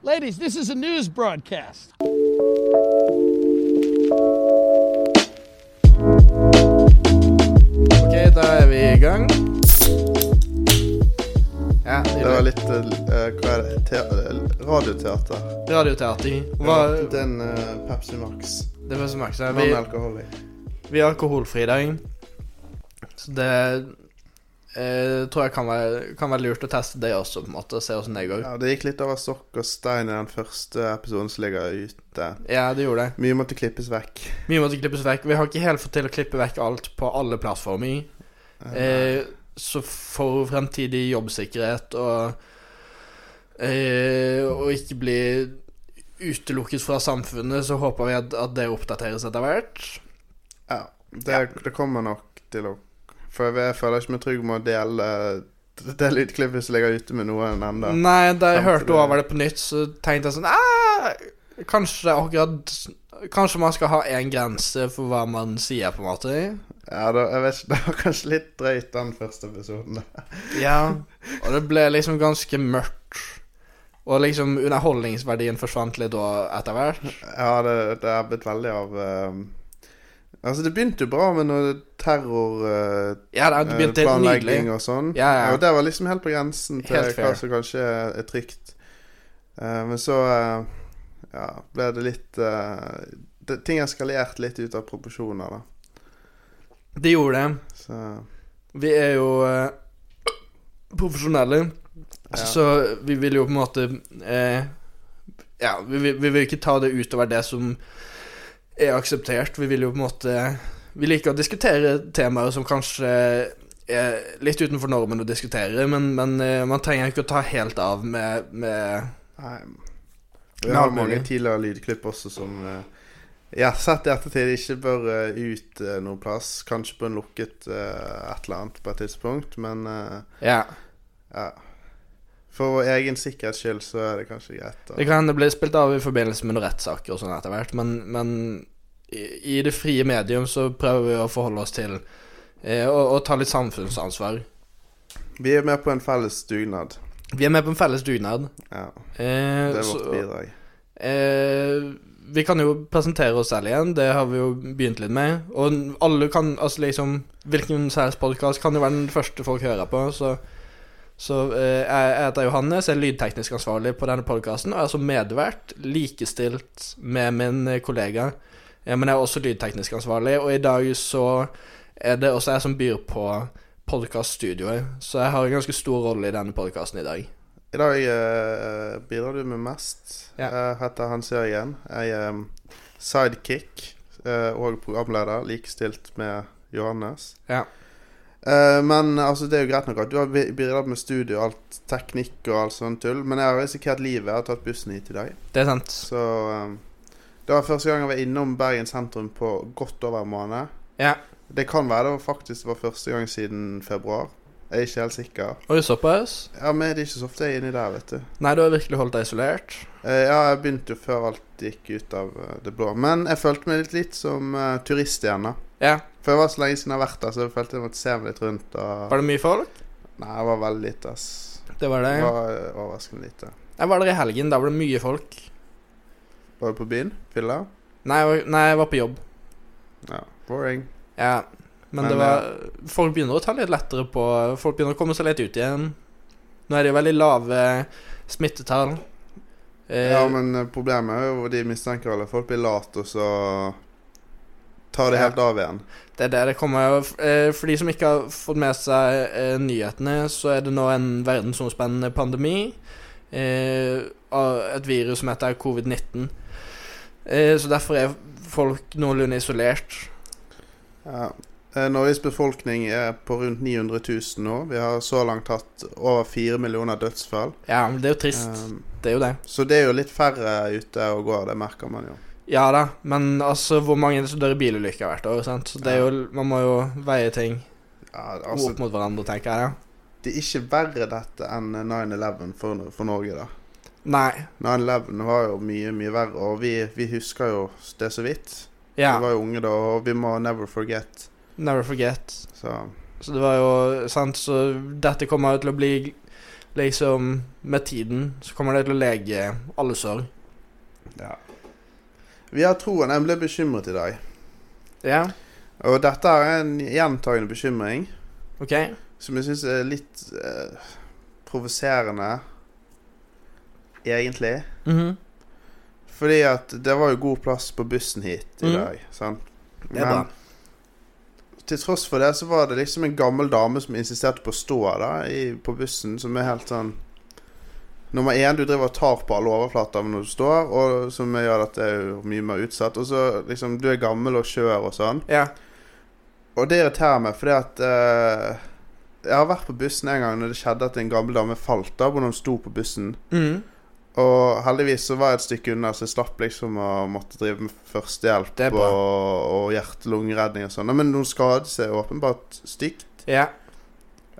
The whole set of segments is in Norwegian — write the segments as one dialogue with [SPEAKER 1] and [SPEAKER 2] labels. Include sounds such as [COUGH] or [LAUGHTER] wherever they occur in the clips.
[SPEAKER 1] Ladies, this is a news broadcast.
[SPEAKER 2] Ok, da er vi i gang. Ja,
[SPEAKER 3] Det var
[SPEAKER 2] nydelig.
[SPEAKER 3] litt eh, hva er det? Te eh, radioteater.
[SPEAKER 2] Radioteater. Hva, det
[SPEAKER 3] Den eh, Pepsi Max.
[SPEAKER 2] var som Max sa.
[SPEAKER 3] Den
[SPEAKER 2] Vi,
[SPEAKER 3] var alkohol i.
[SPEAKER 2] vi er alkoholfri i dag. Så det eh, tror jeg kan være, kan være lurt å teste det også, på en måte. og Se åssen det går.
[SPEAKER 3] Ja, det gikk litt over stokk og stein i den første episoden som ligger ute.
[SPEAKER 2] Ja, det gjorde det.
[SPEAKER 3] Mye måtte klippes vekk.
[SPEAKER 2] Mye måtte klippes vekk. Vi har ikke helt fått til å klippe vekk alt på alle plattformer. Eh, så for fremtidig jobbsikkerhet og eh, Og ikke bli utelukket fra samfunnet, så håper vi at, at det oppdateres etter hvert.
[SPEAKER 3] Ja, det, det kommer nok til å For jeg føler ikke meg trygg med å dele det lydklippet som ligger ute med noen ennå.
[SPEAKER 2] Nei, da jeg
[SPEAKER 3] Frem til
[SPEAKER 2] hørte
[SPEAKER 3] det-
[SPEAKER 2] over det på nytt, så tenkte jeg sånn «Ah, Kanskje det er akkurat Kanskje man skal ha én grense for hva man sier, på en måte.
[SPEAKER 3] Ja, da, jeg vet ikke, [LAUGHS] det var kanskje litt drøyt, den første episoden. da.
[SPEAKER 2] Ja. [LAUGHS] Og det ble liksom ganske mørkt. Og liksom underholdningsverdien forsvant litt da etter hvert.
[SPEAKER 3] Ja, det, det er blitt veldig av eh, Altså, det begynte jo bra med noe terror... eh,
[SPEAKER 2] Ja, det det begynte helt nydelig.
[SPEAKER 3] planlegging og sånn.
[SPEAKER 2] Ja, ja.
[SPEAKER 3] Og det var liksom helt på grensen til
[SPEAKER 2] Helt fair.
[SPEAKER 3] hva som kanskje er trygt. Eh, men så eh, ja, ble det litt eh, det, Ting eskalerte litt ut av proporsjoner, da.
[SPEAKER 2] Det gjorde det.
[SPEAKER 3] Så
[SPEAKER 2] Vi er jo eh, profesjonelle,
[SPEAKER 3] Ja.
[SPEAKER 2] så vi vil jo på en måte eh, Ja, vi, vil- vi vil ikke ta det utover det som er akseptert. Vi vil jo på en måte Vi liker å diskutere temaer som kanskje er litt utenfor normen å diskutere, men, men eh, man trenger ikke å ta helt av med, med
[SPEAKER 3] nei.
[SPEAKER 2] Men
[SPEAKER 3] Vi har
[SPEAKER 2] alt
[SPEAKER 3] mange
[SPEAKER 2] mulig.
[SPEAKER 3] tidligere lydklipp også som eh, ja, sett i ettertid ikke bør eh, ut eh, noen plass. Kanskje på en lukket eh, et eller annet på et tidspunkt, men eh,
[SPEAKER 2] Ja.
[SPEAKER 3] ja. For vår egen sikkerhets skyld så er det kanskje greit.
[SPEAKER 2] Det
[SPEAKER 3] Da.
[SPEAKER 2] kan hende det ble spilt av i forbindelse med noen rettssaker og sånn etter hvert, men, men i, i det frie medium så prøver vi å forholde oss til eh, å, å ta litt samfunnsansvar.
[SPEAKER 3] Vi er med på en felles dugnad.
[SPEAKER 2] Vi er med på en felles dugnad.
[SPEAKER 3] Ja,
[SPEAKER 2] Eh,
[SPEAKER 3] det er
[SPEAKER 2] så-
[SPEAKER 3] vårt bidrag.
[SPEAKER 2] Eh, vi kan jo presentere oss selv igjen, det har vi jo begynt litt med. Og alle kan, altså liksom Hvilken særspodkast kan jo være den første folk hører på, så så eh, jeg jeg heter Johannes, jeg er lydteknisk ansvarlig på denne podkasten, og er som medvert likestilt med min eh, kollega. Eh, men jeg er også lydteknisk ansvarlig, og i dag så er det også jeg som byr på podkaststudioet. Så jeg har en ganske stor rolle i denne podkasten i dag.
[SPEAKER 3] I dag eh, bidrar du med mest.
[SPEAKER 2] Ja.
[SPEAKER 3] Jeg heter Hans Jørgen. Jeg er um, sidekick eh, og programleder, likestilt med Johannes.
[SPEAKER 2] Ja.
[SPEAKER 3] Eh, men altså, det er jo greit nok at du har bi- bidratt med studio og alt teknikk og alt sånt tull, men jeg har risikert livet. Jeg har tatt bussen hit i dag.
[SPEAKER 2] Det er sant.
[SPEAKER 3] Så um, det var første gang jeg var innom Bergen sentrum på godt over en måned.
[SPEAKER 2] Ja.
[SPEAKER 3] Det kan være det var faktisk var første gang siden februar. Jeg er ikke helt sikker.
[SPEAKER 2] Oi, såpass?
[SPEAKER 3] Ja, men det er ikke så ofte jeg er inni der, vet du.
[SPEAKER 2] Nei, du har virkelig holdt deg isolert.
[SPEAKER 3] Eh, ja, jeg begynte jo før alt gikk ut av eh, det blå. Men jeg følte meg litt, litt som eh, turist igjen, da.
[SPEAKER 2] Ja.
[SPEAKER 3] For det var så lenge siden jeg har vært der, så jeg følte jeg måtte se meg litt rundt. Og...
[SPEAKER 2] Var det mye folk?
[SPEAKER 3] Nei, det var veldig lite, ass.
[SPEAKER 2] Det var det.
[SPEAKER 3] Det var eh, overraskende lite.
[SPEAKER 2] Jeg var der i helgen. Da var det mye folk.
[SPEAKER 3] Var du på byen? Fylla?
[SPEAKER 2] Nei, jeg var, nei, jeg var på jobb.
[SPEAKER 3] Ja. Boring.
[SPEAKER 2] Ja. Men,
[SPEAKER 3] Men,
[SPEAKER 2] det var Folk begynner å ta litt lettere på Folk begynner å komme seg litt ut igjen. Nå er det jo veldig lave smittetall. Eh,
[SPEAKER 3] Ja, men eh, problemet er jo de mistenker alle. Folk blir late, og så tar det
[SPEAKER 2] Ja.
[SPEAKER 3] helt av igjen.
[SPEAKER 2] Det er det det kommer eh, For de som ikke har fått med seg eh, nyhetene, så er det nå en verdensomspennende pandemi. Eh, av et virus som heter covid-19. Eh, så derfor er folk noenlunde isolert.
[SPEAKER 3] Ja. Eh, Norges befolkning er på rundt 900 000 nå. Vi har så langt hatt over fire millioner dødsfall.
[SPEAKER 2] Ja, men det er jo trist.
[SPEAKER 3] Um,
[SPEAKER 2] Det er jo det.
[SPEAKER 3] Så det er jo litt færre ute og går, det merker man jo.
[SPEAKER 2] Ja da, men altså, hvor mange er det som dør i bilulykker hvert år? sant? Så det er jo, Man må jo veie ting
[SPEAKER 3] Ja, altså,
[SPEAKER 2] opp mot hverandre, tenker jeg. da.
[SPEAKER 3] det er ikke verre dette enn 9-11 for, for Norge, da.
[SPEAKER 2] Nei.
[SPEAKER 3] 9-11 var jo mye, mye verre, og vi, vi husker jo det så vidt.
[SPEAKER 2] Ja.
[SPEAKER 3] Vi var jo unge da, og vi må never forget.
[SPEAKER 2] Never forget.
[SPEAKER 3] Så
[SPEAKER 2] Så det var jo sant, så dette kommer jo til å bli liksom Med tiden så kommer det til å lege alle sår.
[SPEAKER 3] Ja. Vi har troen. Jeg ble bekymret i dag.
[SPEAKER 2] Ja,
[SPEAKER 3] Og dette er en gjentagende bekymring
[SPEAKER 2] OK?
[SPEAKER 3] som jeg syns er litt eh, provoserende, egentlig.
[SPEAKER 2] Mhm.
[SPEAKER 3] Fordi at det var jo god plass på bussen hit i
[SPEAKER 2] Mhm.
[SPEAKER 3] dag. Sant?
[SPEAKER 2] Det er bra.
[SPEAKER 3] til tross for det så var det liksom en gammel dame som insisterte på å stå da i, på bussen, som er helt sånn Nummer én, du driver og tar på alle overflater når du står, og som gjør at det er jo mye mer utsatt. Og så liksom, du er gammel og skjør og sånn.
[SPEAKER 2] Ja.
[SPEAKER 3] Og det irriterer meg, fordi at eh, Jeg har vært på bussen en gang når det skjedde at en gammel dame falt av når hun sto på bussen.
[SPEAKER 2] Mhm.
[SPEAKER 3] Og heldigvis så var jeg et stykke unna, så jeg slapp liksom å måtte drive med førstehjelp
[SPEAKER 2] Det er
[SPEAKER 3] og,
[SPEAKER 2] bra.
[SPEAKER 3] og hjerte-lungeredning og sånn. Nei, Men hun skadet seg åpenbart stygt.
[SPEAKER 2] Ja.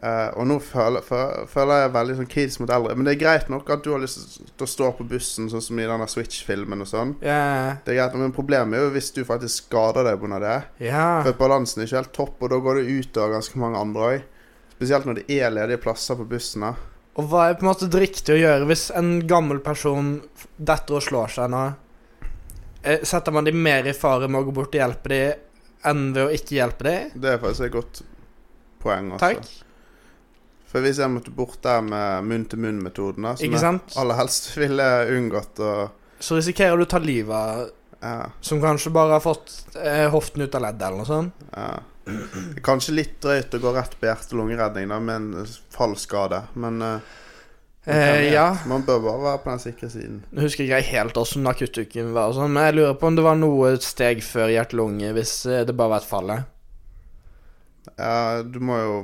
[SPEAKER 3] Eh, og nå føler, fø- føler jeg veldig sånn kritisk mot eldre. Men det er greit nok at du har lyst til å stå på bussen, sånn som i denne Switch-filmen og sånn.
[SPEAKER 2] Ja.
[SPEAKER 3] Det er greit, men problemet er jo hvis du faktisk skader deg pga. det.
[SPEAKER 2] ja.
[SPEAKER 3] For balansen er ikke helt topp, og da går det ut over ganske mange andre òg. Spesielt når det er ledige plasser på bussen. da.
[SPEAKER 2] Og hva er på en måte det riktige å gjøre hvis en gammel person f- detter og slår seg nå? Eh, Setter man de mer i fare med å gå bort og hjelpe de enn ved å ikke hjelpe de?
[SPEAKER 3] Det er faktisk et godt poeng. Også.
[SPEAKER 2] Takk.
[SPEAKER 3] For hvis jeg måtte bort der med munn-til-munn-metoden, da, som
[SPEAKER 2] Ikke
[SPEAKER 3] jeg
[SPEAKER 2] sant?
[SPEAKER 3] aller helst [LAUGHS] ville unngått å
[SPEAKER 2] Så risikerer du å ta livet av
[SPEAKER 3] ja,
[SPEAKER 2] som kanskje bare har fått eh, hoften ut av leddet eller noe sånt.
[SPEAKER 3] ja. Det er Kanskje litt drøyt å gå rett på hjerte-lungeredning da, med en fallskade, men eh, man kan
[SPEAKER 2] Eh,
[SPEAKER 3] vet.
[SPEAKER 2] ja.
[SPEAKER 3] Man bør bare være på den sikre siden.
[SPEAKER 2] Nå husker ikke jeg helt hvordan akuttuken var, og sånn, men jeg lurer på om det var noe steg før hjerte-lunge hvis eh, det bare var et fallet.
[SPEAKER 3] Ja, du må jo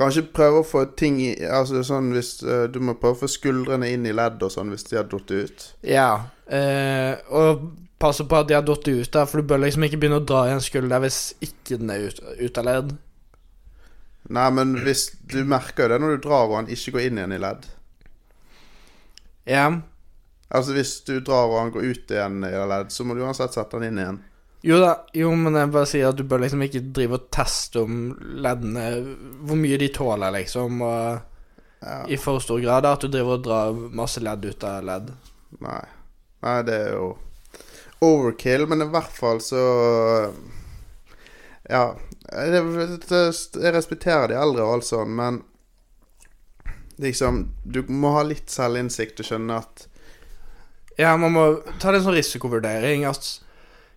[SPEAKER 3] Kanskje prøve å få ting i Altså sånn hvis eh, Du må prøve å få skuldrene inn i ledd og sånn hvis de har datt ut.
[SPEAKER 2] Ja. Eh, og passe på at de har datt ut der, for du bør liksom ikke begynne å dra i en skulder hvis ikke den er ut, ut av ledd.
[SPEAKER 3] Nei, men hvis du merker jo det når du drar og han ikke går inn igjen i ledd.
[SPEAKER 2] Ja.
[SPEAKER 3] Altså hvis du drar og han går ut igjen i ledd, så må du uansett sette han inn igjen.
[SPEAKER 2] Jo da, jo, men jeg bare sier at du bør liksom ikke drive og teste om leddene Hvor mye de tåler, liksom, og
[SPEAKER 3] Ja,
[SPEAKER 2] i for stor grad. da, At du driver og drar masse ledd ut av ledd.
[SPEAKER 3] nei. Nei, det er jo overkill, men i hvert fall så Ja. Jeg, jeg respekterer de eldre og alt sånn, men liksom Du må ha litt selvinnsikt og skjønne at
[SPEAKER 2] Ja, man må ta det en sånn risikovurdering at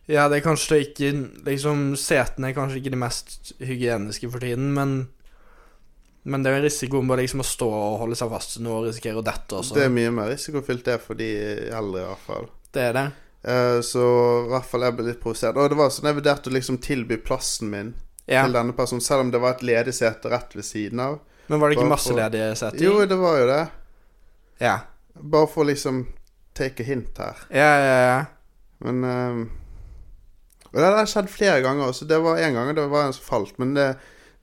[SPEAKER 2] Ja, det er kanskje ikke Liksom, setene er kanskje ikke de mest hygieniske for tiden, men men det er jo en risiko med liksom å stå og holde seg fast til noe og risikere å dette også.
[SPEAKER 3] det er mye mer risikofylt det for de eldre, i hvert fall.
[SPEAKER 2] det er det.
[SPEAKER 3] Eh, Så i hvert fall jeg ble litt provosert. Og det var sånn jeg vurderte å liksom tilby plassen min
[SPEAKER 2] Ja.
[SPEAKER 3] til denne personen, selv om det var et ledig sete rett ved siden av.
[SPEAKER 2] Men var det
[SPEAKER 3] Bare
[SPEAKER 2] ikke masse
[SPEAKER 3] for-
[SPEAKER 2] ledige seter?
[SPEAKER 3] Jo, det var jo det.
[SPEAKER 2] Ja.
[SPEAKER 3] Bare for å liksom take a hint her.
[SPEAKER 2] Ja, ja, ja.
[SPEAKER 3] Men ehm, Og det har skjedd flere ganger også. Det var en gang det var en som falt, men det,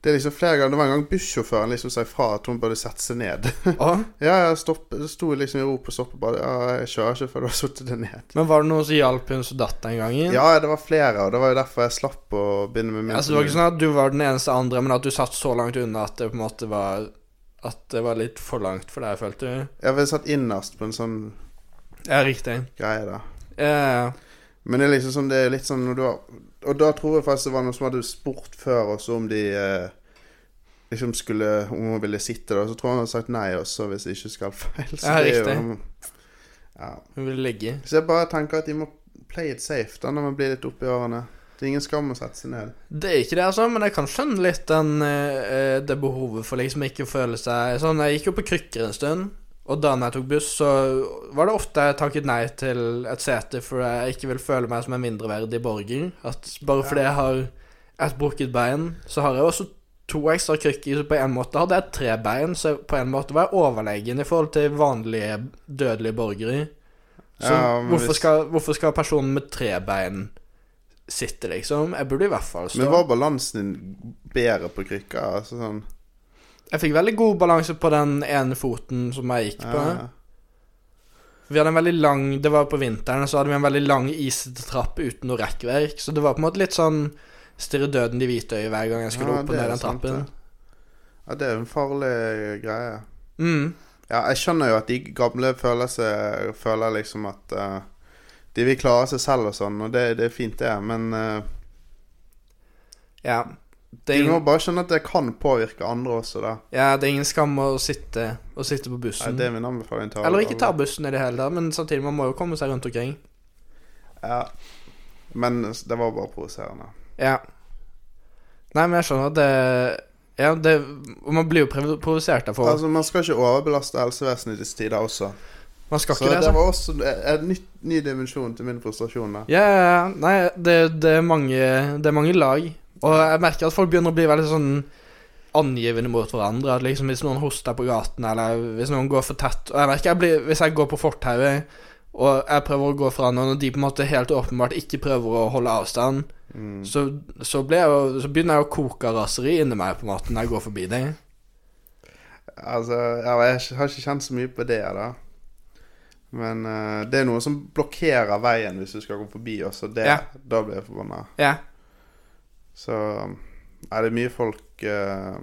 [SPEAKER 3] det er liksom flere ganger Det var en gang bussjåføren liksom sa ifra at hun burde sette seg ned. [LAUGHS]
[SPEAKER 2] Å,
[SPEAKER 3] ja, jeg stopp, det sto liksom i ro på stoppet bare Ja, jeg kjører ikke før du har satt deg ned.
[SPEAKER 2] men var det noen som hjalp hun som datt den gangen?
[SPEAKER 3] Ja, det var flere, og det var jo derfor jeg slapp å begynne med min.
[SPEAKER 2] Altså, det var ikke sånn at du var den eneste andre, men at du satt så langt unna at det på en måte var At det var litt for langt for deg, følte du?
[SPEAKER 3] Jeg ble satt innerst på en sånn
[SPEAKER 2] Ja, riktig.
[SPEAKER 3] greie, da.
[SPEAKER 2] Ja, ja, ja.
[SPEAKER 3] Men det er liksom sånn, det er litt sånn når du har Og da tror jeg faktisk det var noen som hadde spurt før også om de eh, liksom skulle Om hun ville sitte der. Så tror jeg han hadde sagt nei også, hvis jeg ikke skal [LAUGHS] feil. Så
[SPEAKER 2] Ja,
[SPEAKER 3] det er
[SPEAKER 2] riktig.
[SPEAKER 3] jo ja.
[SPEAKER 2] Hun ville ligge.
[SPEAKER 3] Så jeg bare tenker at de må play it safe da når man blir litt oppi årene. Det er ingen skam å sette seg ned.
[SPEAKER 2] Det er ikke det, altså, men jeg kan skjønne litt den, eh, eh, det behovet for liksom ikke å føle seg sånn. Jeg gikk jo på krykker en stund, og da jeg tok buss, så var det ofte jeg takket nei til et sete fordi jeg ikke vil føle meg som en mindreverdig borger. At bare fordi jeg har et brukket bein, så har jeg også to ekstra krykker. Så på en måte hadde jeg tre bein, så på en måte var jeg overlegen i forhold til vanlige dødelige borgere. Så
[SPEAKER 3] Ja, men
[SPEAKER 2] hvorfor,
[SPEAKER 3] hvis-
[SPEAKER 2] skal, hvorfor skal personen med tre bein sitte, liksom? Jeg burde i hvert fall stå.
[SPEAKER 3] Men var balansen din bedre på krykka? Altså sånn
[SPEAKER 2] Jeg fikk veldig god balanse på den ene foten som jeg gikk på.
[SPEAKER 3] ja.
[SPEAKER 2] Vi hadde en veldig lang Det var på vinteren, så hadde vi en veldig lang isete trapp uten noe rekkverk. Så det var på en måte litt sånn stirre døden i hvitøyet hver gang jeg skulle
[SPEAKER 3] Ja,
[SPEAKER 2] opp
[SPEAKER 3] det
[SPEAKER 2] og
[SPEAKER 3] er
[SPEAKER 2] ned den
[SPEAKER 3] sant,
[SPEAKER 2] trappen.
[SPEAKER 3] det. Ja, det er jo en farlig greie.
[SPEAKER 2] Mm.
[SPEAKER 3] Ja, jeg skjønner jo at de gamle føler, seg, føler liksom at eh, de vil klare seg selv og sånn, og det, det er fint, det, men eh,
[SPEAKER 2] Ja. Det er,
[SPEAKER 3] de må
[SPEAKER 2] ingen,
[SPEAKER 3] bare skjønne at det kan påvirke andre også, da.
[SPEAKER 2] ja, det er ingen skam å sitte, å sitte på
[SPEAKER 3] Ja,
[SPEAKER 2] bussen.
[SPEAKER 3] det er min anbefaling til alle.
[SPEAKER 2] Eller ikke ta bussen i det hele tatt, men samtidig, man må jo komme seg rundt omkring.
[SPEAKER 3] Ja. Men det var bare provoserende.
[SPEAKER 2] Ja. Nei, men jeg skjønner at det Ja, det og Man blir jo prov- provosert av folk.
[SPEAKER 3] Altså, man skal ikke overbelaste helsevesenet i disse tider også.
[SPEAKER 2] Man skal
[SPEAKER 3] Så
[SPEAKER 2] ikke det.
[SPEAKER 3] det
[SPEAKER 2] altså.
[SPEAKER 3] var også en ny, ny dimensjon til min frustrasjon, da.
[SPEAKER 2] Ja, ja, ja. Nei, det, det, er mange, det er mange lag. Og jeg merker at folk begynner å bli veldig sånn angivende mot hverandre. At liksom Hvis noen hoster på gaten, eller hvis noen går for tett Og jeg merker jeg blir, Hvis jeg går på fortauet, og jeg prøver å gå fra noen, og de på en måte helt åpenbart ikke prøver å holde avstand,
[SPEAKER 3] Mm.
[SPEAKER 2] så, så, blir jeg, jo- så begynner jeg å koke av raseri inni meg på en måte når jeg går forbi dem.
[SPEAKER 3] Altså, ja, jeg har ikke kjent så mye på det, da. Men eh, det er noe som blokkerer veien hvis du skal gå forbi også. Det,
[SPEAKER 2] Ja.
[SPEAKER 3] Da blir jeg forbanna.
[SPEAKER 2] Ja.
[SPEAKER 3] Så er det mye folk eh,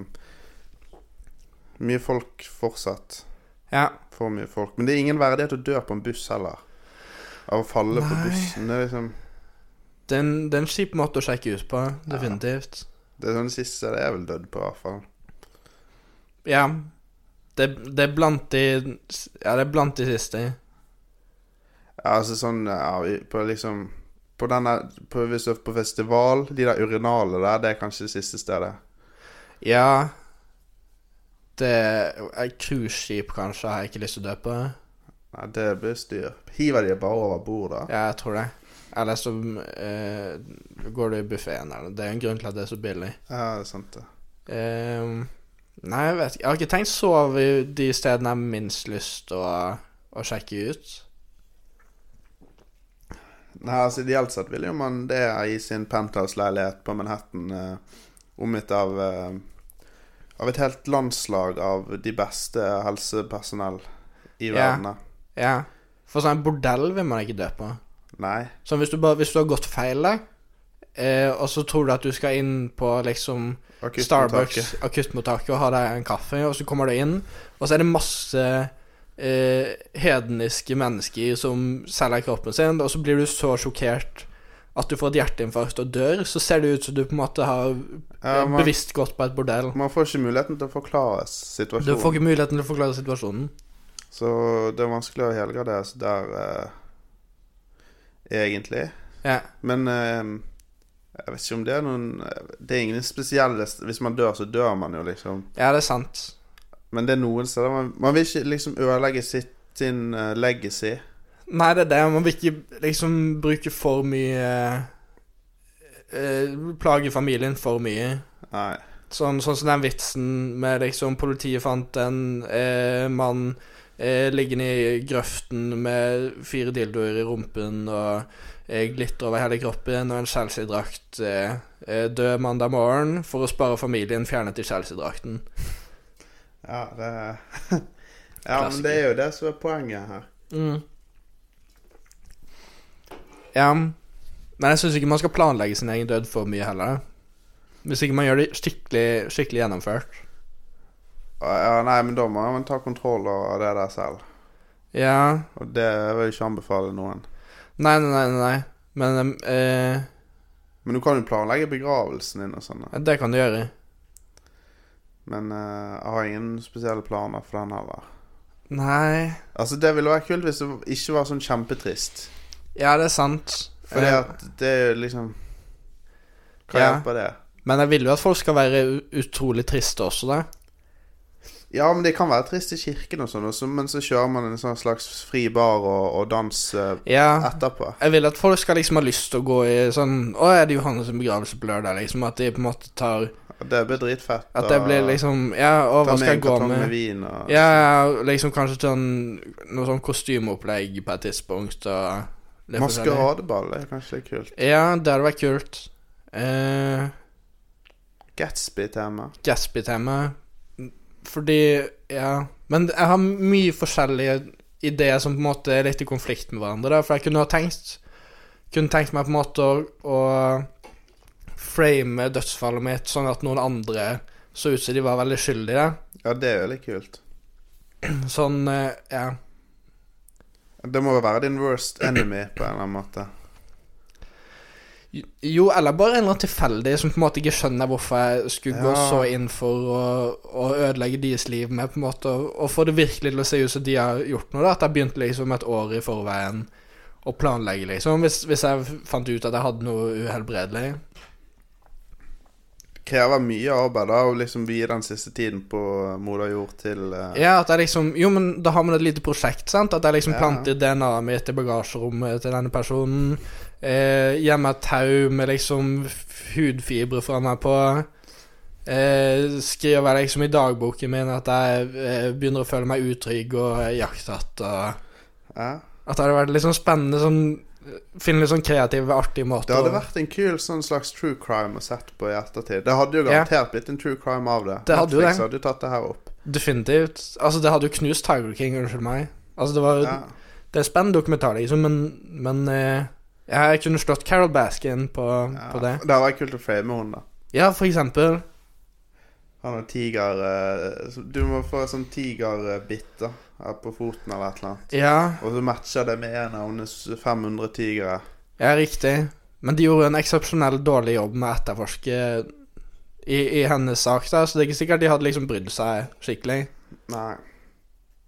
[SPEAKER 3] Mye folk fortsatt.
[SPEAKER 2] Ja.
[SPEAKER 3] For mye folk. Men det er ingen verdighet å dø på en buss heller. Av å falle på
[SPEAKER 2] Nei.
[SPEAKER 3] bussen. Det er liksom
[SPEAKER 2] Det er en, det er en kjip måte å sjekke ut på, definitivt.
[SPEAKER 3] Det er sånn det siste det er vel dødd på, i hvert fall.
[SPEAKER 2] Ja. Det, det er blant de Ja, det er blant de siste.
[SPEAKER 3] Ja, altså sånn ja, i- på liksom på denne, på, Hvis du er på festival, de der urinalene der, det er kanskje det siste stedet.
[SPEAKER 2] Ja Det er Cruiseskip, kanskje, har jeg ikke lyst til å dø på.
[SPEAKER 3] Nei, det blir styr. Hiver de bare over bord, da?
[SPEAKER 2] Ja, jeg tror det. Eller så eh, går du i buffeen eller Det er en grunn til at det er så billig.
[SPEAKER 3] Ja, det er sant, det.
[SPEAKER 2] Eh, nei, jeg vet ikke. Jeg har ikke tenkt å sove i de stedene jeg har minst lyst til å, å sjekke ut.
[SPEAKER 3] Nei, altså Ideelt sett vil jo man det i sin penthouse-leilighet på Manhattan, eh, omgitt av eh, av et helt landslag av de beste helsepersonell
[SPEAKER 2] Ja.
[SPEAKER 3] i verden. da.
[SPEAKER 2] Ja. For sånn bordell vil man ikke dø på.
[SPEAKER 3] Nei.
[SPEAKER 2] Sånn hvis du, bare, hvis du har gått feil, da, eh, og så tror du at du skal inn på liksom Starbucks akuttmottaket og har deg en kaffe, og så kommer du inn, og så er det masse eh, hedniske mennesker som selger kroppen sin, og så blir du så sjokkert at du får et hjerteinfarkt og dør, så ser det ut som du på en måte har
[SPEAKER 3] Ja,
[SPEAKER 2] eh,
[SPEAKER 3] man-
[SPEAKER 2] bevisst gått på et bordell.
[SPEAKER 3] Man får ikke muligheten til å forklare
[SPEAKER 2] Du
[SPEAKER 3] situasjonen.
[SPEAKER 2] får ikke muligheten til å forklare situasjonen.
[SPEAKER 3] Så det er vanskelig å helgardere seg der eh, egentlig.
[SPEAKER 2] Ja.
[SPEAKER 3] Men eh, jeg vet ikke om det er noen eh, Det er ingen spesielle Hvis man dør, så dør man jo, liksom.
[SPEAKER 2] ja, det er sant.
[SPEAKER 3] Men det er noen steder Man, man vil ikke liksom ødelegge sitt, sin eh, legacy.
[SPEAKER 2] Nei, det er det. Man vil ikke liksom bruke for mye eh, Plage familien for mye.
[SPEAKER 3] Nei.
[SPEAKER 2] Sånn, sånn som den vitsen med liksom Politiet fant en eh, mann eh, liggende i grøften med fire dildoer i rumpen og eh, glitter over hele kroppen og en Chelsea-drakt. Eh, eh, død mandag morgen for å spare familien fjernet i Chelsea-drakten.
[SPEAKER 3] Ja, det [LAUGHS] Ja, men det er jo det som er poenget her.
[SPEAKER 2] Ja, men jeg syns ikke man skal planlegge sin egen død for mye heller. Hvis ikke man gjør det skikkelig, skikkelig gjennomført.
[SPEAKER 3] Ja, nei, men da må man ta kontroll over det der selv.
[SPEAKER 2] Ja,
[SPEAKER 3] Og det vil jeg ikke anbefale noen.
[SPEAKER 2] Nei, nei, nei, nei. nei. Men eh,
[SPEAKER 3] Men du kan jo planlegge begravelsen din og sånn. da.
[SPEAKER 2] det kan du gjøre.
[SPEAKER 3] Men eh, jeg har ingen spesielle planer for den heller.
[SPEAKER 2] Nei
[SPEAKER 3] Altså Det ville vært kult hvis det ikke var sånn kjempetrist.
[SPEAKER 2] Ja, det er sant.
[SPEAKER 3] Fordi
[SPEAKER 2] Eh,
[SPEAKER 3] at det er jo liksom Hva
[SPEAKER 2] Ja.
[SPEAKER 3] hjelper det?
[SPEAKER 2] Men jeg vil jo at folk skal være u- utrolig triste også, da.
[SPEAKER 3] Ja, men det kan være trist i kirken og sånn, også, men så kjører man en sånn slags fri bar og, og dans eh,
[SPEAKER 2] Ja.
[SPEAKER 3] etterpå.
[SPEAKER 2] Jeg vil at folk skal liksom ha lyst til å gå i sånn Å, er det Johannes sin begravelse på lørdag? Liksom at de på en måte tar
[SPEAKER 3] Og Det blir dritfett.
[SPEAKER 2] At det
[SPEAKER 3] og
[SPEAKER 2] blir liksom Ja, og
[SPEAKER 3] ta
[SPEAKER 2] hva
[SPEAKER 3] med
[SPEAKER 2] skal
[SPEAKER 3] en
[SPEAKER 2] jeg gå
[SPEAKER 3] kartong med
[SPEAKER 2] med? altså.
[SPEAKER 3] vin og
[SPEAKER 2] Ja, liksom kanskje sånn noe sånn kostymeopplegg på et tidspunkt og det forskjellige.
[SPEAKER 3] Maskeradeball er kanskje litt kult.
[SPEAKER 2] Ja, det hadde vært kult. Eh,
[SPEAKER 3] Gatsby-tema.
[SPEAKER 2] Gatsby-tema. Fordi Ja. Men jeg har mye forskjellige ideer som på en måte er litt i konflikt med hverandre. Da. For jeg kunne ha tenkt Kunne tenkt meg på en måte å, å frame dødsfallet mitt sånn at noen andre så ut som de var veldig skyldige.
[SPEAKER 3] Ja, det er jo litt kult.
[SPEAKER 2] Sånn, eh, ja.
[SPEAKER 3] Det må jo være din worst enemy på en eller annen måte.
[SPEAKER 2] Jo, eller bare en eller annen tilfeldig som på en måte ikke skjønner hvorfor jeg skulle gå
[SPEAKER 3] Ja.
[SPEAKER 2] så inn for å, å ødelegge deres liv med, på en måte, og- og få det virkelig til å se ut som de har gjort noe, da, at jeg begynte liksom et år i forveien å planlegge, liksom, hvis, hvis jeg fant ut at jeg hadde noe uhelbredelig.
[SPEAKER 3] Krever mye arbeid da, å liksom vie den siste tiden på moder jord til eh,
[SPEAKER 2] Ja, at jeg liksom Jo, men da har man et lite prosjekt, sant? At jeg liksom
[SPEAKER 3] Ja.
[SPEAKER 2] planter DNA-et mitt i bagasjerommet til denne personen. Eh, Gjemmer et tau med liksom f- hudfibre fra meg på. Eh, skriver jeg liksom i dagboken min at jeg eh, begynner å føle meg utrygg og jakthatt og
[SPEAKER 3] ja.
[SPEAKER 2] At det hadde vært litt sånn spennende sånn Finne litt sånn kreative, artige måter
[SPEAKER 3] Det hadde
[SPEAKER 2] å-
[SPEAKER 3] vært en kul sånn slags true crime å sette på i ettertid. Det hadde jo
[SPEAKER 2] Ja.
[SPEAKER 3] garantert blitt en true crime av det.
[SPEAKER 2] Det hadde jo
[SPEAKER 3] Netflix
[SPEAKER 2] det.
[SPEAKER 3] hadde jo tatt det her opp.
[SPEAKER 2] Definitivt. Altså, det hadde jo knust Tiger King, unnskyld meg. Altså, det var
[SPEAKER 3] Ja.
[SPEAKER 2] Det er en spennende dokumentar, liksom, men, men eh, Jeg kunne slått Carol Baskin på,
[SPEAKER 3] Ja.
[SPEAKER 2] på det.
[SPEAKER 3] Det hadde vært kult å frame hun, da.
[SPEAKER 2] Ja, for eksempel.
[SPEAKER 3] Han har tiger eh, så- Du må få sånn tigerbitt da her på foten eller et eller annet.
[SPEAKER 2] Ja,
[SPEAKER 3] Og så matcher det med en av hennes 500 tigre.
[SPEAKER 2] ja riktig. Men de gjorde en eksepsjonell dårlig jobb med å etterforske i, i hennes sak, da, så det er ikke sikkert de hadde liksom brydd seg skikkelig.
[SPEAKER 3] Nei.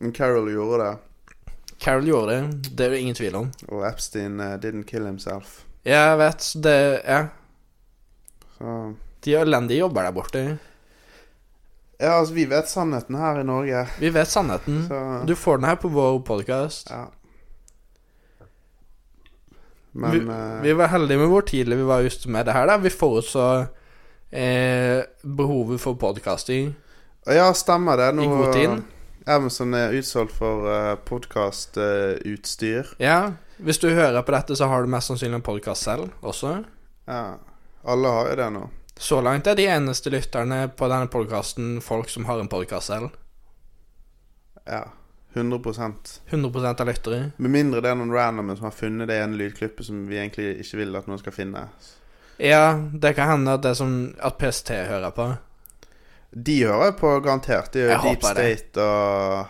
[SPEAKER 3] Men Carol gjorde det.
[SPEAKER 2] Carol gjorde det, det er det ingen tvil om.
[SPEAKER 3] Og Epstein eh, didn't kill himself.
[SPEAKER 2] Ja, jeg vet, så det Ja.
[SPEAKER 3] Så
[SPEAKER 2] De elendige jobber der borte.
[SPEAKER 3] Ja, altså, vi vet sannheten her i Norge.
[SPEAKER 2] Vi vet sannheten.
[SPEAKER 3] Så
[SPEAKER 2] Du får den her på vår podkast.
[SPEAKER 3] Ja. Men
[SPEAKER 2] vi,
[SPEAKER 3] eh,
[SPEAKER 2] vi var heldige med hvor tidlig vi var ute med det her. da Vi forutså eh, behovet for podcasting
[SPEAKER 3] Ja, stemmer det. Nå,
[SPEAKER 2] i
[SPEAKER 3] eh,
[SPEAKER 2] god tid.
[SPEAKER 3] Amazon er utsolgt for eh, uh, podkastutstyr.
[SPEAKER 2] Ja, Hvis du hører på dette, så har du mest sannsynlig en podkast selv også.
[SPEAKER 3] ja. Alle har jo det nå.
[SPEAKER 2] Så langt er de eneste lytterne på denne podkasten folk som har en podkast selv.
[SPEAKER 3] Ja. 100
[SPEAKER 2] 100 av lyttere.
[SPEAKER 3] Med mindre det er noen randomer som har funnet det ene lydklippet som vi egentlig ikke vil at noen skal finne.
[SPEAKER 2] Ja, det kan hende at det er som at PST hører på.
[SPEAKER 3] De hører jeg på garantert. De er
[SPEAKER 2] Jeg
[SPEAKER 3] jo Deep
[SPEAKER 2] håper det.
[SPEAKER 3] State og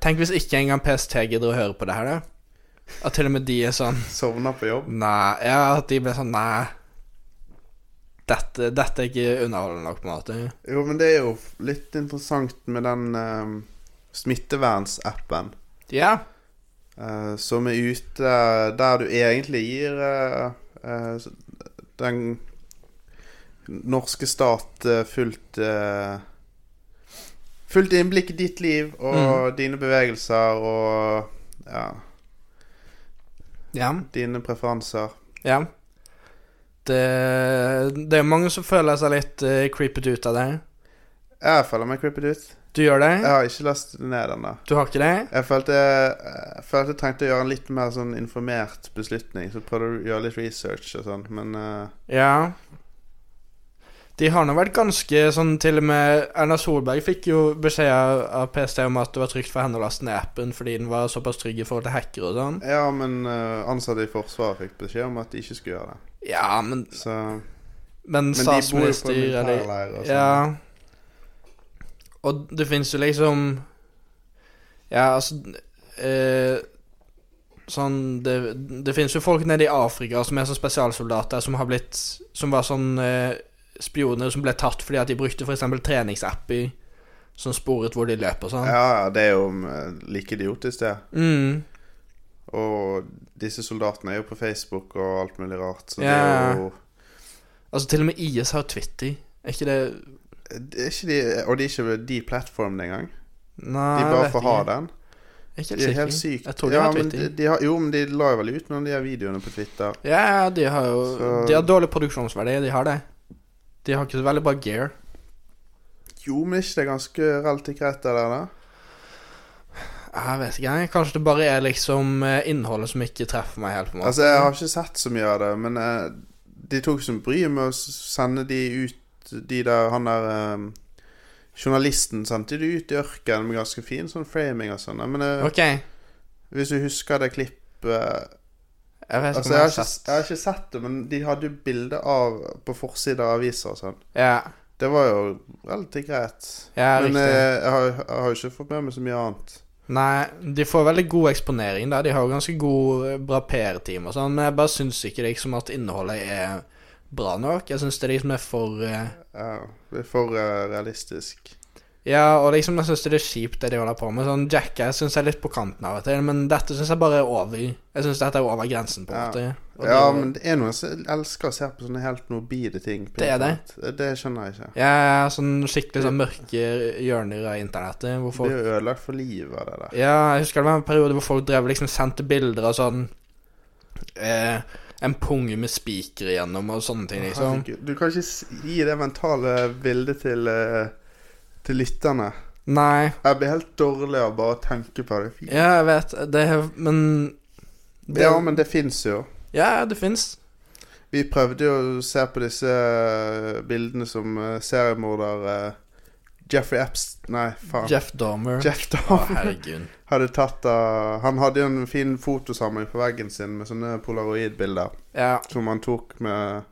[SPEAKER 2] Tenk hvis ikke engang PST gidder å høre på det her, da. At til og med de er sånn
[SPEAKER 3] sovner på jobb.
[SPEAKER 2] Nei, ja, at de ble sånn Nei, dette, dette er ikke underholdende nok, på en måte.
[SPEAKER 3] Jo, men det er jo litt interessant med den eh, smittevernsappen
[SPEAKER 2] Ja,
[SPEAKER 3] eh, som er ute der du egentlig gir eh, eh, den norske stat eh, fullt eh, Fullt innblikk i ditt liv og dine bevegelser og ja,
[SPEAKER 2] ja,
[SPEAKER 3] dine preferanser.
[SPEAKER 2] ja. Det, det er mange som føler seg litt eh, creepet ut av det.
[SPEAKER 3] Jeg føler meg creeped ut.
[SPEAKER 2] Du gjør det?
[SPEAKER 3] Jeg har ikke lest ned den der.
[SPEAKER 2] Du har ikke det?
[SPEAKER 3] Jeg følte, jeg følte jeg trengte å gjøre en litt mer sånn informert beslutning. Så prøvde jeg å gjøre litt research og sånn, men eh,
[SPEAKER 2] Ja. De har nå vært ganske sånn Til og med Erna Solberg fikk jo beskjed av av PST om at det var trygt for henne å laste ned appen fordi den var såpass trygg i forhold til hackere og sånn.
[SPEAKER 3] Ja, men eh, ansatte i Forsvaret fikk beskjed om at de ikke skulle gjøre det.
[SPEAKER 2] Ja, men,
[SPEAKER 3] Så
[SPEAKER 2] men,
[SPEAKER 3] Men de bor jo på en
[SPEAKER 2] statsminister eller
[SPEAKER 3] militærleir og sånn.
[SPEAKER 2] Ja. Og det fins jo liksom Ja, altså eh, Sånn Det, det fins jo folk nede i Afrika som er sånn spesialsoldater som har blitt Som var sånn eh, spioner som ble tatt fordi at de brukte f.eks. treningsapper som sporet hvor de løp og sånn.
[SPEAKER 3] Ja, ja, det er jo eh, like idiotisk, det.
[SPEAKER 2] Mm,
[SPEAKER 3] Og disse soldatene er jo på Facebook og alt mulig rart, så
[SPEAKER 2] Ja.
[SPEAKER 3] det er jo
[SPEAKER 2] altså, til og med IS har Twitter. Er ikke det
[SPEAKER 3] det er ikke de, Og de er ikke de plattformen engang.
[SPEAKER 2] Nei,
[SPEAKER 3] De
[SPEAKER 2] jeg
[SPEAKER 3] bare
[SPEAKER 2] vet
[SPEAKER 3] får ha
[SPEAKER 2] ikke.
[SPEAKER 3] den.
[SPEAKER 2] Jeg er ikke
[SPEAKER 3] De er helt
[SPEAKER 2] helt sikker.
[SPEAKER 3] sykt.
[SPEAKER 2] Jeg tror de
[SPEAKER 3] ja,
[SPEAKER 2] har
[SPEAKER 3] men
[SPEAKER 2] Twitter.
[SPEAKER 3] de, de har, jo, men de la jo vel ut noen av de her videoene på Twitter.
[SPEAKER 2] Ja, de har jo
[SPEAKER 3] Så-
[SPEAKER 2] De har dårlig produksjonsverdi, de har det. De har ikke så veldig bra gear.
[SPEAKER 3] Jo, men er ikke det ganske relativt greit, det der? da?
[SPEAKER 2] Jeg vet ikke, jeg. Kanskje det bare er liksom eh, innholdet som ikke treffer meg helt. på en måte
[SPEAKER 3] Altså, jeg har ikke sett så mye av det, men eh, de tok som bry med å s- sende de ut De der, han der eh, Journalisten sendte de ut i ørkenen med ganske fin sånn framing og sånn. Men eh,
[SPEAKER 2] Ok, jeg
[SPEAKER 3] hvis du husker det klippet eh,
[SPEAKER 2] vet ikke
[SPEAKER 3] Altså,
[SPEAKER 2] om jeg
[SPEAKER 3] jeg har,
[SPEAKER 2] har
[SPEAKER 3] ikke,
[SPEAKER 2] sett
[SPEAKER 3] jeg har ikke sett det, men de hadde jo bilde av på forsida av aviser og sånn.
[SPEAKER 2] Ja,
[SPEAKER 3] Det var jo relativt greit.
[SPEAKER 2] Ja,
[SPEAKER 3] Men
[SPEAKER 2] riktig.
[SPEAKER 3] eh, jeg har, jeg har jo ikke fått med meg så mye annet.
[SPEAKER 2] Nei, de får veldig god eksponering der. De har jo ganske god eh, bra PR-team og sånn, men jeg bare syns ikke liksom at innholdet er bra nok. Jeg syns det liksom er for eh,
[SPEAKER 3] Ja, det er for eh, realistisk.
[SPEAKER 2] Ja, og liksom jeg syns det er kjipt det de holder på med. Sånn Jackass syns jeg er litt på kanten av og til, men dette syns jeg bare er over. Jeg syns dette er over grensen, på en
[SPEAKER 3] Ja.
[SPEAKER 2] måte. Og
[SPEAKER 3] Ja,
[SPEAKER 2] det-
[SPEAKER 3] men det er noen som elsker å se på sånne helt morbide ting. på
[SPEAKER 2] Det er det.
[SPEAKER 3] internett. Det, det skjønner jeg ikke.
[SPEAKER 2] Ja, sånn skikkelig sånn mørke hjørner av internettet. Hvor
[SPEAKER 3] Det
[SPEAKER 2] folk
[SPEAKER 3] blir jo ødelagt for livet av det der.
[SPEAKER 2] Ja, jeg husker det var en periode hvor folk drev og liksom sendte bilder av sånn eh, En pung med spiker igjennom og sånne ting, liksom.
[SPEAKER 3] Herregud, Du kan ikke s- gi det mentale bildet til, eh, til lytterne.
[SPEAKER 2] Nei.
[SPEAKER 3] Jeg blir helt dårlig av bare å tenke på det. Fy-
[SPEAKER 2] Ja, jeg vet det er- Men det,
[SPEAKER 3] Ja, men det fins jo.
[SPEAKER 2] Ja, det fins.
[SPEAKER 3] Vi prøvde jo å se på disse eh, bildene som eh, seriemorder eh, Jeffrey Epstein Nei, faen. Jeff,
[SPEAKER 2] Jeff Dahmer. Å,
[SPEAKER 3] Dahmer
[SPEAKER 2] herregud.
[SPEAKER 3] hadde tatt av Han hadde jo en fin fotosamling på veggen sin med sånne polaroidbilder
[SPEAKER 2] Ja.
[SPEAKER 3] som han tok med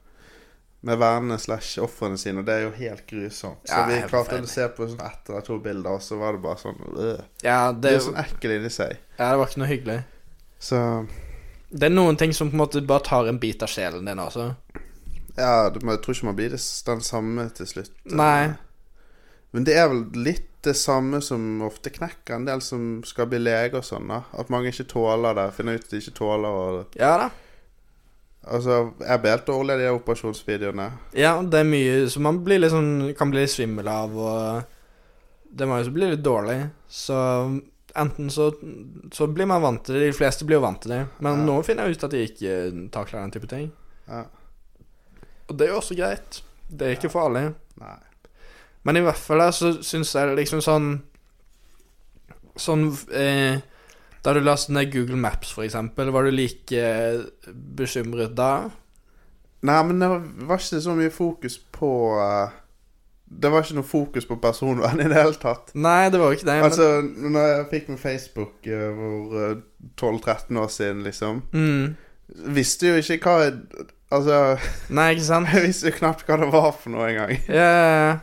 [SPEAKER 3] med vennene slash ofrene sine, og det er jo helt grusomt. Så
[SPEAKER 2] Ja,
[SPEAKER 3] vi
[SPEAKER 2] helt
[SPEAKER 3] klarte
[SPEAKER 2] forferdelig.
[SPEAKER 3] å se på sånn ett eller to bilder, og så var det bare sånn øh.
[SPEAKER 2] ja,
[SPEAKER 3] Det
[SPEAKER 2] det,
[SPEAKER 3] er jo sånn ekkel inni seg.
[SPEAKER 2] ja, det var ikke noe hyggelig.
[SPEAKER 3] Så
[SPEAKER 2] Det er noen ting som på en måte bare tar en bit av sjelen din, altså.
[SPEAKER 3] ja, det- men jeg tror ikke man blir det, s- den samme til slutt. øh.
[SPEAKER 2] Nei.
[SPEAKER 3] Men det er vel litt det samme som ofte knekker en del som skal bli lege og sånn. da At mange ikke tåler det. Finner ut at de ikke tåler å
[SPEAKER 2] Ja da.
[SPEAKER 3] Altså, jeg blir helt dårlig av de der operasjonsvideoene.
[SPEAKER 2] Ja, det er mye som man blir litt sånn, kan bli litt svimmel av, og det må jo bli litt dårlig. Så enten så, så blir man vant til det, de fleste blir jo vant til det, men
[SPEAKER 3] Ja.
[SPEAKER 2] nå finner jeg ut at de ikke eh, takler den type ting.
[SPEAKER 3] Ja.
[SPEAKER 2] Og det er jo også greit. Det er ikke for alle.
[SPEAKER 3] Nei.
[SPEAKER 2] Men i hvert fall da, så syns jeg liksom sånn Sånn eh, Da du lastet ned Google Maps, for eksempel, var du like eh, bekymret da?
[SPEAKER 3] Nei, men det var- var ikke så mye fokus på eh, Det var ikke noe fokus på personvern i det hele tatt.
[SPEAKER 2] Nei, det var jo ikke det.
[SPEAKER 3] Altså, når jeg fikk med Facebook eh, for eh, 12-13 år siden, liksom
[SPEAKER 2] men,
[SPEAKER 3] Visste jo ikke hva jeg- Altså, [LAUGHS]
[SPEAKER 2] mm, Nei, ikke sant?
[SPEAKER 3] jeg visste jo knapt hva det var for noe engang.
[SPEAKER 2] Ja,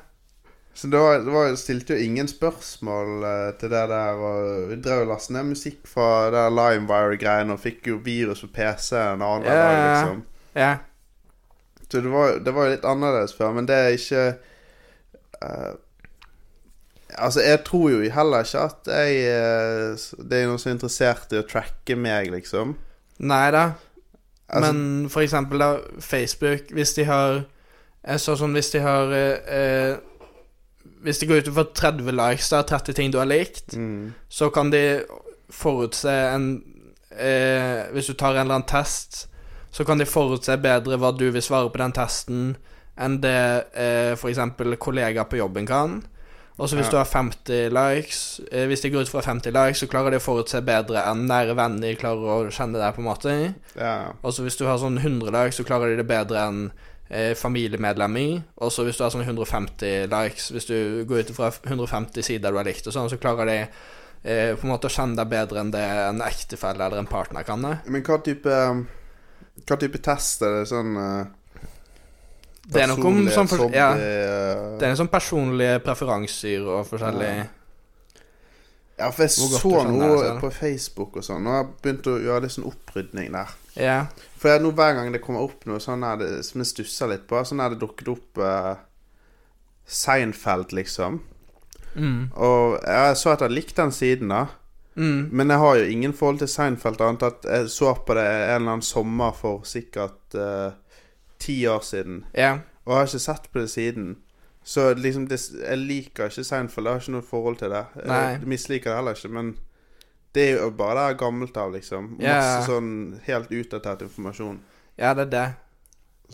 [SPEAKER 3] Så det var, det var, jeg stilte jo ingen spørsmål eh, til det der. Og vi drev og lastet ned musikk fra det der Limewire-greiene og fikk jo virus på PC-en en annen
[SPEAKER 2] Ja,
[SPEAKER 3] dag,
[SPEAKER 2] ja, ja.
[SPEAKER 3] liksom.
[SPEAKER 2] ja.
[SPEAKER 3] Så det var, det var jo litt annerledes før, men det er ikke eh, Altså, jeg tror jo heller ikke at jeg eh, s- Det er noen som er interessert i å tracke meg, liksom.
[SPEAKER 2] Nei da.
[SPEAKER 3] Altså,
[SPEAKER 2] Men for eksempel da, Facebook, hvis de har Jeg så sånn hvis de har eh, eh, Hvis de går ut og får 30 likes av 30 ting du har likt,
[SPEAKER 3] mm,
[SPEAKER 2] så kan de forutse en eh, Hvis du tar en eller annen test, så kan de forutse bedre hva du vil svare på den testen, enn det eh, f.eks. kollegaer på jobben kan. Og så hvis
[SPEAKER 3] Ja.
[SPEAKER 2] du har 50 likes eh, Hvis de går ut fra 50 likes, så klarer de å forutse bedre enn nære venner klarer å kjenne deg, på en måte.
[SPEAKER 3] ja.
[SPEAKER 2] Og så hvis du har sånn 100 likes, så klarer de det bedre enn eh, familiemedlem i. Og så hvis du har sånn 150 likes, hvis du går ut fra 150 sider du har likt og sånn, så klarer de eh, på en måte å kjenne deg bedre enn det en ektefelle eller en partner kan det.
[SPEAKER 3] Men hva type Hva type test er det sånn eh,
[SPEAKER 2] Det er noe om sånn for, ja,
[SPEAKER 3] personlighets- hobby, eh,
[SPEAKER 2] det er en sånn personlige preferanser og forskjellig
[SPEAKER 3] Ja. Ja, for jeg
[SPEAKER 2] Hvor godt
[SPEAKER 3] så
[SPEAKER 2] du skjønner det,
[SPEAKER 3] noe
[SPEAKER 2] altså.
[SPEAKER 3] på Facebook og sånn, og jeg begynte å gjøre litt sånn opprydning der.
[SPEAKER 2] Ja.
[SPEAKER 3] For jeg, nå hver gang det kommer opp noe sånn her det- som jeg stusser litt på, sånn er det dukket opp eh, Seinfeld, liksom.
[SPEAKER 2] Mm.
[SPEAKER 3] Og jeg så at jeg likte den siden, da.
[SPEAKER 2] Mm.
[SPEAKER 3] Men jeg har jo ingen forhold til Seinfeld annet enn at jeg så på det en eller annen sommer for sikkert eh, ti år siden.
[SPEAKER 2] Ja.
[SPEAKER 3] Og jeg har ikke sett på det siden. Så liksom det, jeg liker ikke Seinfeld. Jeg har ikke noe forhold til det.
[SPEAKER 2] Nei.
[SPEAKER 3] Jeg misliker det heller ikke, men det er jo bare det jeg er gammelt av, liksom. Masse
[SPEAKER 2] Ja.
[SPEAKER 3] sånn helt utdatert informasjon.
[SPEAKER 2] ja, det er det.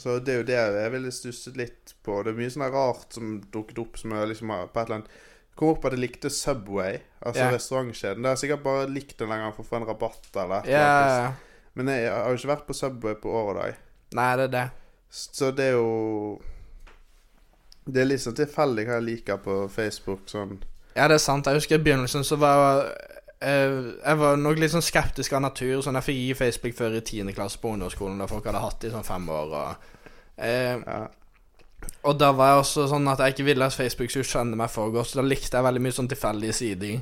[SPEAKER 3] Så det er jo det jeg ville stusset litt på. Det er mye sånn rart som dukket opp som jeg liksom har på et eller annet Kom opp at jeg likte Subway, altså
[SPEAKER 2] Ja.
[SPEAKER 3] restaurantkjeden. Det har jeg sikkert bare likt den lenger for å få en rabatt eller et
[SPEAKER 2] Ja.
[SPEAKER 3] eller annet. Men jeg har jo ikke vært på Subway på år og dag.
[SPEAKER 2] Nei, det er det.
[SPEAKER 3] Så det er jo Det er litt sånn tilfeldig hva jeg liker på Facebook. Sånn.
[SPEAKER 2] Ja, det er sant. Jeg husker i begynnelsen så var eh, jeg var nok litt sånn skeptisk av natur. Sånn Jeg fikk gi Facebook før i 10. klasse på ungdomsskolen, da folk hadde hatt det i sånn fem år. Og, eh,
[SPEAKER 3] Ja.
[SPEAKER 2] Og da var jeg også sånn at jeg ikke ville at Facebook skulle skjønne meg for godt, så da likte jeg veldig mye sånn tilfeldige sider.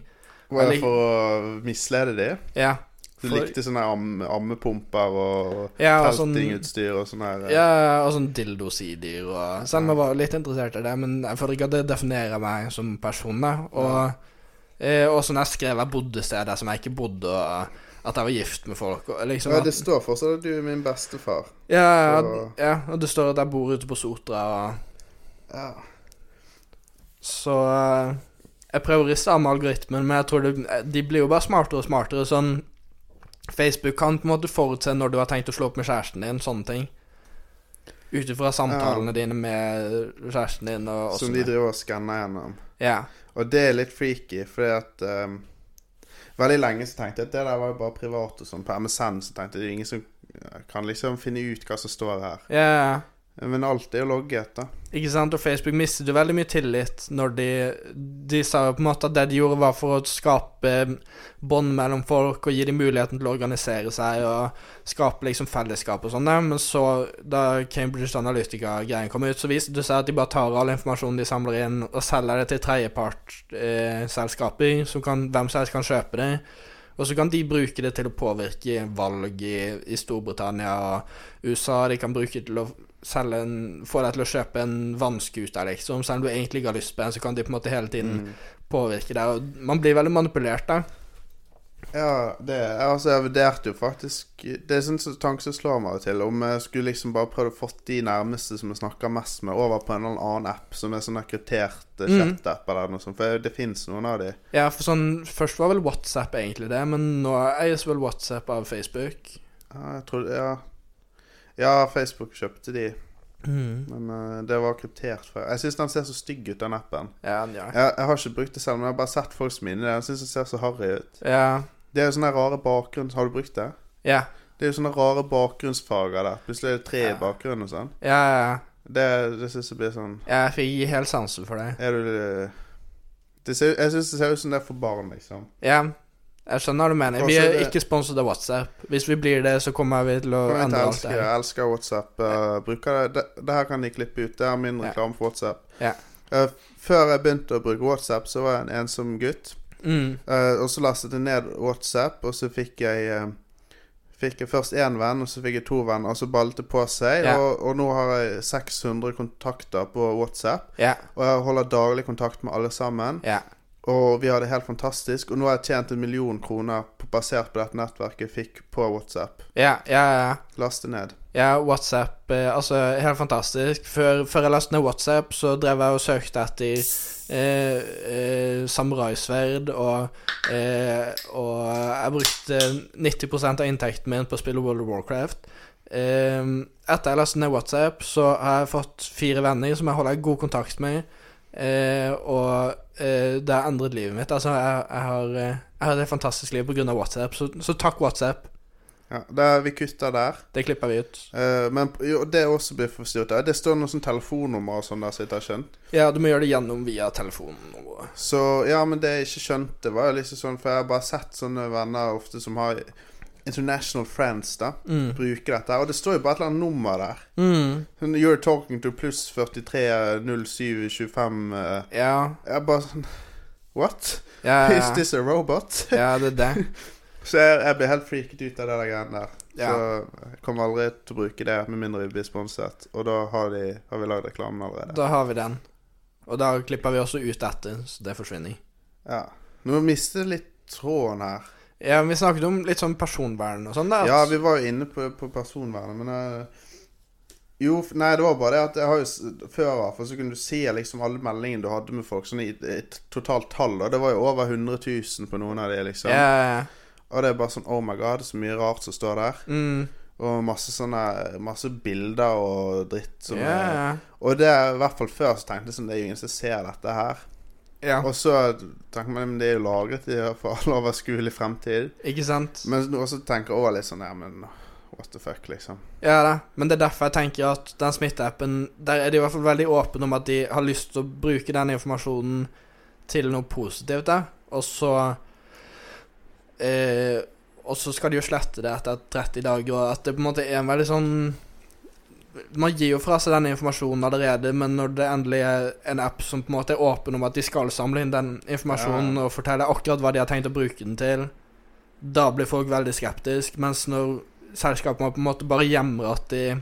[SPEAKER 3] Var
[SPEAKER 2] Jeg
[SPEAKER 3] det
[SPEAKER 2] lik-
[SPEAKER 3] for å mislede de?
[SPEAKER 2] Ja.
[SPEAKER 3] Du
[SPEAKER 2] For-
[SPEAKER 3] likte sånne amme, ammepumper og
[SPEAKER 2] Ja, og sånn-
[SPEAKER 3] teltingutstyr og sånn her? eh.
[SPEAKER 2] Ja, og sånn dildosider og Selv om jeg var litt interessert i det, men jeg føler ikke at det definerer meg som person, da. Og eh, også når jeg skrev jeg bodde steder som jeg ikke bodde, og at jeg var gift med folk og liksom
[SPEAKER 3] Ja,
[SPEAKER 2] at-
[SPEAKER 3] det står fortsatt at du er min bestefar.
[SPEAKER 2] ja,
[SPEAKER 3] så-
[SPEAKER 2] ja, og det står at jeg bor ute på Sotra og
[SPEAKER 3] Ja.
[SPEAKER 2] Så eh, jeg prøver å riste av med algoritmen, men jeg tror det, eh, de blir jo bare smartere og smartere. Sånn Facebook kan på en måte forutse når du har tenkt å slå opp med kjæresten din, sånne ting. Ut ifra samtalene dine med kjæresten din og og
[SPEAKER 3] Som
[SPEAKER 2] sånne.
[SPEAKER 3] de driver og skanner gjennom.
[SPEAKER 2] Ja.
[SPEAKER 3] Og det er litt freaky, fordi at ehm, Veldig lenge så tenkte jeg at det der var jo bare privat og sånn. På MSN så tenkte jeg det er ingen som eh, kan liksom finne ut hva som står her.
[SPEAKER 2] ja, ja.
[SPEAKER 3] Men alt er jo logget, da.
[SPEAKER 2] Ikke sant, og Facebook mistet jo veldig mye tillit når de De sa jo på en måte at det de gjorde var for å skape bånd mellom folk og gi dem muligheten til å organisere seg og skape liksom fellesskap og sånn, der. men så, da Cambridge Analytica-greien kom ut, så viste det seg at de bare tar all informasjonen de samler inn, og selger det til tredjepartsselskaper, eh, selskaper som kan, hvem som helst kan kjøpe det. Og så kan de bruke det til å påvirke valg i, i Storbritannia og USA. De kan bruke det til å selge en, få deg til å kjøpe en vannskuter, liksom. Selv om du egentlig ikke har lyst på en, så kan de på en måte hele tiden
[SPEAKER 3] Mm.
[SPEAKER 2] påvirke deg. Og man blir veldig manipulert, da.
[SPEAKER 3] Ja, det Altså, jeg vurderte jo faktisk Det er sånn som- tanke som slår meg av og til. Om jeg skulle liksom bare prøvd å få de nærmeste som jeg snakker mest med, over på en eller annen app som er sånn her kryptert eh,
[SPEAKER 2] Mm.
[SPEAKER 3] chat-app eller noe sånt. For det fins noen av de.
[SPEAKER 2] Ja, for sånn Først var vel WhatsApp egentlig det, men nå eies vel WhatsApp av Facebook.
[SPEAKER 3] Ja, jeg tror Ja. Ja, Facebook kjøpte de. Men eh, det var kryptert før. Jeg syns den ser så stygg ut, den appen.
[SPEAKER 2] Ja, ja.
[SPEAKER 3] Jeg, jeg har ikke brukt det selv, men jeg har bare sett folk som er inni det. Jeg syns den ser så harry ut.
[SPEAKER 2] Ja.
[SPEAKER 3] Det er jo sånne rare bakgrunns... Har du brukt det?
[SPEAKER 2] Ja,
[SPEAKER 3] Det er jo sånne rare bakgrunnsfarger der. Plutselig er det tre i
[SPEAKER 2] Ja.
[SPEAKER 3] bakgrunnen og sånn.
[SPEAKER 2] ja, ja.
[SPEAKER 3] Det, det syns jeg blir sånn
[SPEAKER 2] Jeg fikk helt sansen for det.
[SPEAKER 3] Er du det ser, Jeg syns det ser ut som det er for barn, liksom.
[SPEAKER 2] Ja, jeg skjønner hva du mener. Vi
[SPEAKER 3] Altså,
[SPEAKER 2] er
[SPEAKER 3] det-
[SPEAKER 2] ikke sponset av WhatsApp. Hvis vi blir det, så eh, kommer vi til å
[SPEAKER 3] Jeg,
[SPEAKER 2] endre alt
[SPEAKER 3] elsker,
[SPEAKER 2] det. her.
[SPEAKER 3] jeg elsker WhatsApp. eh, bruker det. det Det her kan de klippe ut. Det er min
[SPEAKER 2] Ja.
[SPEAKER 3] reklame for WhatsApp.
[SPEAKER 2] Ja.
[SPEAKER 3] Eh, før jeg begynte å bruke WhatsApp, så var jeg en ensom gutt.
[SPEAKER 2] Mm.
[SPEAKER 3] Eh, og så lastet jeg ned WhatsApp, og så fikk jeg eh, Fikk jeg først én venn, og så fikk jeg to venner, og så ballet det på seg.
[SPEAKER 2] Ja.
[SPEAKER 3] Og, og nå har jeg 600 kontakter på WhatsApp,
[SPEAKER 2] Ja,
[SPEAKER 3] og jeg holder daglig kontakt med alle sammen.
[SPEAKER 2] ja,
[SPEAKER 3] Og vi har det helt fantastisk. Og nå har jeg tjent en million kroner på, basert på dette nettverket jeg fikk på WhatsApp.
[SPEAKER 2] ja, ja, ja.
[SPEAKER 3] Laste ned.
[SPEAKER 2] Ja, WhatsApp eh, Altså, helt fantastisk. Før, før jeg lastet ned WhatsApp, så drev jeg og søkte etter eh, eh, samuraisverd, og, eh, og jeg brukte 90 av inntekten min på å spille World of Warcraft. Eh, etter jeg lastet ned WhatsApp, så har jeg fått fire venner som jeg holder god kontakt med. Eh, og eh, det har endret livet mitt. Altså, jeg, jeg, har, eh, jeg har et fantastisk liv pga. WhatsApp, så, så takk, WhatsApp.
[SPEAKER 3] Ja, der, vi kutter der.
[SPEAKER 2] Det klipper vi ut.
[SPEAKER 3] Eh, men jo, det også blir forstyrret. Det står noe sånn telefonnummer og sånn der, så jeg ikke har skjønt.
[SPEAKER 2] Ja, du må gjøre det gjennom via telefonen. og-
[SPEAKER 3] Så ja, men det jeg ikke skjønte, var jo liksom sånn For jeg har bare sett sånne venner ofte som har international friends, da. Bruker dette. Og det står jo bare et eller annet nummer der. Sånn, You're talking to pluss 43 07 25 eh.
[SPEAKER 2] Ja,
[SPEAKER 3] Jeg bare sånn What?
[SPEAKER 2] ja,
[SPEAKER 3] Is
[SPEAKER 2] ja,
[SPEAKER 3] this a robot? [LAUGHS]
[SPEAKER 2] ja, det er det.
[SPEAKER 3] Så jeg, jeg ble helt freaket ut av det der greiene der.
[SPEAKER 2] Ja.
[SPEAKER 3] Så jeg kommer aldri til å bruke det med mindre vi blir sponset. Og da har, de, har vi lagd reklamen allerede.
[SPEAKER 2] Da har vi den. Og da klipper vi også ut dette, så det forsvinner.
[SPEAKER 3] Ja. Nå mistet jeg litt tråden her.
[SPEAKER 2] Ja, men Vi snakket om litt sånn personvern og sånn. da at-
[SPEAKER 3] Ja, vi var jo inne på, på personvernet, men jeg, Jo, f- nei, det var bare det at jeg har jo s- Før i hvert fall så kunne du se liksom alle meldingene du hadde med folk, sånn i i et totalt tall, og det var jo over 100 000 på noen av de, liksom.
[SPEAKER 2] ja, ja, ja.
[SPEAKER 3] Og det er bare sånn Oh my god, så mye rart som står der.
[SPEAKER 2] Mm,
[SPEAKER 3] Og masse sånne Masse bilder og dritt som
[SPEAKER 2] ja,
[SPEAKER 3] er
[SPEAKER 2] ja,
[SPEAKER 3] Og det er i hvert fall før så tenkte jeg sånn, det er jo ingen som ser dette her.
[SPEAKER 2] ja.
[SPEAKER 3] Og så tenker man, men det er jo lagret i for [LAUGHS] all overskuelig fremtid.
[SPEAKER 2] Ikke sant?
[SPEAKER 3] Men nå også tenker jeg over litt sånn, ja, men what the fuck, liksom.
[SPEAKER 2] Ja da. Men det er derfor jeg tenker at den smitteappen Der er de i hvert fall veldig åpne om at de har lyst til å bruke den informasjonen til noe positivt, da. Og så eh, Og så skal de jo slette det etter 30 dager, og at det på en måte er en veldig sånn Man gir jo fra seg den informasjonen allerede, men når det endelig er en app som på en måte er åpen om at de skal samle inn den informasjonen
[SPEAKER 3] Ja.
[SPEAKER 2] og fortelle akkurat hva de har tenkt å bruke den til, da blir folk veldig skeptisk Mens når selskapene på en måte bare gjemmer at de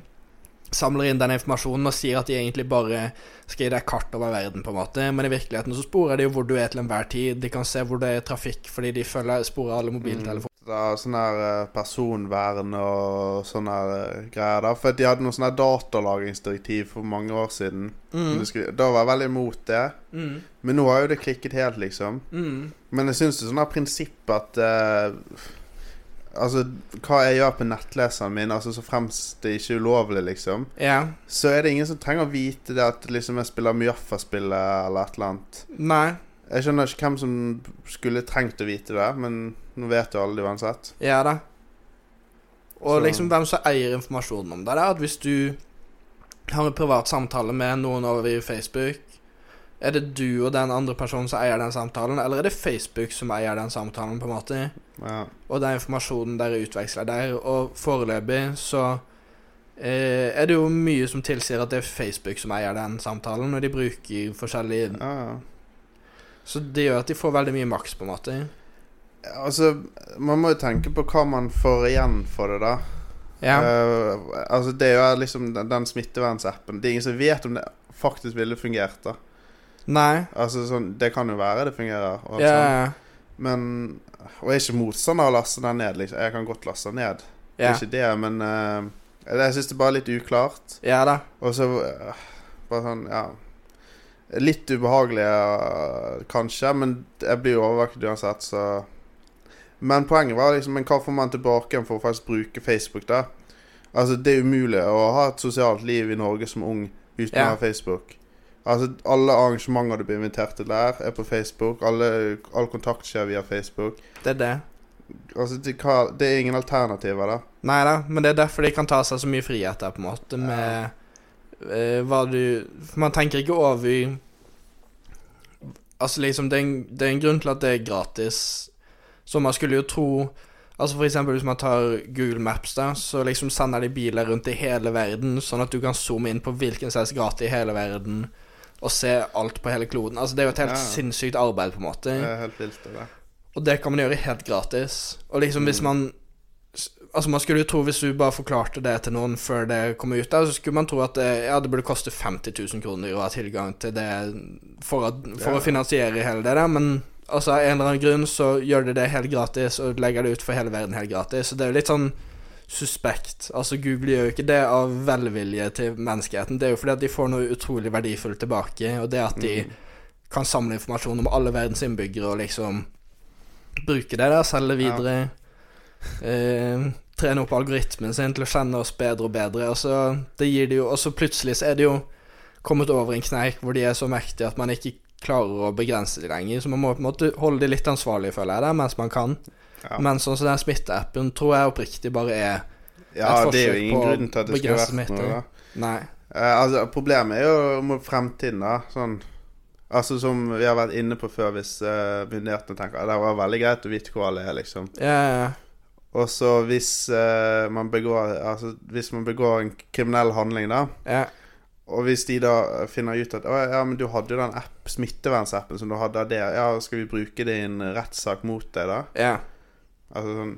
[SPEAKER 2] samler inn den informasjonen og sier at de egentlig bare skal gi deg kart over verden, på en måte, men i virkeligheten så sporer de jo hvor du er til enhver tid. De kan se hvor det er trafikk, fordi de følger sporer alle mobiltelefoner.
[SPEAKER 3] Da, sånn her eh, personvern og sånne her eh, greier. da For at de hadde noe sånn her datalagringsdirektiv for mange år siden. Men
[SPEAKER 2] Mm.
[SPEAKER 3] det skulle- Da var jeg veldig imot det.
[SPEAKER 2] Mm.
[SPEAKER 3] Men nå har jo det klikket helt, liksom.
[SPEAKER 2] Mm.
[SPEAKER 3] Men jeg syns det er sånn her prinsipp at eh, Altså, hva jeg gjør på nettleseren min, altså så fremst det ikke er ulovlig, liksom,
[SPEAKER 2] Ja.
[SPEAKER 3] så er det ingen som trenger å vite det at liksom jeg spiller Mjaffa-spillet eller et eller annet.
[SPEAKER 2] Nei.
[SPEAKER 3] Jeg skjønner ikke hvem som skulle trengt å vite det, men nå vet jo alle det uansett.
[SPEAKER 2] Ja da. Og
[SPEAKER 3] Så-
[SPEAKER 2] liksom hvem som eier informasjonen om deg. Det er at hvis du har en privat samtale med noen over i Facebook, er det du og den andre personen som eier den samtalen, eller er det Facebook som eier den samtalen, på en måte?
[SPEAKER 3] Ja.
[SPEAKER 2] Og den informasjonen dere utveksler der, og foreløpig så eh, er det jo mye som tilsier at det er Facebook som eier den samtalen, og de bruker forskjellige
[SPEAKER 3] Ja, ja.
[SPEAKER 2] Så det gjør at de får veldig mye maks, på en måte.
[SPEAKER 3] Altså, man må jo tenke på hva man får igjen for det, da.
[SPEAKER 2] Ja.
[SPEAKER 3] Eh, altså, det er jo liksom den, den smittevernsappen. Det er ingen som vet om det faktisk ville fungert, da.
[SPEAKER 2] Nei.
[SPEAKER 3] Altså, sånn, det kan jo være det fungerer. Og alt
[SPEAKER 2] Ja,
[SPEAKER 3] sånt.
[SPEAKER 2] ja.
[SPEAKER 3] Men Og jeg er ikke motstander av å laste den ned. Liksom. Jeg kan godt laste den ned. Det
[SPEAKER 2] Ja.
[SPEAKER 3] er ikke det, men eh, jeg syns det er bare litt uklart.
[SPEAKER 2] ja da.
[SPEAKER 3] Og så eh, bare sånn, ja Litt ubehagelig, eh, kanskje, men jeg blir jo overvåket uansett, så Men poenget var liksom Men hva får man tilbake igjen for å faktisk bruke Facebook, da? Altså, det er umulig å ha et sosialt liv i Norge som ung uten
[SPEAKER 2] Ja.
[SPEAKER 3] å ha Facebook. Altså, alle arrangementer du blir invitert til der, er på Facebook. Alle, all kontakt skjer via Facebook.
[SPEAKER 2] Det er det.
[SPEAKER 3] Altså, det, hva, det er ingen alternativer, da.
[SPEAKER 2] Nei da, men det er derfor de kan ta seg så mye frihet der, på en måte, med eh, hva du For man tenker ikke over i Altså, liksom, det er, en, det er en grunn til at det er gratis, så man skulle jo tro Altså for eksempel hvis man tar Google Maps da, så liksom sender de biler rundt i hele verden, sånn at du kan zoome inn på hvilken som helst gate i hele verden, og se alt på hele kloden. Altså det er jo et helt
[SPEAKER 3] Ja.
[SPEAKER 2] sinnssykt arbeid, på en måte.
[SPEAKER 3] Det er helt vilt, det der.
[SPEAKER 2] Og det kan man gjøre helt gratis. Og liksom hvis man Altså Man skulle jo tro, hvis du bare forklarte det til noen før det kom ut, der, så skulle man tro at det, ja, det burde koste 50 000 kroner å ha tilgang til det for, at, for
[SPEAKER 3] Ja.
[SPEAKER 2] å finansiere hele det der, men altså av en eller annen grunn så gjør de det helt gratis og legger det ut for hele verden helt gratis. Så det er jo litt sånn suspekt. Altså Google gjør jo ikke det av velvilje til menneskeheten. Det er jo fordi at de får noe utrolig verdifullt tilbake, og det at de
[SPEAKER 3] Mm.
[SPEAKER 2] kan samle informasjon om alle verdens innbyggere og liksom bruke det der, selge videre. Eh, trene opp algoritmen sin til å kjenne oss bedre og bedre. Og så, det gir det jo, og så plutselig så er det jo kommet over en kneik hvor de er så mektige at man ikke klarer å begrense de lenger. Så man må på en måte holde de litt ansvarlige, føler jeg, der, mens man kan.
[SPEAKER 3] Ja.
[SPEAKER 2] Men sånn som den smitteappen tror jeg oppriktig bare er Et
[SPEAKER 3] Ja, det er
[SPEAKER 2] forsøk
[SPEAKER 3] jo ingen
[SPEAKER 2] på å
[SPEAKER 3] grunn til at det skulle
[SPEAKER 2] begrense
[SPEAKER 3] vært
[SPEAKER 2] smitte.
[SPEAKER 3] noe. da.
[SPEAKER 2] Nei.
[SPEAKER 3] Eh, altså, problemet er jo mot fremtiden, da. Sånn, altså Som vi har vært inne på før, hvis eh, myndighetene tenker at det var veldig greit å vite hvor alle er, liksom.
[SPEAKER 2] Ja, ja, ja.
[SPEAKER 3] Og så hvis, eh, man begår- altså, hvis man begår en kriminell handling, da,
[SPEAKER 2] ja.
[SPEAKER 3] og hvis de da finner ut at å, ja, men du hadde jo den app, smittevernsappen som du hadde av det, ja, skal vi bruke det i en rettssak mot deg, da?
[SPEAKER 2] Ja,
[SPEAKER 3] Altså sånn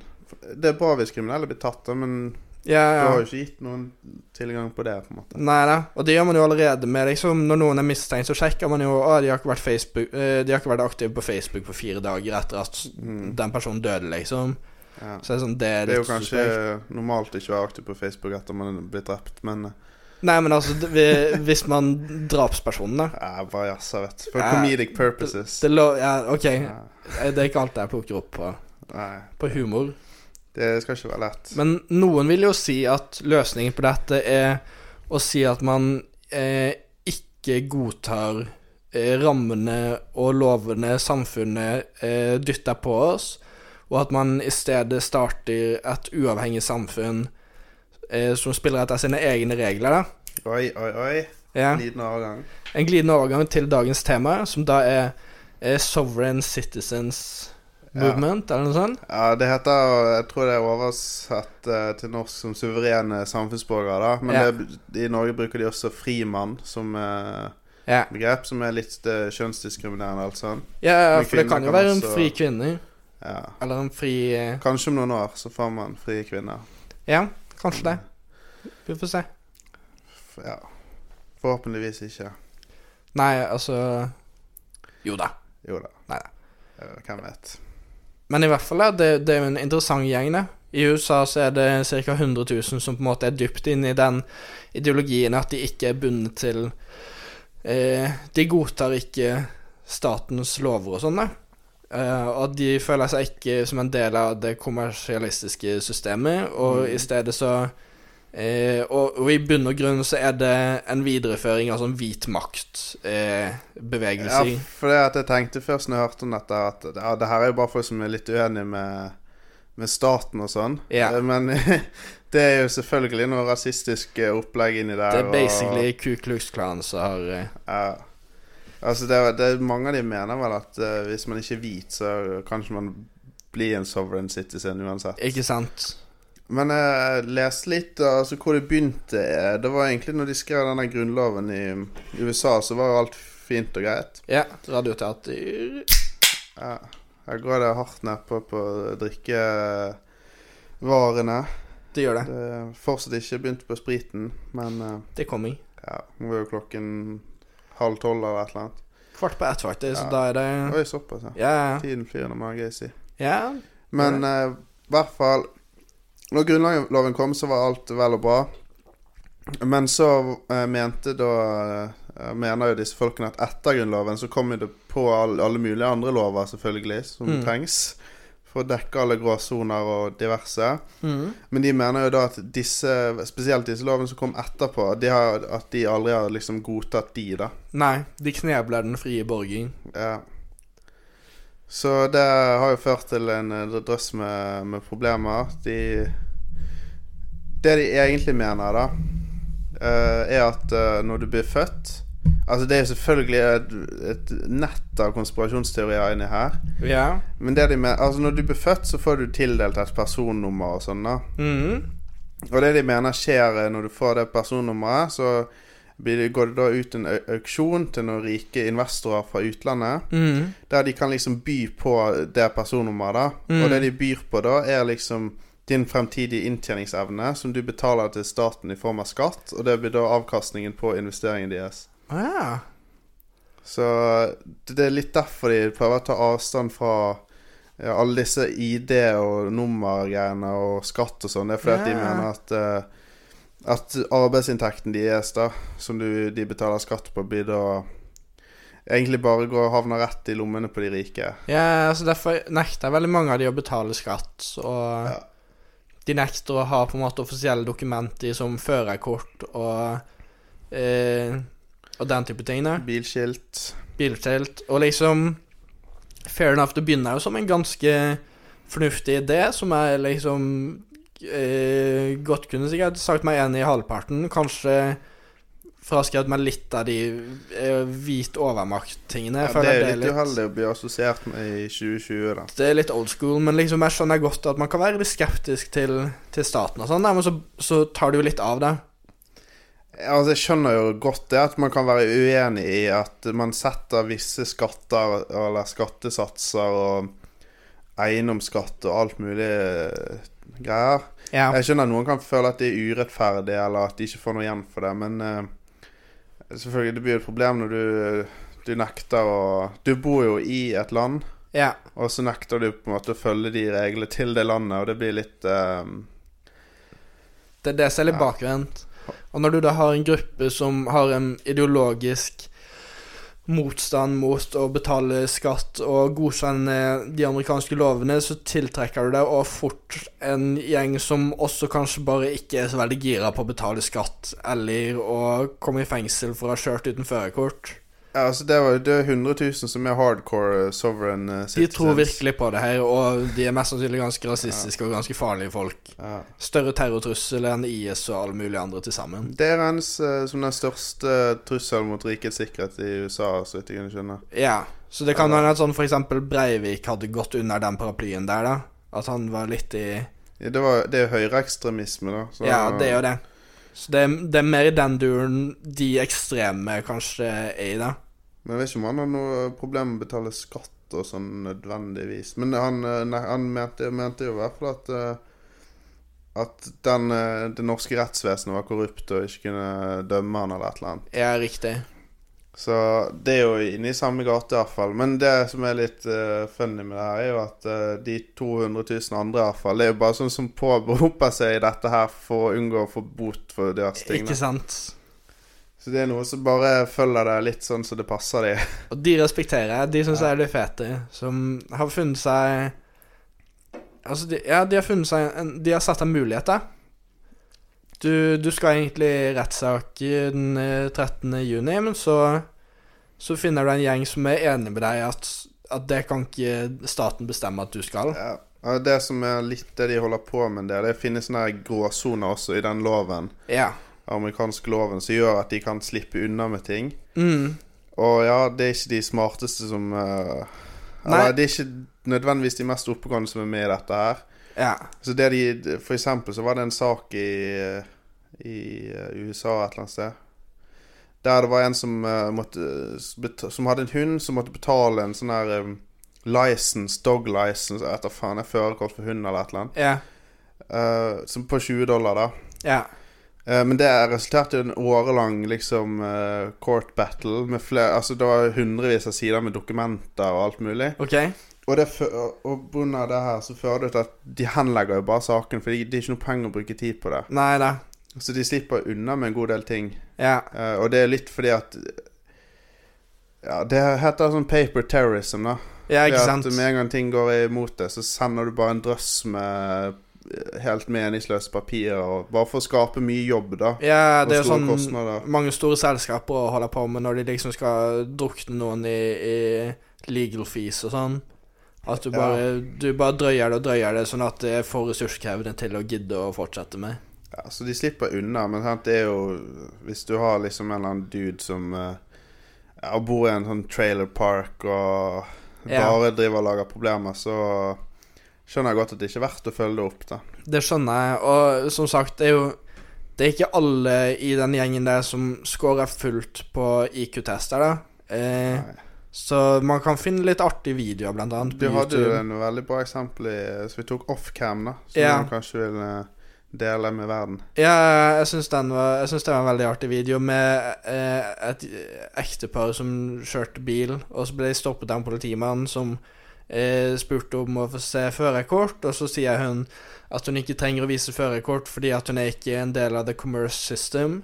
[SPEAKER 3] Det er bra hvis kriminelle blir tatt, da, men
[SPEAKER 2] ja.
[SPEAKER 3] du har
[SPEAKER 2] ja.
[SPEAKER 3] jo ikke gitt noen tilgang på det, på en måte.
[SPEAKER 2] Nei da, og det gjør man jo allerede med liksom Når noen er mistenkt, så sjekker man jo Å, de har ikke vært, Facebook, eh, de har ikke vært aktive på Facebook på fire dager etter at
[SPEAKER 3] Mm.
[SPEAKER 2] den personen døde, liksom.
[SPEAKER 3] Ja.
[SPEAKER 2] Så det er sånn, det er
[SPEAKER 3] Det er jo
[SPEAKER 2] litt
[SPEAKER 3] kanskje
[SPEAKER 2] suspekt.
[SPEAKER 3] normalt ikke å være aktiv på Facebook etter man blir drept, men eh,
[SPEAKER 2] Nei, men altså, det, vi- hvis man Drapspersonen, da.
[SPEAKER 3] jeg bare jazzer, vet du. For
[SPEAKER 2] Ja.
[SPEAKER 3] comedic purposes.
[SPEAKER 2] Det lå Ja, OK,
[SPEAKER 3] Ja,
[SPEAKER 2] det er ikke alt jeg plukker opp på,
[SPEAKER 3] Nei,
[SPEAKER 2] på humor.
[SPEAKER 3] det skal ikke være lett.
[SPEAKER 2] Men noen vil jo si at løsningen på dette er å si at man eh, ikke godtar eh, rammene og lovene samfunnet eh, dytter på oss, og at man i stedet starter et uavhengig samfunn eh, som spiller etter sine egne regler. Da.
[SPEAKER 3] Oi, oi, oi.
[SPEAKER 2] Ja.
[SPEAKER 3] Liten overgang.
[SPEAKER 2] En glidende overgang til dagens tema, som da er eh, sovereign citizens. Movement, eller noe sånt?
[SPEAKER 3] Ja, det heter Jeg tror det er oversatt eh, til norsk som suverene samfunnsborgere, da. Men
[SPEAKER 2] Ja.
[SPEAKER 3] det, i Norge bruker de også frimann som eh,
[SPEAKER 2] Ja.
[SPEAKER 3] begrep, som er litt eh, kjønnsdiskriminerende, altså.
[SPEAKER 2] ja, ja
[SPEAKER 3] Men
[SPEAKER 2] for det
[SPEAKER 3] kvinner
[SPEAKER 2] kan jo
[SPEAKER 3] kan
[SPEAKER 2] være en
[SPEAKER 3] også-
[SPEAKER 2] fri kvinne.
[SPEAKER 3] Ja.
[SPEAKER 2] Eller en fri eh,
[SPEAKER 3] Kanskje om noen år så får man frie kvinner.
[SPEAKER 2] Ja, kanskje det. Vi får se.
[SPEAKER 3] F- Ja. Forhåpentligvis ikke.
[SPEAKER 2] Nei, altså Jo da.
[SPEAKER 3] Jo da.
[SPEAKER 2] Nei da.
[SPEAKER 3] Eh, Hvem vet.
[SPEAKER 2] Men i hvert fall er det, det er jo en interessant gjeng, det. I USA så er det ca. 100 000 som på en måte er dypt inne i den ideologien at de ikke er bundet til eh, De godtar ikke statens lover og sånn, da. Eh, og de føler seg ikke som en del av det kommersialistiske systemet, og
[SPEAKER 3] Mm.
[SPEAKER 2] i stedet så eh, og, og i bunn og grunn så er det en videreføring av sånn eh, hvit
[SPEAKER 3] Ja,
[SPEAKER 2] makt-bevegelser.
[SPEAKER 3] for det at jeg tenkte først når jeg hørte om dette, at ja, det her er jo bare folk som er litt uenige med, med staten og sånn.
[SPEAKER 2] Ja.
[SPEAKER 3] Eh, Men [LAUGHS] det er jo selvfølgelig noe rasistisk eh, opplegg inni der.
[SPEAKER 2] det er
[SPEAKER 3] og-
[SPEAKER 2] basically Ku Klux Klan som har eh,
[SPEAKER 3] Ja. Altså, det er, det er, mange av de mener vel at eh, hvis man ikke er hvit, så kan ikke man bli en sovereign citizen uansett.
[SPEAKER 2] Ikke sant?
[SPEAKER 3] Men jeg leste litt altså, hvor det begynte. eh, Det var egentlig når de skrev denne grunnloven i USA, så var jo alt fint og greit.
[SPEAKER 2] Ja, radioteater
[SPEAKER 3] Ja. Her går det hardt nedpå på drikkevarene.
[SPEAKER 2] Det gjør det.
[SPEAKER 3] Det er fortsatt ikke begynt på spriten, men eh,
[SPEAKER 2] Det kommer.
[SPEAKER 3] ja, nå er jo klokken halv tolv eller et eller annet.
[SPEAKER 2] Kvart på ett, faktisk.
[SPEAKER 3] Ja.
[SPEAKER 2] Så da er det
[SPEAKER 3] Oi, såpass, ja.
[SPEAKER 2] Ja.
[SPEAKER 3] Tiden flyr når man har gøy, si.
[SPEAKER 2] ja.
[SPEAKER 3] Men eh, i hvert fall Når grunnloven kom, så var alt vel og bra. Men så eh, mente da eh, Mener jo disse folkene at etter grunnloven så kom jo det på all, alle mulige andre lover, selvfølgelig, som
[SPEAKER 2] Mm.
[SPEAKER 3] trengs. For å dekke alle gråsoner og diverse.
[SPEAKER 2] Mhm.
[SPEAKER 3] Men de mener jo da at disse, spesielt disse lovene som kom etterpå, de har, at de aldri har liksom godtatt de, da.
[SPEAKER 2] Nei, de knebler den frie borger.
[SPEAKER 3] Ja. Så det har jo ført til en eh, drøss med, med problemer. De Det de egentlig mener, da, eh, er at eh, når du blir født Altså, det er jo selvfølgelig et, et nett av konspirasjonsteorier inni her.
[SPEAKER 2] Ja.
[SPEAKER 3] Men det de mener, altså når du blir født, så får du tildelt et personnummer og sånn, da.
[SPEAKER 2] Mhm.
[SPEAKER 3] Og det de mener skjer eh, når du får det personnummeret, så blir det, går det da ut en au- auksjon til noen rike investorer fra utlandet.
[SPEAKER 2] Mhm.
[SPEAKER 3] Der de kan liksom by på det personnummeret, da.
[SPEAKER 2] Mm.
[SPEAKER 3] Og det de byr på da, er liksom din fremtidige inntjeningsevne, som du betaler til staten i form av skatt, og det blir da avkastningen på investeringen deres.
[SPEAKER 2] Ah,
[SPEAKER 3] Så det er litt derfor de prøver å ta avstand fra ja, alle disse ID- og nummergreiene og skatt og sånn. Det er fordi at de
[SPEAKER 2] Ja.
[SPEAKER 3] mener at eh, at arbeidsinntekten deres, da, som du, de betaler skatt på, blir da egentlig bare går havner rett i lommene på de rike.
[SPEAKER 2] ja. Så derfor nekter veldig mange av de å betale skatt, og
[SPEAKER 3] Ja.
[SPEAKER 2] de nekter å ha på en måte offisielle dokumenter som førerkort og eh, og den type ting. da.
[SPEAKER 3] Bilskilt.
[SPEAKER 2] biltelt. Og liksom Fair enough, det begynner jo som en ganske fornuftig idé, som jeg liksom eh, godt kunne sikkert sagt meg enig i halvparten. Kanskje fraskrevet meg litt av de eh, hvit overmakt-tingene. Jeg
[SPEAKER 3] Ja, det er
[SPEAKER 2] føler
[SPEAKER 3] jo litt uheldig å bli assosiert med i 2020, da.
[SPEAKER 2] det er litt old school, men liksom jeg skjønner godt at man kan være litt skeptisk til, til staten og sånn, da, men så, så tar det jo litt av det.
[SPEAKER 3] Ja, Altså, Jeg skjønner jo godt det at man kan være uenig i at man setter visse skatter eller skattesatser og eiendomsskatt og alt mulig eh, greier.
[SPEAKER 2] Ja.
[SPEAKER 3] Jeg skjønner at noen kan føle at det er urettferdig, eller at de ikke får noe igjen for det, men eh, selvfølgelig, det blir jo et problem når du, eh, du nekter å Du bor jo i et land.
[SPEAKER 2] ja.
[SPEAKER 3] Og så nekter du på en måte å følge de reglene til det landet, og det blir litt ehm,
[SPEAKER 2] Det er det som er litt
[SPEAKER 3] Ja.
[SPEAKER 2] bakvendt. Og når du da har en gruppe som har en ideologisk motstand mot å betale skatt og godkjenne de amerikanske lovene, så tiltrekker du deg og fort en gjeng som også kanskje bare ikke er så veldig gira på å betale skatt, eller å komme i fengsel for å ha kjørt uten førerkort.
[SPEAKER 3] Ja, altså det, var, det er 100 000 som er hardcore eh, sovereign eh,
[SPEAKER 2] De
[SPEAKER 3] citizens.
[SPEAKER 2] tror virkelig på det her, og de er mest sannsynlig ganske rasistiske og ganske farlige folk.
[SPEAKER 3] ja.
[SPEAKER 2] Større terrortrussel enn IS og alle mulige andre til sammen.
[SPEAKER 3] Det er hans eh, som den største eh, trusselen mot rikets sikkerhet i USA, så vidt jeg kunne skjønne.
[SPEAKER 2] Ja, så det kan være at sånn for eksempel Breivik hadde gått under den paraplyen der, da. At han var litt i
[SPEAKER 3] Ja, det, var, det er høyreekstremisme, da. så-
[SPEAKER 2] Ja, det er jo det. Så det, det er mer i den duren de ekstreme kanskje er i, da.
[SPEAKER 3] Men jeg vet ikke om han har noe problem med å betale skatt og sånn nødvendigvis. Men han, eh, nei, han mente, mente jo i hvert fall at eh, At den, eh, det norske rettsvesenet var korrupt og ikke kunne dømme han eller et eller annet.
[SPEAKER 2] Ja, riktig.
[SPEAKER 3] Så det er jo inne i samme gate i hvert fall. Men det som er litt eh, funny med det her, er jo at eh, de 200 000 andre i hvert fall, det er jo bare sånn som påberoper seg dette her for å unngå å få bot for diverse ting.
[SPEAKER 2] Ikke
[SPEAKER 3] da.
[SPEAKER 2] sant?
[SPEAKER 3] Så det er noe som bare følger det litt sånn som det passer de.
[SPEAKER 2] Og de respekterer jeg. De syns jeg er litt fete, som har funnet seg Altså, de, ja, de har funnet seg en, De har sett en mulighet, da. Du, du skal egentlig i rettssak i den eh, 13. juni, men så Så finner du en gjeng som er enig med deg at, at det kan ikke staten bestemme at du skal.
[SPEAKER 3] Ja. Og Det som er litt det de holder på med, en del, det finnes sånne her gråsoner også i den loven,
[SPEAKER 2] Ja.
[SPEAKER 3] amerikanske loven, som gjør at de kan slippe unna med ting.
[SPEAKER 2] Mm.
[SPEAKER 3] Og ja, det er ikke de smarteste som eh,
[SPEAKER 2] Nei.
[SPEAKER 3] Eller det er ikke nødvendigvis de mest oppegående som er med i dette her.
[SPEAKER 2] Ja.
[SPEAKER 3] Så det de, For eksempel så var det en sak i, i eh, USA et eller annet sted. Der det var en som, eh, måtte, bet- som hadde en hund som måtte betale en sånn her um, license, dog license, jeg vet da faen, jeg førerkort for hund eller et eller annet.
[SPEAKER 2] Ja.
[SPEAKER 3] eh, som på 20 dollar, da.
[SPEAKER 2] Ja.
[SPEAKER 3] Eh, men det resulterte i en årelang liksom eh, court battle med flere Altså det var hundrevis av sider med dokumenter og alt mulig.
[SPEAKER 2] OK.
[SPEAKER 3] Og, det, fø- og på grunn av det her så fører det til at de henlegger jo bare saken, for det er ikke noe penger å bruke tid på det.
[SPEAKER 2] Nei da.
[SPEAKER 3] Så de slipper unna med en god del ting.
[SPEAKER 2] Ja.
[SPEAKER 3] Eh, og det er litt fordi at Ja, det heter sånn paper terrorism, da.
[SPEAKER 2] Ja,
[SPEAKER 3] Fordi
[SPEAKER 2] ikke
[SPEAKER 3] at
[SPEAKER 2] sant?
[SPEAKER 3] Med en gang ting går imot det, så sender du bare en drøss med eh, helt meningsløse papirer, og bare for å skape mye jobb, da.
[SPEAKER 2] Ja, det er jo
[SPEAKER 3] og store
[SPEAKER 2] sånn
[SPEAKER 3] kostnader.
[SPEAKER 2] mange store selskaper holder på med når de liksom skal drukne noen i, i legal fees og sånn. At du
[SPEAKER 3] Ja.
[SPEAKER 2] bare, du bare drøyer det og drøyer det, sånn at det er for ressurskrevende til å gidde å fortsette med.
[SPEAKER 3] Ja, så de slipper unna, men sant, det er jo Hvis du har liksom en eller annen dude som eh, ja, bor i en sånn trailer park og
[SPEAKER 2] Ja.
[SPEAKER 3] bare driver og lager problemer, så skjønner jeg godt at det ikke er verdt å følge det opp, da.
[SPEAKER 2] Det skjønner jeg, og som sagt, det er jo Det er ikke alle i den gjengen der som scorer fullt på IQ-tester, da. Eh,
[SPEAKER 3] Nei.
[SPEAKER 2] så man kan finne litt artige videoer, blant annet.
[SPEAKER 3] Du
[SPEAKER 2] på
[SPEAKER 3] hadde jo
[SPEAKER 2] YouTube.
[SPEAKER 3] en veldig bra eksempel i, som vi tok offcam, da, som
[SPEAKER 2] Ja.
[SPEAKER 3] du kanskje vil eh, dele med verden.
[SPEAKER 2] Ja, jeg syns, den var, jeg syns det var en veldig artig video med eh, et ektepar som kjørte bil, og så ble de stoppet av en politimann som eh, spurte om å få se førerkort, og så sier hun at hun ikke trenger å vise førerkort fordi at hun er ikke en del av the commerce system.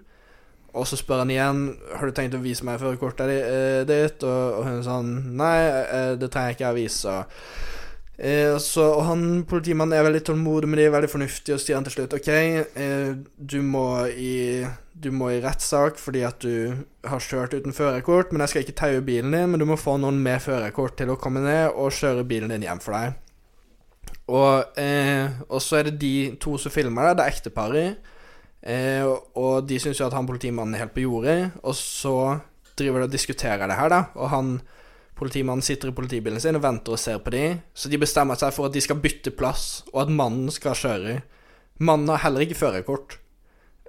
[SPEAKER 2] Og så spør han igjen har du tenkt å vise meg førerkortet di- eh, ditt, og, og hun sånn nei, eh, det trenger jeg ikke å vise. Eh, så og han politimannen er veldig tålmodig, men de er veldig fornuftige, og så sier han til slutt OK, eh, du må i, du må i rettssak fordi at du har kjørt uten førerkort, men jeg skal ikke taue bilen din, men du må få noen med førerkort til å komme ned og kjøre bilen din hjem for deg. Og, eh, og så er det de to som filmer det, det er ekteparet, eh, og- og de syns jo at han politimannen er helt på jordet, og så driver de og diskuterer det her, da, og han Politimannen sitter i politibilen sin og venter og ser på dem, så de bestemmer seg for at de skal bytte plass, og at mannen skal kjøre. Mannen har heller ikke førerkort.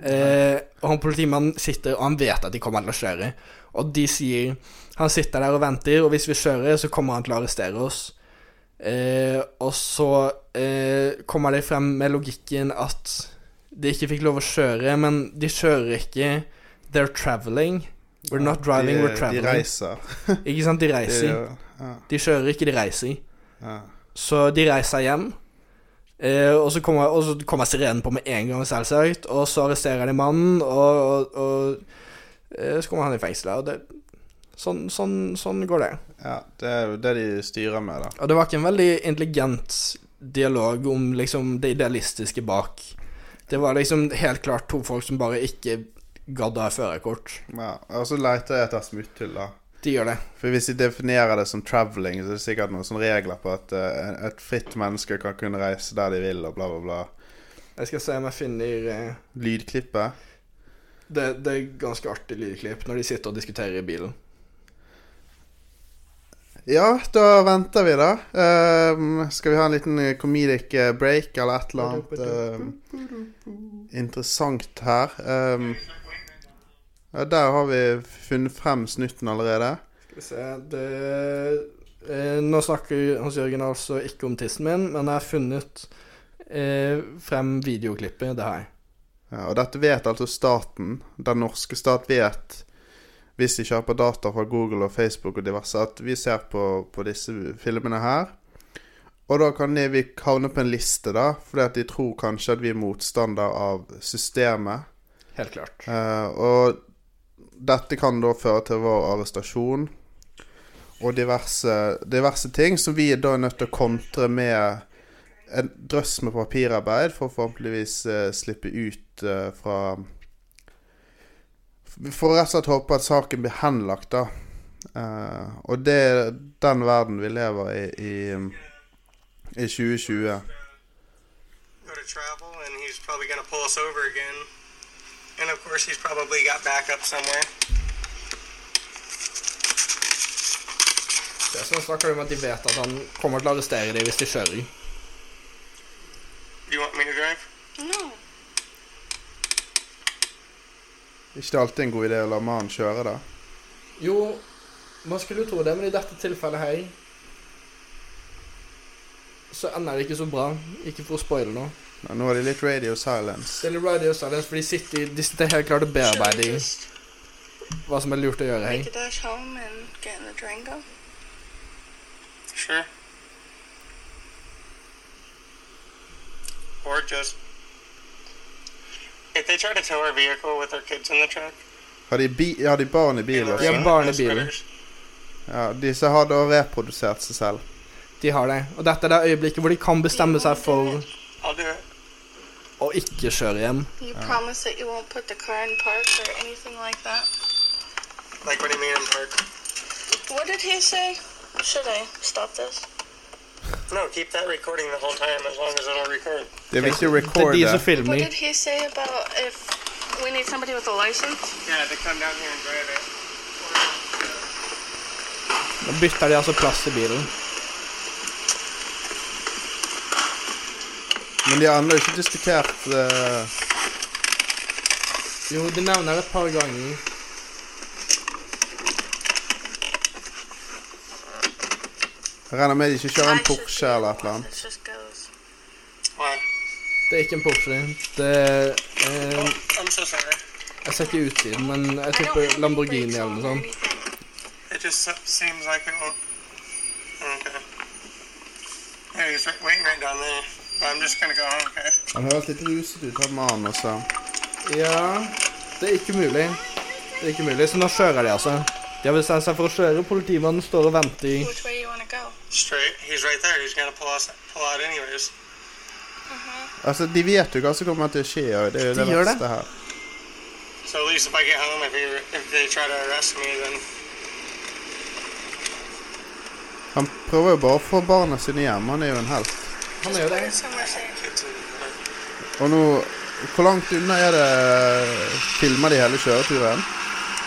[SPEAKER 2] Eh, og han politimannen sitter, og han vet at de kommer til å kjøre. Og de sier Han sitter der og venter, og hvis vi kjører, så kommer han til å arrestere oss. Eh, og så eh, kommer de frem med logikken at de ikke fikk lov å kjøre, men de kjører ikke. They're traveling. We're not driving,
[SPEAKER 3] de,
[SPEAKER 2] we're traveling.
[SPEAKER 3] De reiser.
[SPEAKER 2] Ikke sant, de
[SPEAKER 3] De,
[SPEAKER 2] reiser.
[SPEAKER 3] ja,
[SPEAKER 2] De kjører ikke, de reiser.
[SPEAKER 3] ja.
[SPEAKER 2] Så de reiser hjem. Eh, og, så kommer, og så kommer sirenen på med en gang, selvsagt. Og så arresterer de mannen, og, og, og eh, så kommer han i fengsel. Og det, sånn, sånn, sånn går det.
[SPEAKER 3] ja. Det er jo det de styrer med, da.
[SPEAKER 2] Og det var ikke en veldig intelligent dialog om liksom det idealistiske bak. Det var liksom helt klart to folk som bare ikke gadd å ha førerkort.
[SPEAKER 3] Ja, og så leter jeg etter smutthull, da.
[SPEAKER 2] De gjør det.
[SPEAKER 3] For hvis de definerer det som traveling, så er det sikkert noen sånne regler på at eh, et fritt menneske kan kunne reise der de vil, og bla, bla, bla.
[SPEAKER 2] Jeg skal se om jeg finner eh,
[SPEAKER 3] Lydklippet.
[SPEAKER 2] det, det er ganske artig lydklipp når de sitter og diskuterer i bilen.
[SPEAKER 3] Ja, da venter vi, da. Ehm, skal vi ha en liten eh, comedic eh, break eller et eller annet ehm, interessant her? Ehm, ja, der har vi funnet frem snutten allerede.
[SPEAKER 2] Skal vi se det, eh, Nå snakker Hans Jørgen altså ikke om tissen min, men jeg har funnet eh, frem videoklippet det her.
[SPEAKER 3] Ja, og dette vet altså staten. Den norske stat vet, hvis de kjøper data fra Google og Facebook og diverse, at vi ser på, på disse filmene her. Og da kan de- vi havne på en liste, da, fordi at de tror kanskje at vi er motstander av systemet.
[SPEAKER 2] Helt klart.
[SPEAKER 3] Eh, og dette kan da føre til vår arrestasjon og diverse, diverse ting, som vi er da nødt til å kontre med en drøss med papirarbeid for å forhåpentligvis eh, slippe ut eh, fra Vi får rett og slett håpe at saken blir henlagt, da. Eh, og det er den verden vi lever i i, i 2020.
[SPEAKER 4] go to travel, and he's probably going to pull us over again. And of course, he's probably got backup somewhere.
[SPEAKER 2] Dessuten snakker de om at de vet at han kommer til å arrestere dem hvis de kjører.
[SPEAKER 4] Do you want me to drive?
[SPEAKER 3] Ikke det alltid en god idé å la mannen kjøre, da?
[SPEAKER 2] Jo, man skulle jo tro det, men i dette tilfellet her så ender det ikke så bra. Ikke for å spoile nå.
[SPEAKER 3] Nei, Nå er det litt radio silence.
[SPEAKER 2] Det er litt Radio Silence, for de sitter, i- de sitter helt klart og bearbeider
[SPEAKER 5] just
[SPEAKER 2] hva som er lurt å gjøre her.
[SPEAKER 5] make a dash home and get in the Durango?
[SPEAKER 4] Sure. Or just. If they try to tow our vehicle with our kids in the truck,
[SPEAKER 3] Har de, bi har de barn i bilen
[SPEAKER 4] they'll
[SPEAKER 3] også?
[SPEAKER 2] Ja.
[SPEAKER 4] run
[SPEAKER 2] barn i
[SPEAKER 4] us
[SPEAKER 2] bilen.
[SPEAKER 4] critters.
[SPEAKER 3] Ja, disse har da reprodusert seg selv.
[SPEAKER 2] De har det. Og dette er det øyeblikket hvor de kan bestemme seg for
[SPEAKER 4] I'll do it.
[SPEAKER 2] å ikke kjøre hjem.
[SPEAKER 5] You promise that you won't put the car in park or anything like that?
[SPEAKER 4] Like, what do you mean in park?
[SPEAKER 5] What did he say? Should I stop this?
[SPEAKER 4] No, keep that recording the whole time as long as it'll record.
[SPEAKER 3] Det er viktig å
[SPEAKER 2] Det er de
[SPEAKER 3] recorde.
[SPEAKER 2] som
[SPEAKER 5] What
[SPEAKER 2] filmer.
[SPEAKER 5] did he say about if we need somebody with a license?
[SPEAKER 4] Yeah, they come down here and drive it.
[SPEAKER 2] Da bytter de altså plass i bilen.
[SPEAKER 3] Men de har ennå ikke diskutert eh,
[SPEAKER 2] Jo, de nevner det et par ganger.
[SPEAKER 3] Jeg regner med de ikke kjører en
[SPEAKER 5] I should
[SPEAKER 3] Porsche
[SPEAKER 5] be the
[SPEAKER 3] eller et
[SPEAKER 5] one
[SPEAKER 3] eller annet.
[SPEAKER 5] that just goes.
[SPEAKER 4] Why?
[SPEAKER 2] Det er ikke en Porsche. Det er eh,
[SPEAKER 4] I'm so sorry.
[SPEAKER 2] Jeg ser ikke utsiden, men jeg
[SPEAKER 5] I don't have
[SPEAKER 2] tipper
[SPEAKER 5] any
[SPEAKER 2] Lamborghini
[SPEAKER 5] brakes
[SPEAKER 2] eller
[SPEAKER 5] on
[SPEAKER 2] noe
[SPEAKER 5] or
[SPEAKER 2] sånt.
[SPEAKER 5] anything.
[SPEAKER 4] It just so- seems like it won't. Okay. Yeah, he's right, waiting right down there. But I'm just gonna go home, okay?
[SPEAKER 3] Han høres litt ruset ut, han mannen altså. også.
[SPEAKER 2] Ja Det er ikke mulig. Det er ikke mulig, så nå kjører de, altså. De har bestemt seg for å kjøre. Politimannen står og venter i
[SPEAKER 5] Which way you want to go?
[SPEAKER 4] Straight. He's right there. He's gonna pull us pull out anyways.
[SPEAKER 3] Altså, de vet jo hva som kommer til å skje, og det er jo det
[SPEAKER 2] De gjør det.
[SPEAKER 3] verste her.
[SPEAKER 4] So at least if I get home, if he, if they try to arrest me, then
[SPEAKER 3] Han prøver jo bare å få barna sine hjem, han er jo en helt.
[SPEAKER 2] Han gjør det.
[SPEAKER 5] Somewhere safe.
[SPEAKER 4] kids in the car.
[SPEAKER 3] Og nå Hvor langt unna er det Filmer de hele kjøreturen?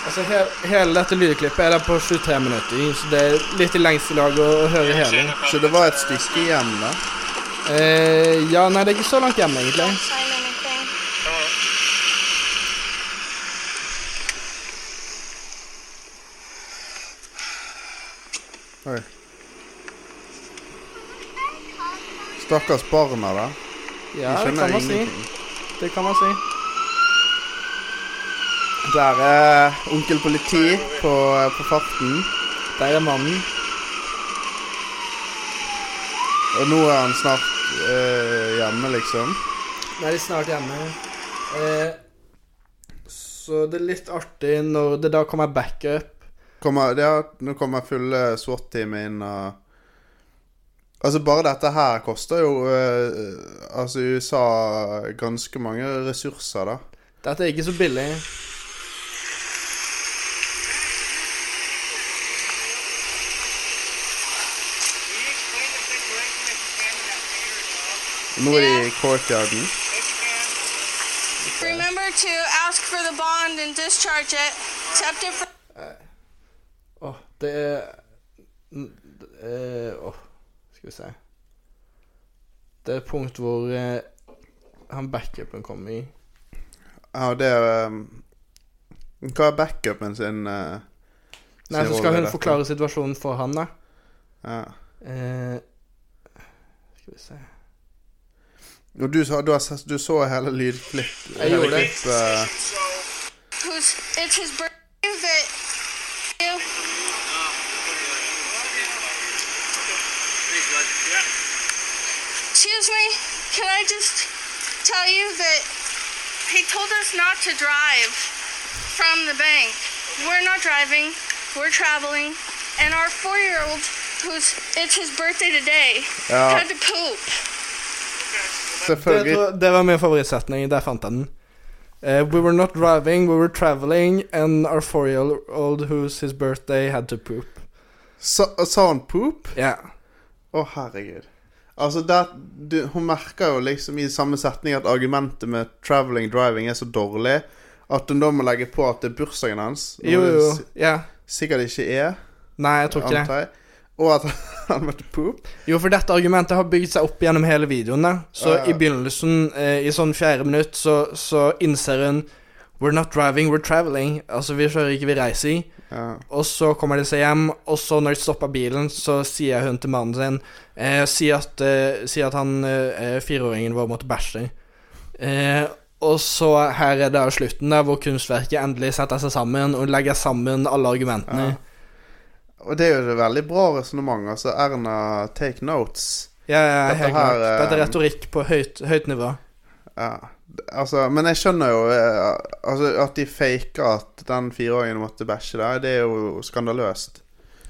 [SPEAKER 2] Altså, he Hele dette lydklippet er der på 23 minutter, så det er litt i lengste lag å å høre hele.
[SPEAKER 3] Så det var et stykke igjen, da.
[SPEAKER 2] Eh, ja, nei, det er ikke så langt hjemme,
[SPEAKER 5] Don't
[SPEAKER 2] egentlig.
[SPEAKER 5] sign anything.
[SPEAKER 4] Come on.
[SPEAKER 3] Oi. Stakkars barna, da.
[SPEAKER 2] Ja,
[SPEAKER 3] De
[SPEAKER 2] det
[SPEAKER 3] skjønner
[SPEAKER 2] kan man si.
[SPEAKER 3] ingenting.
[SPEAKER 2] Det kan man si.
[SPEAKER 3] Der er onkel politi på, på farten.
[SPEAKER 2] Der er mannen.
[SPEAKER 3] Og nå er han snart eh, hjemme, liksom.
[SPEAKER 2] Nå er de snart hjemme. Eh, så det er litt artig når det da kommer backup.
[SPEAKER 3] Kommer, ja, nå kommer fulle SWAT-teamet inn og Altså, bare dette her koster jo eh, Altså, USA ganske mange ressurser, da.
[SPEAKER 2] Dette er ikke så billig.
[SPEAKER 3] Nå er de i courtyarden.
[SPEAKER 5] Remember to ask for the bond and discharge it. Accept it for
[SPEAKER 2] Åh, det er det er- Åh, skal vi se. Det er et punkt hvor eh, han backupen kommer i.
[SPEAKER 3] Ja, det er um, Hva er backupen sin eh,
[SPEAKER 2] Nei,
[SPEAKER 3] sin
[SPEAKER 2] så
[SPEAKER 3] rolle
[SPEAKER 2] skal hun
[SPEAKER 3] i dette?
[SPEAKER 2] forklare situasjonen for han, da.
[SPEAKER 3] ja.
[SPEAKER 2] Eh, skal vi se
[SPEAKER 3] Og du, sa- du, har, sett- du så hele lydklipp
[SPEAKER 2] Jeg gjorde det.
[SPEAKER 3] lydklipp, eh,
[SPEAKER 5] who's it's his birthday that you excuse me, can I just tell you that he told us not to drive from the bank. We're not driving, we're traveling, and our four year old who's it's his birthday today
[SPEAKER 3] Ja.
[SPEAKER 5] had to poop.
[SPEAKER 2] det,
[SPEAKER 3] Selvfølgelig.
[SPEAKER 2] tror- det var min favorittsetning. Der fant jeg den. Eh, we were not driving, we were traveling, and our four-year-old whose his birthday had to poop.
[SPEAKER 3] Sa, sa han poop?
[SPEAKER 2] Ja.
[SPEAKER 3] Å, herregud. Altså, der, du, hun merker jo liksom i samme setning at argumentet med traveling driving er så dårlig at hun da må legge på at det er bursdagen hans. noe
[SPEAKER 2] Jo,
[SPEAKER 3] det
[SPEAKER 2] jo.
[SPEAKER 3] si-
[SPEAKER 2] Ja.
[SPEAKER 3] Sikkert ikke er,
[SPEAKER 2] Nei, jeg tror ikke det.
[SPEAKER 3] antar jeg. Og at [LAUGHS] han måtte poop.
[SPEAKER 2] Jo, for dette argumentet har bygd seg opp gjennom hele videoen. da. Så
[SPEAKER 3] Ja, ja.
[SPEAKER 2] i begynnelsen, eh, i sånn fjerde minutt, så, så innser hun We're not driving, we're traveling. Altså, vi kjører ikke, vi reiser.
[SPEAKER 3] Ja.
[SPEAKER 2] Og så kommer de seg hjem, og så når de stopper bilen, så sier hun til mannen sin eh, si, at, eh, si at han eh, eh, fireåringen vår måtte bæsje. Eh, og så her er det jo slutten, da, hvor kunstverket endelig setter seg sammen og legger sammen alle argumentene.
[SPEAKER 3] Og det er jo et veldig bra resonnement. Altså, Erna, take notes.
[SPEAKER 2] Ja, ja,
[SPEAKER 3] Dette
[SPEAKER 2] helt
[SPEAKER 3] her,
[SPEAKER 2] klart. Dette er
[SPEAKER 3] eh,
[SPEAKER 2] retorikk på høyt, høyt nivå.
[SPEAKER 3] Ja. Altså, men jeg skjønner jo eh, altså, at de faker at den fireåringen måtte bæsje der. Det er jo skandaløst.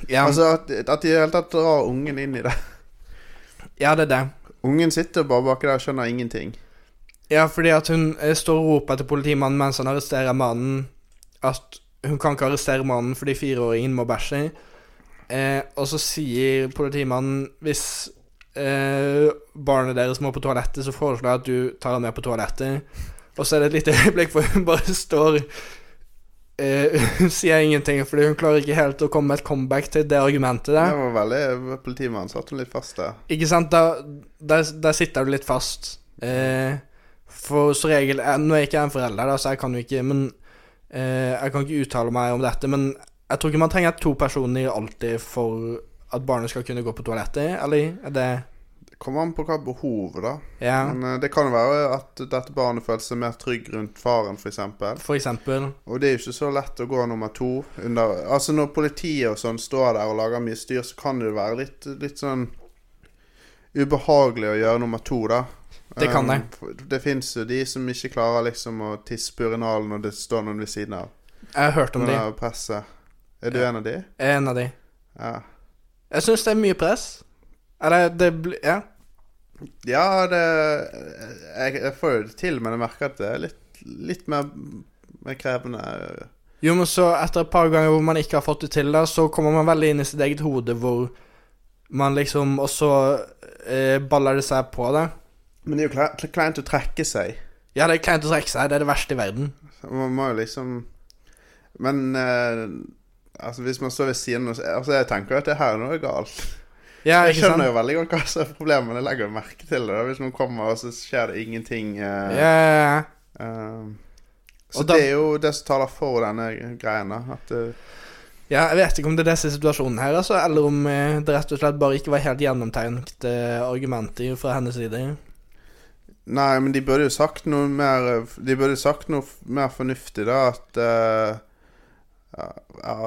[SPEAKER 2] Ja,
[SPEAKER 3] Altså, at, at de i det hele tatt drar ungen inn i det. [LAUGHS]
[SPEAKER 2] ja, det er det.
[SPEAKER 3] Ungen sitter bare baki der og skjønner ingenting.
[SPEAKER 2] Ja, fordi at hun eh, står og roper til politimannen mens han arresterer mannen, at hun kan ikke arrestere mannen fordi fireåringen må bæsje. Eh, og så sier politimannen hvis eh, barnet deres må på toalettet, så foreslår jeg at du tar ham med på toalettet. Og så er det et lite [LAUGHS] øyeblikk hvor hun bare står eh, [LAUGHS] Hun sier ingenting, fordi hun klarer ikke helt å komme med et comeback til det argumentet der.
[SPEAKER 3] Det var veldig Politimannen satte henne litt fast der.
[SPEAKER 2] Ikke sant, da, der, der sitter du litt fast. Eh, for som regel eh, Nå er jeg ikke en forelder, da, så jeg kan jo ikke Men eh, Jeg kan ikke uttale meg om dette, men jeg tror ikke man trenger to personer alltid for at barnet skal kunne gå på toalettet, eller? Er det
[SPEAKER 3] Det kommer an på hva behovet, da.
[SPEAKER 2] Ja,
[SPEAKER 3] Men eh, det kan jo være at dette barnet føler seg mer trygg rundt faren, f.eks.
[SPEAKER 2] for eksempel.
[SPEAKER 3] Og det er jo ikke så lett å gå nummer to under Altså, når politiet og sånn står der og lager mye styr, så kan det jo være litt, litt sånn ubehagelig å gjøre nummer to, da.
[SPEAKER 2] Det kan
[SPEAKER 3] Um, det fins jo de som ikke klarer liksom å tisse på urinalen når det står noen ved siden av.
[SPEAKER 2] Jeg har hørt om de.
[SPEAKER 3] Under presset. Er du
[SPEAKER 2] Ja.
[SPEAKER 3] en av de?
[SPEAKER 2] En av de.
[SPEAKER 3] Ja.
[SPEAKER 2] Jeg syns det er mye press. Eller det blir Ja.
[SPEAKER 3] Ja, det jeg, jeg får jo det til, men jeg merker at det er litt, litt mer, mer krevende.
[SPEAKER 2] Jo, men så etter et par ganger hvor man ikke har fått det til, da, så kommer man veldig inn i sitt eget hode hvor man liksom Og så eh, baller det seg på det.
[SPEAKER 3] Men det er jo kle- kleint å trekke seg.
[SPEAKER 2] Ja, det er kleint å trekke seg. Det er det verste i verden.
[SPEAKER 3] Man må jo liksom Men eh, altså, hvis man står ved siden av altså, Jeg tenker jo at det her er noe galt.
[SPEAKER 2] Ja,
[SPEAKER 3] Jeg
[SPEAKER 2] ikke sant?
[SPEAKER 3] skjønner jo veldig godt hva som er problemet, men jeg legger jo merke til det. da. Hvis noen kommer, og så skjer det ingenting. eh,
[SPEAKER 2] Ja, ja, ja.
[SPEAKER 3] eh, så
[SPEAKER 2] Og da-
[SPEAKER 3] det er jo det som taler for denne greien, da. At eh,
[SPEAKER 2] ja, jeg vet ikke om det er disse situasjonene her, altså, eller om eh, det rett og slett bare ikke var helt gjennomtenkt eh, argumenter fra hennes side.
[SPEAKER 3] Nei, men de burde jo sagt noe mer De burde jo sagt noe f- mer fornuftig, da. At eh, ja,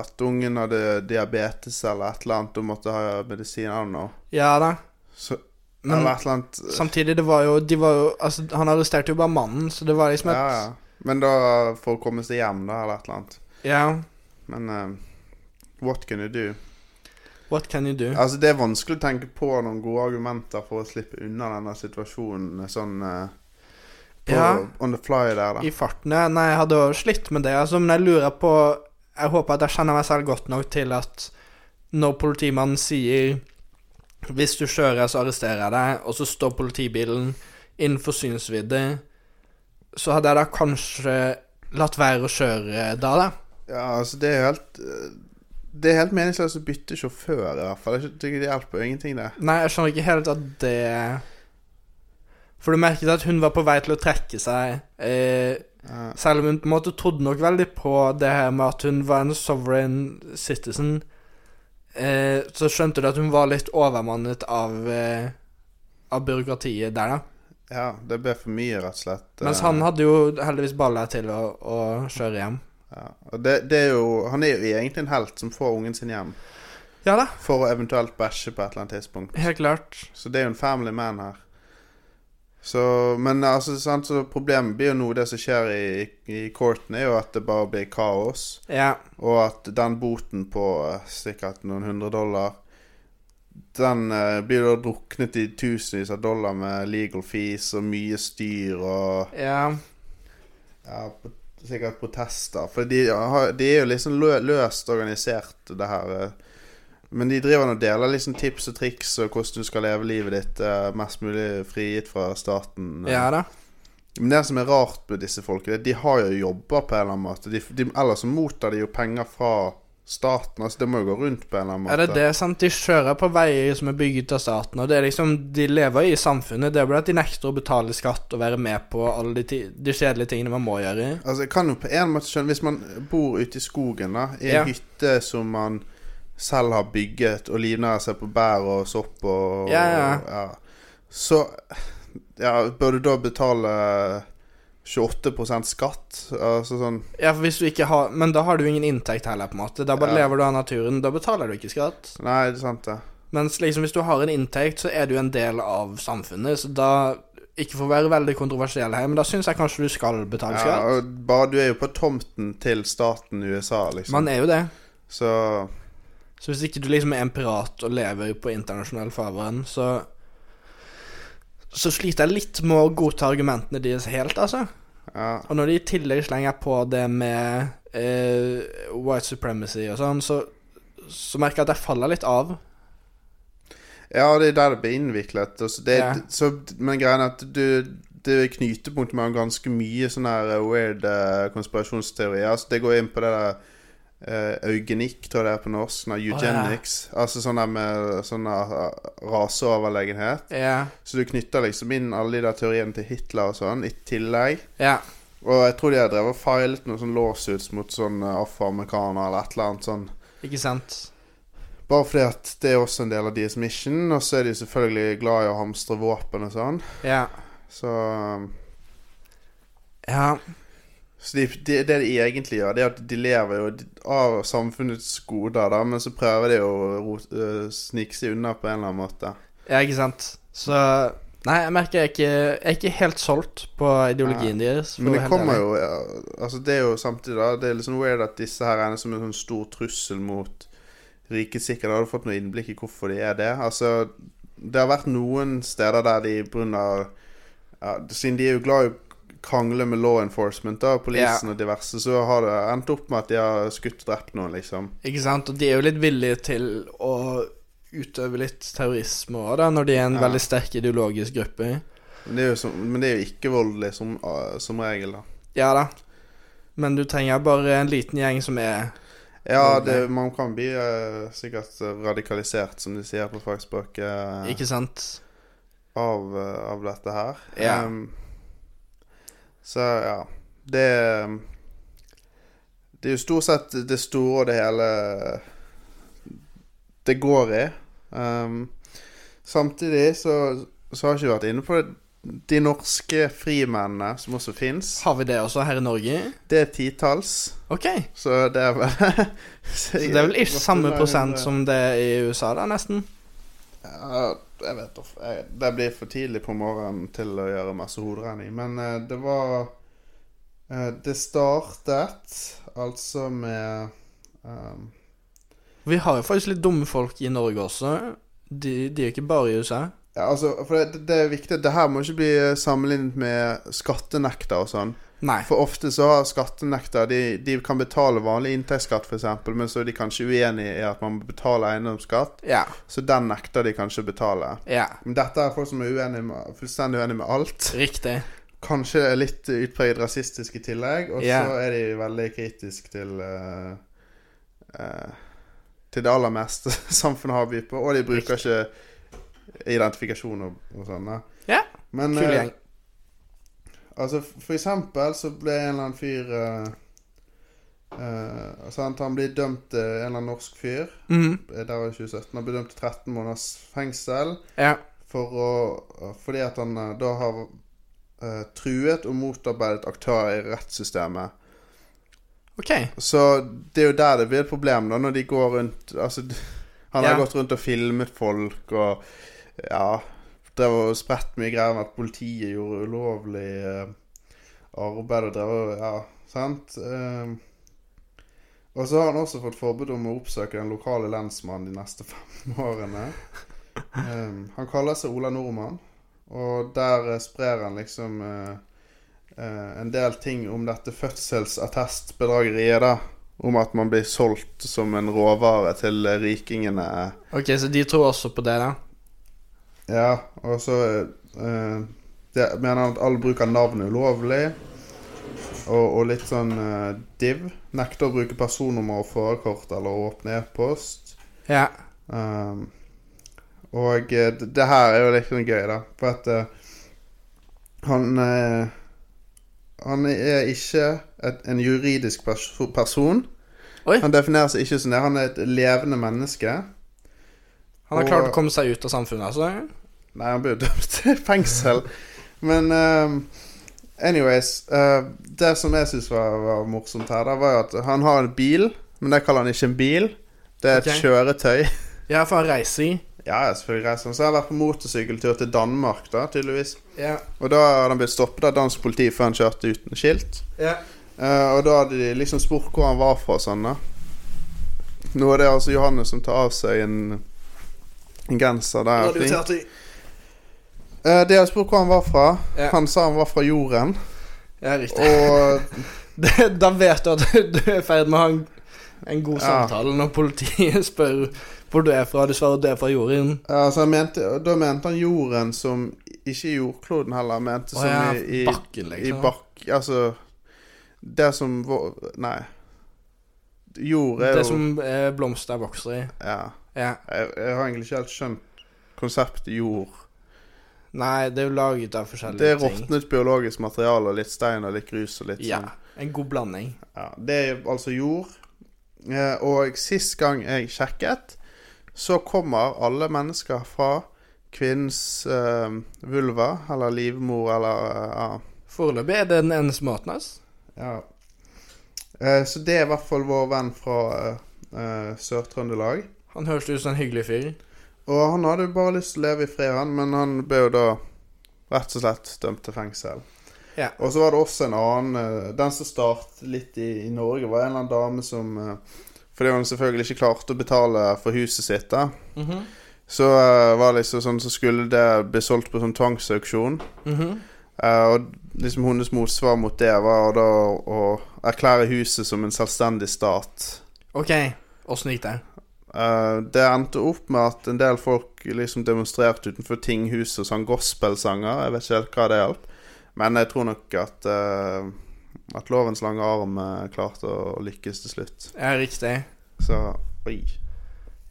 [SPEAKER 3] At ungen hadde diabetes eller et eller annet og måtte ha medisin eller noe.
[SPEAKER 2] Ja da.
[SPEAKER 3] Så,
[SPEAKER 2] Men-
[SPEAKER 3] eller et eller annet eh,
[SPEAKER 2] Samtidig, det var jo De var jo Altså, han arresterte jo bare mannen, så det var liksom
[SPEAKER 3] ja,
[SPEAKER 2] et
[SPEAKER 3] ja. Men da for å komme seg hjem, da, eller et eller annet.
[SPEAKER 2] ja.
[SPEAKER 3] Men eh, what can you do?
[SPEAKER 2] What can you do?
[SPEAKER 3] Altså, det er vanskelig å tenke på noen gode argumenter for å slippe unna denne situasjonen sånn eh, på,
[SPEAKER 2] Ja.
[SPEAKER 3] on the fly der, da.
[SPEAKER 2] I farten, ja. Nei, jeg hadde jo slitt med det, altså, men jeg lurer på Jeg håper at jeg kjenner meg selv godt nok til at når politimannen sier 'Hvis du kjører, så arresterer jeg deg', og så står politibilen innenfor synsvidde, så hadde jeg da kanskje latt være å kjøre da, da.
[SPEAKER 3] Ja, altså, det er helt eh, Det er helt meningsløst å bytte sjåfør, i hvert fall. Jeg tykker Det hjelper jo ingenting, det.
[SPEAKER 2] Nei, jeg skjønner ikke helt at det For du merket at hun var på vei til å trekke seg. Eh,
[SPEAKER 3] Ja.
[SPEAKER 2] selv om hun på en måte trodde nok veldig på det her med at hun var en sovereign citizen. Eh, så skjønte du at hun var litt overmannet av, eh, av byråkratiet der, da.
[SPEAKER 3] Ja, det ble for mye, rett og slett.
[SPEAKER 2] Mens
[SPEAKER 3] Eh,
[SPEAKER 2] han hadde jo heldigvis baller til å, å kjøre hjem.
[SPEAKER 3] Eh, ja. Og det, det er jo Han er jo egentlig en helt som får ungen sin hjem.
[SPEAKER 2] Ja da,
[SPEAKER 3] For å eventuelt bæsje på et eller annet tidspunkt.
[SPEAKER 2] helt klart.
[SPEAKER 3] Så det er jo en family man her. Så, men altså, sant, så problemet blir jo nå det som skjer i, i courten, er jo at det bare blir kaos.
[SPEAKER 2] Ja.
[SPEAKER 3] Og at den boten på eh, sikkert noen hundre dollar Den eh, blir da druknet i tusenvis av dollar med legal fees og mye styr og
[SPEAKER 2] ja.
[SPEAKER 3] ja, p- sikkert protester. For de, har, de er jo liksom lø, løst organisert, det her. eh. Men de driver nå og deler liksom tips og triks og hvordan du skal leve livet ditt eh, mest mulig frigitt fra staten. eh.
[SPEAKER 2] Ja da.
[SPEAKER 3] Men det som er rart med disse folkene, de har jo jobber på en eller annen måte. De, de, ellers så mottar de jo penger fra staten. Altså, det må jo gå rundt på en eller annen måte.
[SPEAKER 2] Er det det, sant? De kjører på veier som er bygget av staten, og det er liksom De lever i samfunnet. Det er bare at de nekter å betale skatt og være med på alle de, ti- de kjedelige tingene man må gjøre.
[SPEAKER 3] Altså, jeg kan jo på en måte skjønne Hvis man bor ute i skogen, da, i en
[SPEAKER 2] Ja.
[SPEAKER 3] hytte som man selv har bygget, og livnærer seg på bær og sopp og
[SPEAKER 2] Ja, ja.
[SPEAKER 3] ja. Så ja, bør du da betale 28 skatt? Altså sånn
[SPEAKER 2] Ja, for hvis du ikke har Men da har du ingen inntekt heller, på en måte. Da bare
[SPEAKER 3] Ja.
[SPEAKER 2] lever du av naturen. Da betaler du ikke skatt.
[SPEAKER 3] Nei, det er sant, det.
[SPEAKER 2] Mens liksom hvis du har en inntekt, så er du en del av samfunnet, så da Ikke for å være veldig kontroversiell her, men da syns jeg kanskje du skal betale
[SPEAKER 3] Ja,
[SPEAKER 2] skatt.
[SPEAKER 3] og bare du er jo på tomten til staten USA, liksom.
[SPEAKER 2] Man er jo det.
[SPEAKER 3] Så
[SPEAKER 2] Så hvis ikke du liksom er en pirat og lever på internasjonal farvann, så Så sliter jeg litt med å godta argumentene deres helt, altså.
[SPEAKER 3] ja.
[SPEAKER 2] Og når de i tillegg slenger på det med eh, white supremacy og sånn, så, så merker jeg at jeg faller litt av.
[SPEAKER 3] Ja, det er der det blir innviklet. og så det,
[SPEAKER 2] Ja.
[SPEAKER 3] så, men greia er at du, det er knutepunkt mellom ganske mye sånne her eh, weird eh, konspirasjonsteorier. Altså, det går inn på det der eh, eugenikk, tror jeg det er på norsk. Sånn her eugenics. Altså sånn der med sånn der, eh, raseoverlegenhet.
[SPEAKER 2] Ja.
[SPEAKER 3] Så du knytter liksom inn alle de der teoriene til Hitler og sånn, i tillegg.
[SPEAKER 2] ja.
[SPEAKER 3] Og jeg tror de har drevet og feilet noen sånn lawsuits mot sånn eh, afroamerikanere eller et eller annet sånn.
[SPEAKER 2] Ikke sant?
[SPEAKER 3] Bare fordi at det er også en del av deres mission, og så er de selvfølgelig glad i å hamstre våpen og sånn.
[SPEAKER 2] Ja.
[SPEAKER 3] Så, um,
[SPEAKER 2] Ja.
[SPEAKER 3] så de, de, det de egentlig gjør, det er at de lever jo av samfunnets goder, da, men så prøver de å ro- øh, snike seg unna på en eller annen måte.
[SPEAKER 2] Ja, ikke sant. Så Nei, jeg merker jeg ikke Jeg er ikke helt solgt på ideologien deres. for
[SPEAKER 3] Men
[SPEAKER 2] å
[SPEAKER 3] det
[SPEAKER 2] være helt
[SPEAKER 3] kommer
[SPEAKER 2] ærlig.
[SPEAKER 3] jo ja, Altså, det er jo samtidig, da Det er litt sånn weird at disse her er som en sånn stor trussel mot rikets sikkerhet. Har du fått noe innblikk i hvorfor de er det? Altså, det har vært noen steder der de pga. Ja, siden de er jo glad i å krangle med law enforcement, da, polisen og diverse, så har det endt opp med at de har skutt og drept noen, liksom.
[SPEAKER 2] Ikke sant, og de er jo litt villige til å utøve litt terrorisme òg, da, når de er en
[SPEAKER 3] Ja.
[SPEAKER 2] veldig sterk ideologisk gruppe.
[SPEAKER 3] Men det er jo, som, men det er jo ikke voldelig som, ah, som regel, da.
[SPEAKER 2] Ja da. Men du trenger bare en liten gjeng som er
[SPEAKER 3] Ja,
[SPEAKER 2] Voldelig.
[SPEAKER 3] det, man kan bli eh, sikkert eh, radikalisert, som de sier på fagspråket. eh,
[SPEAKER 2] Ikke sant?
[SPEAKER 3] av, eh, av dette her.
[SPEAKER 2] Ja.
[SPEAKER 3] Ehm, så ja. Det Det er jo stort sett det store og det hele det går i. Ehm, samtidig så, så har jeg ikke vært inne på det. De norske frimennene som også fins.
[SPEAKER 2] Har vi det også her i Norge?
[SPEAKER 3] Det er titalls,
[SPEAKER 2] OK.
[SPEAKER 3] så det er vel [LAUGHS] Så
[SPEAKER 2] Så det er vel ikke samme prosent som det er i USA, da, nesten?
[SPEAKER 3] Ja, jeg vet da f- jeg- Det blir for tidlig på morgenen til å gjøre masse hoderegning. Men eh, det var eh, Det startet altså med ehm,
[SPEAKER 2] Vi har jo faktisk litt dumme folk i Norge også. De, de er jo ikke bare i USA.
[SPEAKER 3] Ja, altså, for det, det er viktig at det her må ikke bli eh, sammenlignet med skattenekter og sånn.
[SPEAKER 2] Nei.
[SPEAKER 3] For ofte så har skattenekter De, de kan betale vanlig inntektsskatt, f.eks., men så er de kanskje uenige i at man må betale eiendomsskatt,
[SPEAKER 2] Ja.
[SPEAKER 3] så den nekter de kanskje å betale.
[SPEAKER 2] Ja.
[SPEAKER 3] Men dette er folk som er uenige med, fullstendig uenige med alt.
[SPEAKER 2] Riktig.
[SPEAKER 3] Kanskje er litt utpreget rasistisk i tillegg, og
[SPEAKER 2] Ja.
[SPEAKER 3] så er de veldig kritisk til eh, eh, Til det aller meste [LAUGHS] samfunnet har å by på, og de bruker ikke identifikasjon og, og sånn. da.
[SPEAKER 2] Ja.
[SPEAKER 3] Men
[SPEAKER 2] Kul
[SPEAKER 3] eh,
[SPEAKER 2] gjeng.
[SPEAKER 3] altså, f- for eksempel så ble en eller annen fyr eh, eh, sant? Han blir dømt, eh, en eller annen norsk fyr,
[SPEAKER 2] Mhm.
[SPEAKER 3] eh, der var det 2017, han ble dømt til 13 måneders fengsel
[SPEAKER 2] Ja.
[SPEAKER 3] for å, fordi at han eh, da har eh, truet og motarbeidet aktører i rettssystemet.
[SPEAKER 2] OK.
[SPEAKER 3] Så det er jo der det blir et problem, da, når de går rundt Altså, d- han har
[SPEAKER 2] Ja.
[SPEAKER 3] gått rundt og filmet folk og Ja. Drev og spredt mye greier om at politiet gjorde ulovlig eh, arbeid og drev og Ja, sant? Eh, og så har han også fått forbud om å oppsøke den lokale lensmannen de neste [LAUGHS] fem årene. Eh, han kaller seg Ola Nordmann, og der eh, sprer han liksom eh, eh, en del ting om dette fødselsattestbedrageriet, da. Om at man blir solgt som en råvare til eh, rikingene.
[SPEAKER 2] Ok, Så de tror også på det, da?
[SPEAKER 3] Ja, og så eh, det, mener han at all bruk av navn er ulovlig. Og, og litt sånn eh, div. Nekter å bruke personnummer og førerkort eller åpne e-post.
[SPEAKER 2] Ja.
[SPEAKER 3] Um, og eh, d- det her er jo litt sånn gøy, da. For at eh, han eh, Han er ikke et, en juridisk perso person.
[SPEAKER 2] Oi.
[SPEAKER 3] Han definerer seg ikke som det. Han er et levende menneske.
[SPEAKER 2] Han har
[SPEAKER 3] Og-
[SPEAKER 2] klart å komme seg ut av samfunnet, altså?
[SPEAKER 3] Nei, han ble jo dømt til fengsel. Men ehm, anyways eh, Det som jeg syns var, var morsomt her, da, var jo at han har en bil, men det kaller han ikke en bil. Det er et
[SPEAKER 2] Ok.
[SPEAKER 3] kjøretøy.
[SPEAKER 2] Ja, for han reiser i.
[SPEAKER 3] Ja, ja, selvfølgelig reiser han. Så har jeg vært på motorsykkeltur til Danmark, da, tydeligvis.
[SPEAKER 2] Ja.
[SPEAKER 3] Og da hadde han blitt stoppet av dansk politi før han kjørte uten skilt.
[SPEAKER 2] Ja.
[SPEAKER 3] Eh, og da hadde de liksom spurt hvor han var fra og sånn, da. Nå er det altså Johannes som tar av seg en, en genser der. Fint. Eh, de hadde spurt hvor han var fra.
[SPEAKER 2] Ja.
[SPEAKER 3] Han sa han var fra jorden.
[SPEAKER 2] Ja, riktig.
[SPEAKER 3] Og
[SPEAKER 2] [LAUGHS] Det- Da vet du at du er i ferd med å ha en, en god
[SPEAKER 3] Ja.
[SPEAKER 2] samtale når politiet [LAUGHS] spør hvor du er fra. Du svarer du er fra jorden.
[SPEAKER 3] altså, han mente, og da mente han jorden som Ikke jordkloden heller, han mente
[SPEAKER 2] Å
[SPEAKER 3] som
[SPEAKER 2] ja,
[SPEAKER 3] i, i
[SPEAKER 2] bakken, liksom.
[SPEAKER 3] I bakk... Altså Det som vår Nei. Jord er
[SPEAKER 2] Det
[SPEAKER 3] jo
[SPEAKER 2] som eh, blomster vokser i.
[SPEAKER 3] Ja.
[SPEAKER 2] Ja.
[SPEAKER 3] Jeg, jeg har egentlig ikke helt skjønt konseptet jord.
[SPEAKER 2] Nei, det er jo laget av forskjellige
[SPEAKER 3] Det er
[SPEAKER 2] ting.
[SPEAKER 3] råtnet biologisk materiale, og litt stein og litt grus og litt
[SPEAKER 2] Ja.
[SPEAKER 3] sånn.
[SPEAKER 2] En god blanding.
[SPEAKER 3] Ja, det er altså jord. Eh, Og sist gang jeg sjekket, så kommer alle mennesker fra kvinnens eh, vulva, eller livmor, eller eh, ja.
[SPEAKER 2] Foreløpig er det den eneste måten, ass.
[SPEAKER 3] ja. Eh, Så det er i hvert fall vår venn fra eh, eh, Sør-Trøndelag.
[SPEAKER 2] Han høres ut som en hyggelig fyr.
[SPEAKER 3] Og han hadde jo bare lyst til å leve i fred, han, men han ble jo da rett og slett dømt til fengsel.
[SPEAKER 2] Ja.
[SPEAKER 3] Og så var det også en annen eh, Den som startet litt i, i Norge, var en eller annen dame som eh, Fordi hun selvfølgelig ikke klarte å betale for huset sitt, da.
[SPEAKER 2] Mhm.
[SPEAKER 3] Så eh, var det liksom sånn så skulle det bli solgt på sånn tvangsauksjon.
[SPEAKER 2] Mhm.
[SPEAKER 3] Eh, og liksom hennes motsvar mot det var da å erklære huset som en selvstendig stat.
[SPEAKER 2] Ok, åssen gikk det?
[SPEAKER 3] Eh, det endte opp med at en del folk liksom demonstrerte utenfor tinghuset og sang gospelsanger. Jeg vet ikke helt hva det hjalp, men jeg tror nok at eh, At lovens lange arm eh, klarte å lykkes til slutt.
[SPEAKER 2] Ja, riktig.
[SPEAKER 3] Så oi.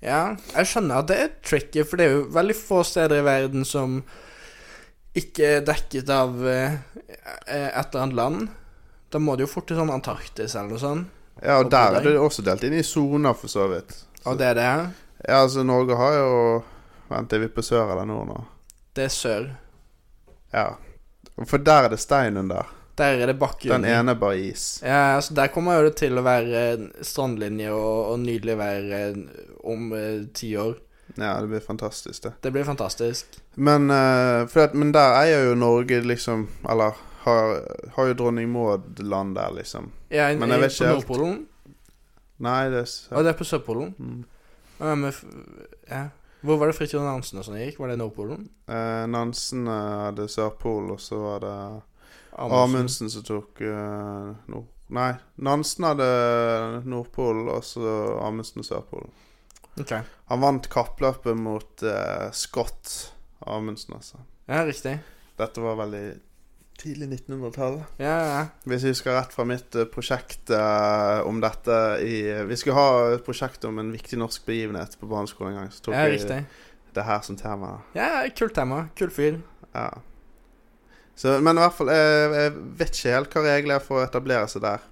[SPEAKER 2] Ja, jeg skjønner at det er tricky, for det er jo veldig få steder i verden som ikke er dekket av eh, eh, et eller annet land. Da må det jo fort til sånn Antarktis eller noe sånt.
[SPEAKER 3] Ja, og
[SPEAKER 2] Oppå
[SPEAKER 3] der er
[SPEAKER 2] deg.
[SPEAKER 3] det også delt inn i soner, for så vidt.
[SPEAKER 2] Og det er det her.
[SPEAKER 3] Ja, altså, Norge har jo Vent, er vi på sør eller nord nå?
[SPEAKER 2] Det er sør.
[SPEAKER 3] Ja. For der er det stein under.
[SPEAKER 2] Der er det bakken.
[SPEAKER 3] Den ene er bare is.
[SPEAKER 2] Ja, altså der kommer jo det til å være eh, strandlinje og, og nydelig vær eh, om eh, ti år.
[SPEAKER 3] Ja, det blir fantastisk, det.
[SPEAKER 2] Det blir fantastisk.
[SPEAKER 3] Men, eh, for at, men der eier jo Norge liksom Eller har, har jo dronning Maud land der, liksom.
[SPEAKER 2] Ja,
[SPEAKER 3] Men jeg
[SPEAKER 2] i- på
[SPEAKER 3] vet ikke helt.
[SPEAKER 2] Nordpolen.
[SPEAKER 3] Nei, det er s-
[SPEAKER 2] Og det er på Sørpolen.
[SPEAKER 3] Mm.
[SPEAKER 2] Ja, men f- ja. Hvor var det Fridtjof Nansen og sånn gikk? Var det Nordpolen?
[SPEAKER 3] Eh, Nansen eh, hadde Sørpol, og så var det Amundsen som tok eh, Nord... Nei, Nansen hadde Nordpolen, og så Amundsen og Sørpolen.
[SPEAKER 2] Ok.
[SPEAKER 3] Han vant kappløpet mot eh, Scott Amundsen, altså.
[SPEAKER 2] Ja, riktig.
[SPEAKER 3] Dette var veldig tidlig 1900-tall.
[SPEAKER 2] Ja, ja.
[SPEAKER 3] Hvis jeg husker rett fra mitt eh, prosjekt eh, om dette i Vi skulle ha et prosjekt om en viktig norsk begivenhet på barneskolen en gang. Så tok
[SPEAKER 2] ja
[SPEAKER 3] vi
[SPEAKER 2] riktig.
[SPEAKER 3] det her som tema.
[SPEAKER 2] Ja, ja, kult tema. Kul fyr.
[SPEAKER 3] Ja. Så, men i hvert fall, jeg, jeg vet ikke helt hva regler er for å etablere seg der.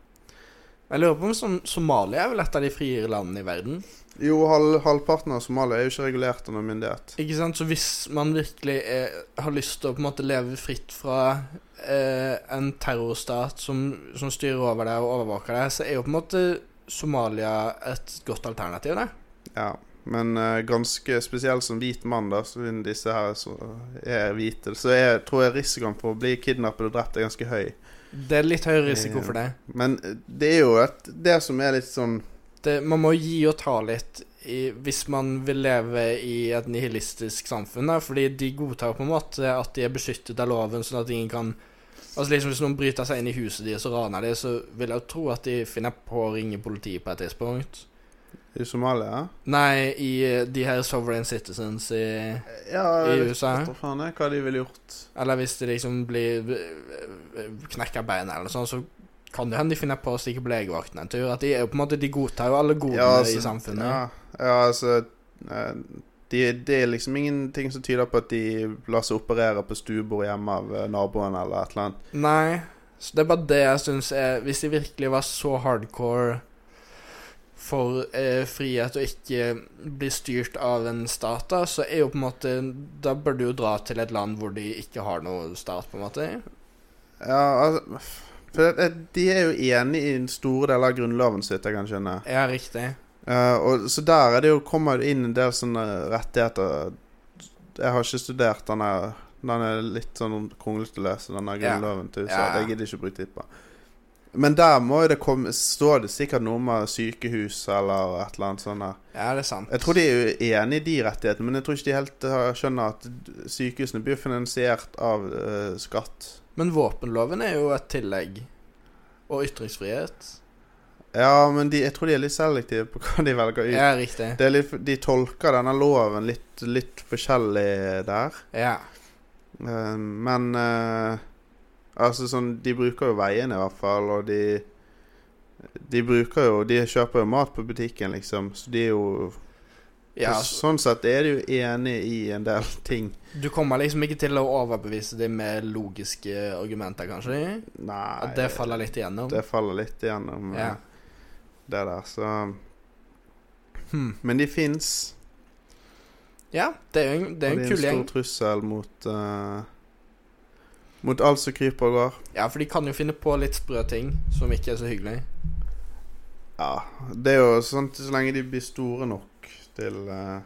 [SPEAKER 2] Jeg lurer på om som Somalia er vel et av de friere landene i verden.
[SPEAKER 3] Jo, halv, halvparten av Somalia er jo ikke regulert av noen myndighet.
[SPEAKER 2] Ikke sant? Så hvis man virkelig eh, har lyst til å på en måte leve fritt fra eh, en terrorstat som, som styrer over deg og overvåker deg, så er jo på en måte Somalia et godt alternativ, da.
[SPEAKER 3] Ja, Men eh, ganske spesielt som hvit mann, da, siden disse her så er hvite, så jeg tror jeg risikoen for å bli kidnappet og drept er ganske høy.
[SPEAKER 2] Det er litt høy risiko
[SPEAKER 3] Ja.
[SPEAKER 2] for det.
[SPEAKER 3] Men eh, det er jo et, det som er litt sånn
[SPEAKER 2] det. eh, Man må gi og ta litt i, hvis man vil leve i et nihilistisk samfunn, da, fordi de godtar på en måte at de er beskyttet av loven, sånn at ingen kan Altså liksom Hvis noen bryter seg inn i huset deres og raner dem, så vil jeg jo tro at de finner på å ringe politiet på et tidspunkt.
[SPEAKER 3] i Somalia.
[SPEAKER 2] Nei, i eh, de her sovereign citizens eh, i
[SPEAKER 3] Ja,
[SPEAKER 2] I
[SPEAKER 3] jeg vet
[SPEAKER 2] USA.
[SPEAKER 3] ikke faen jeg, hva de ville gjort.
[SPEAKER 2] Eller hvis de liksom blir eh, eh, knekker beina eller sånn, så kan det hende de finner på å stikke på legevakten en tur. At de er jo på en måte De godtar jo alle godene i samfunnet.
[SPEAKER 3] altså, Ja, ja altså eh, de, Det er liksom ingenting som tyder på at de lar seg operere på stuebord hjemme av eh, naboen eller et eller annet.
[SPEAKER 2] Nei. Så det er bare det jeg syns er Hvis de virkelig var så hardcore for eh, frihet og ikke bli styrt av en stat, da, så er jo på en måte Da bør du jo dra til et land hvor de ikke har noe stat, på en måte.
[SPEAKER 3] Ja, altså for det, De er jo enig i store deler av grunnloven sitt, jeg kan skjønne.
[SPEAKER 2] Ja, riktig.
[SPEAKER 3] Eh, og, så der er det jo, kommer det inn en del sånne rettigheter Jeg har ikke studert denne Den er litt sånn kronglete å lese, denne
[SPEAKER 2] Ja.
[SPEAKER 3] grunnloven til USA.
[SPEAKER 2] Ja.
[SPEAKER 3] Jeg gidder ikke å bruke tid på den. Men der må jo det komme står det sikkert noe om sykehus eller et eller annet sånt. der.
[SPEAKER 2] Ja, det er sant.
[SPEAKER 3] Jeg tror de er jo enig i de rettighetene, men jeg tror ikke de helt eh, skjønner at sykehusene blir finansiert av eh, skatt.
[SPEAKER 2] Men våpenloven er jo et tillegg. Og ytringsfrihet.
[SPEAKER 3] Ja, men de, jeg tror de er litt selektive på hva de velger ut.
[SPEAKER 2] Ja, riktig.
[SPEAKER 3] Det er litt, de tolker denne loven litt, litt forskjellig der.
[SPEAKER 2] Ja.
[SPEAKER 3] Eh, Men eh, Altså sånn De bruker jo veiene i hvert fall, og de De bruker jo De kjøper jo mat på butikken, liksom, så de er jo
[SPEAKER 2] ja
[SPEAKER 3] så-
[SPEAKER 2] så
[SPEAKER 3] Sånn sett er de jo enig i en del ting.
[SPEAKER 2] du kommer liksom ikke til å overbevise dem med logiske argumenter, kanskje?
[SPEAKER 3] Nei
[SPEAKER 2] At det faller litt igjennom?
[SPEAKER 3] det faller litt igjennom eh,
[SPEAKER 2] Ja.
[SPEAKER 3] det der, så
[SPEAKER 2] Hmm.
[SPEAKER 3] Men de fins.
[SPEAKER 2] Ja, det er jo en, det er
[SPEAKER 3] og
[SPEAKER 2] en
[SPEAKER 3] de er
[SPEAKER 2] kul
[SPEAKER 3] en
[SPEAKER 2] gjeng.
[SPEAKER 3] stor trussel mot eh, Mot alt som kryper og går.
[SPEAKER 2] Ja, for de kan jo finne på litt sprø ting som ikke er så hyggelig.
[SPEAKER 3] Ja, det er jo sånn så lenge de blir store nok til eh,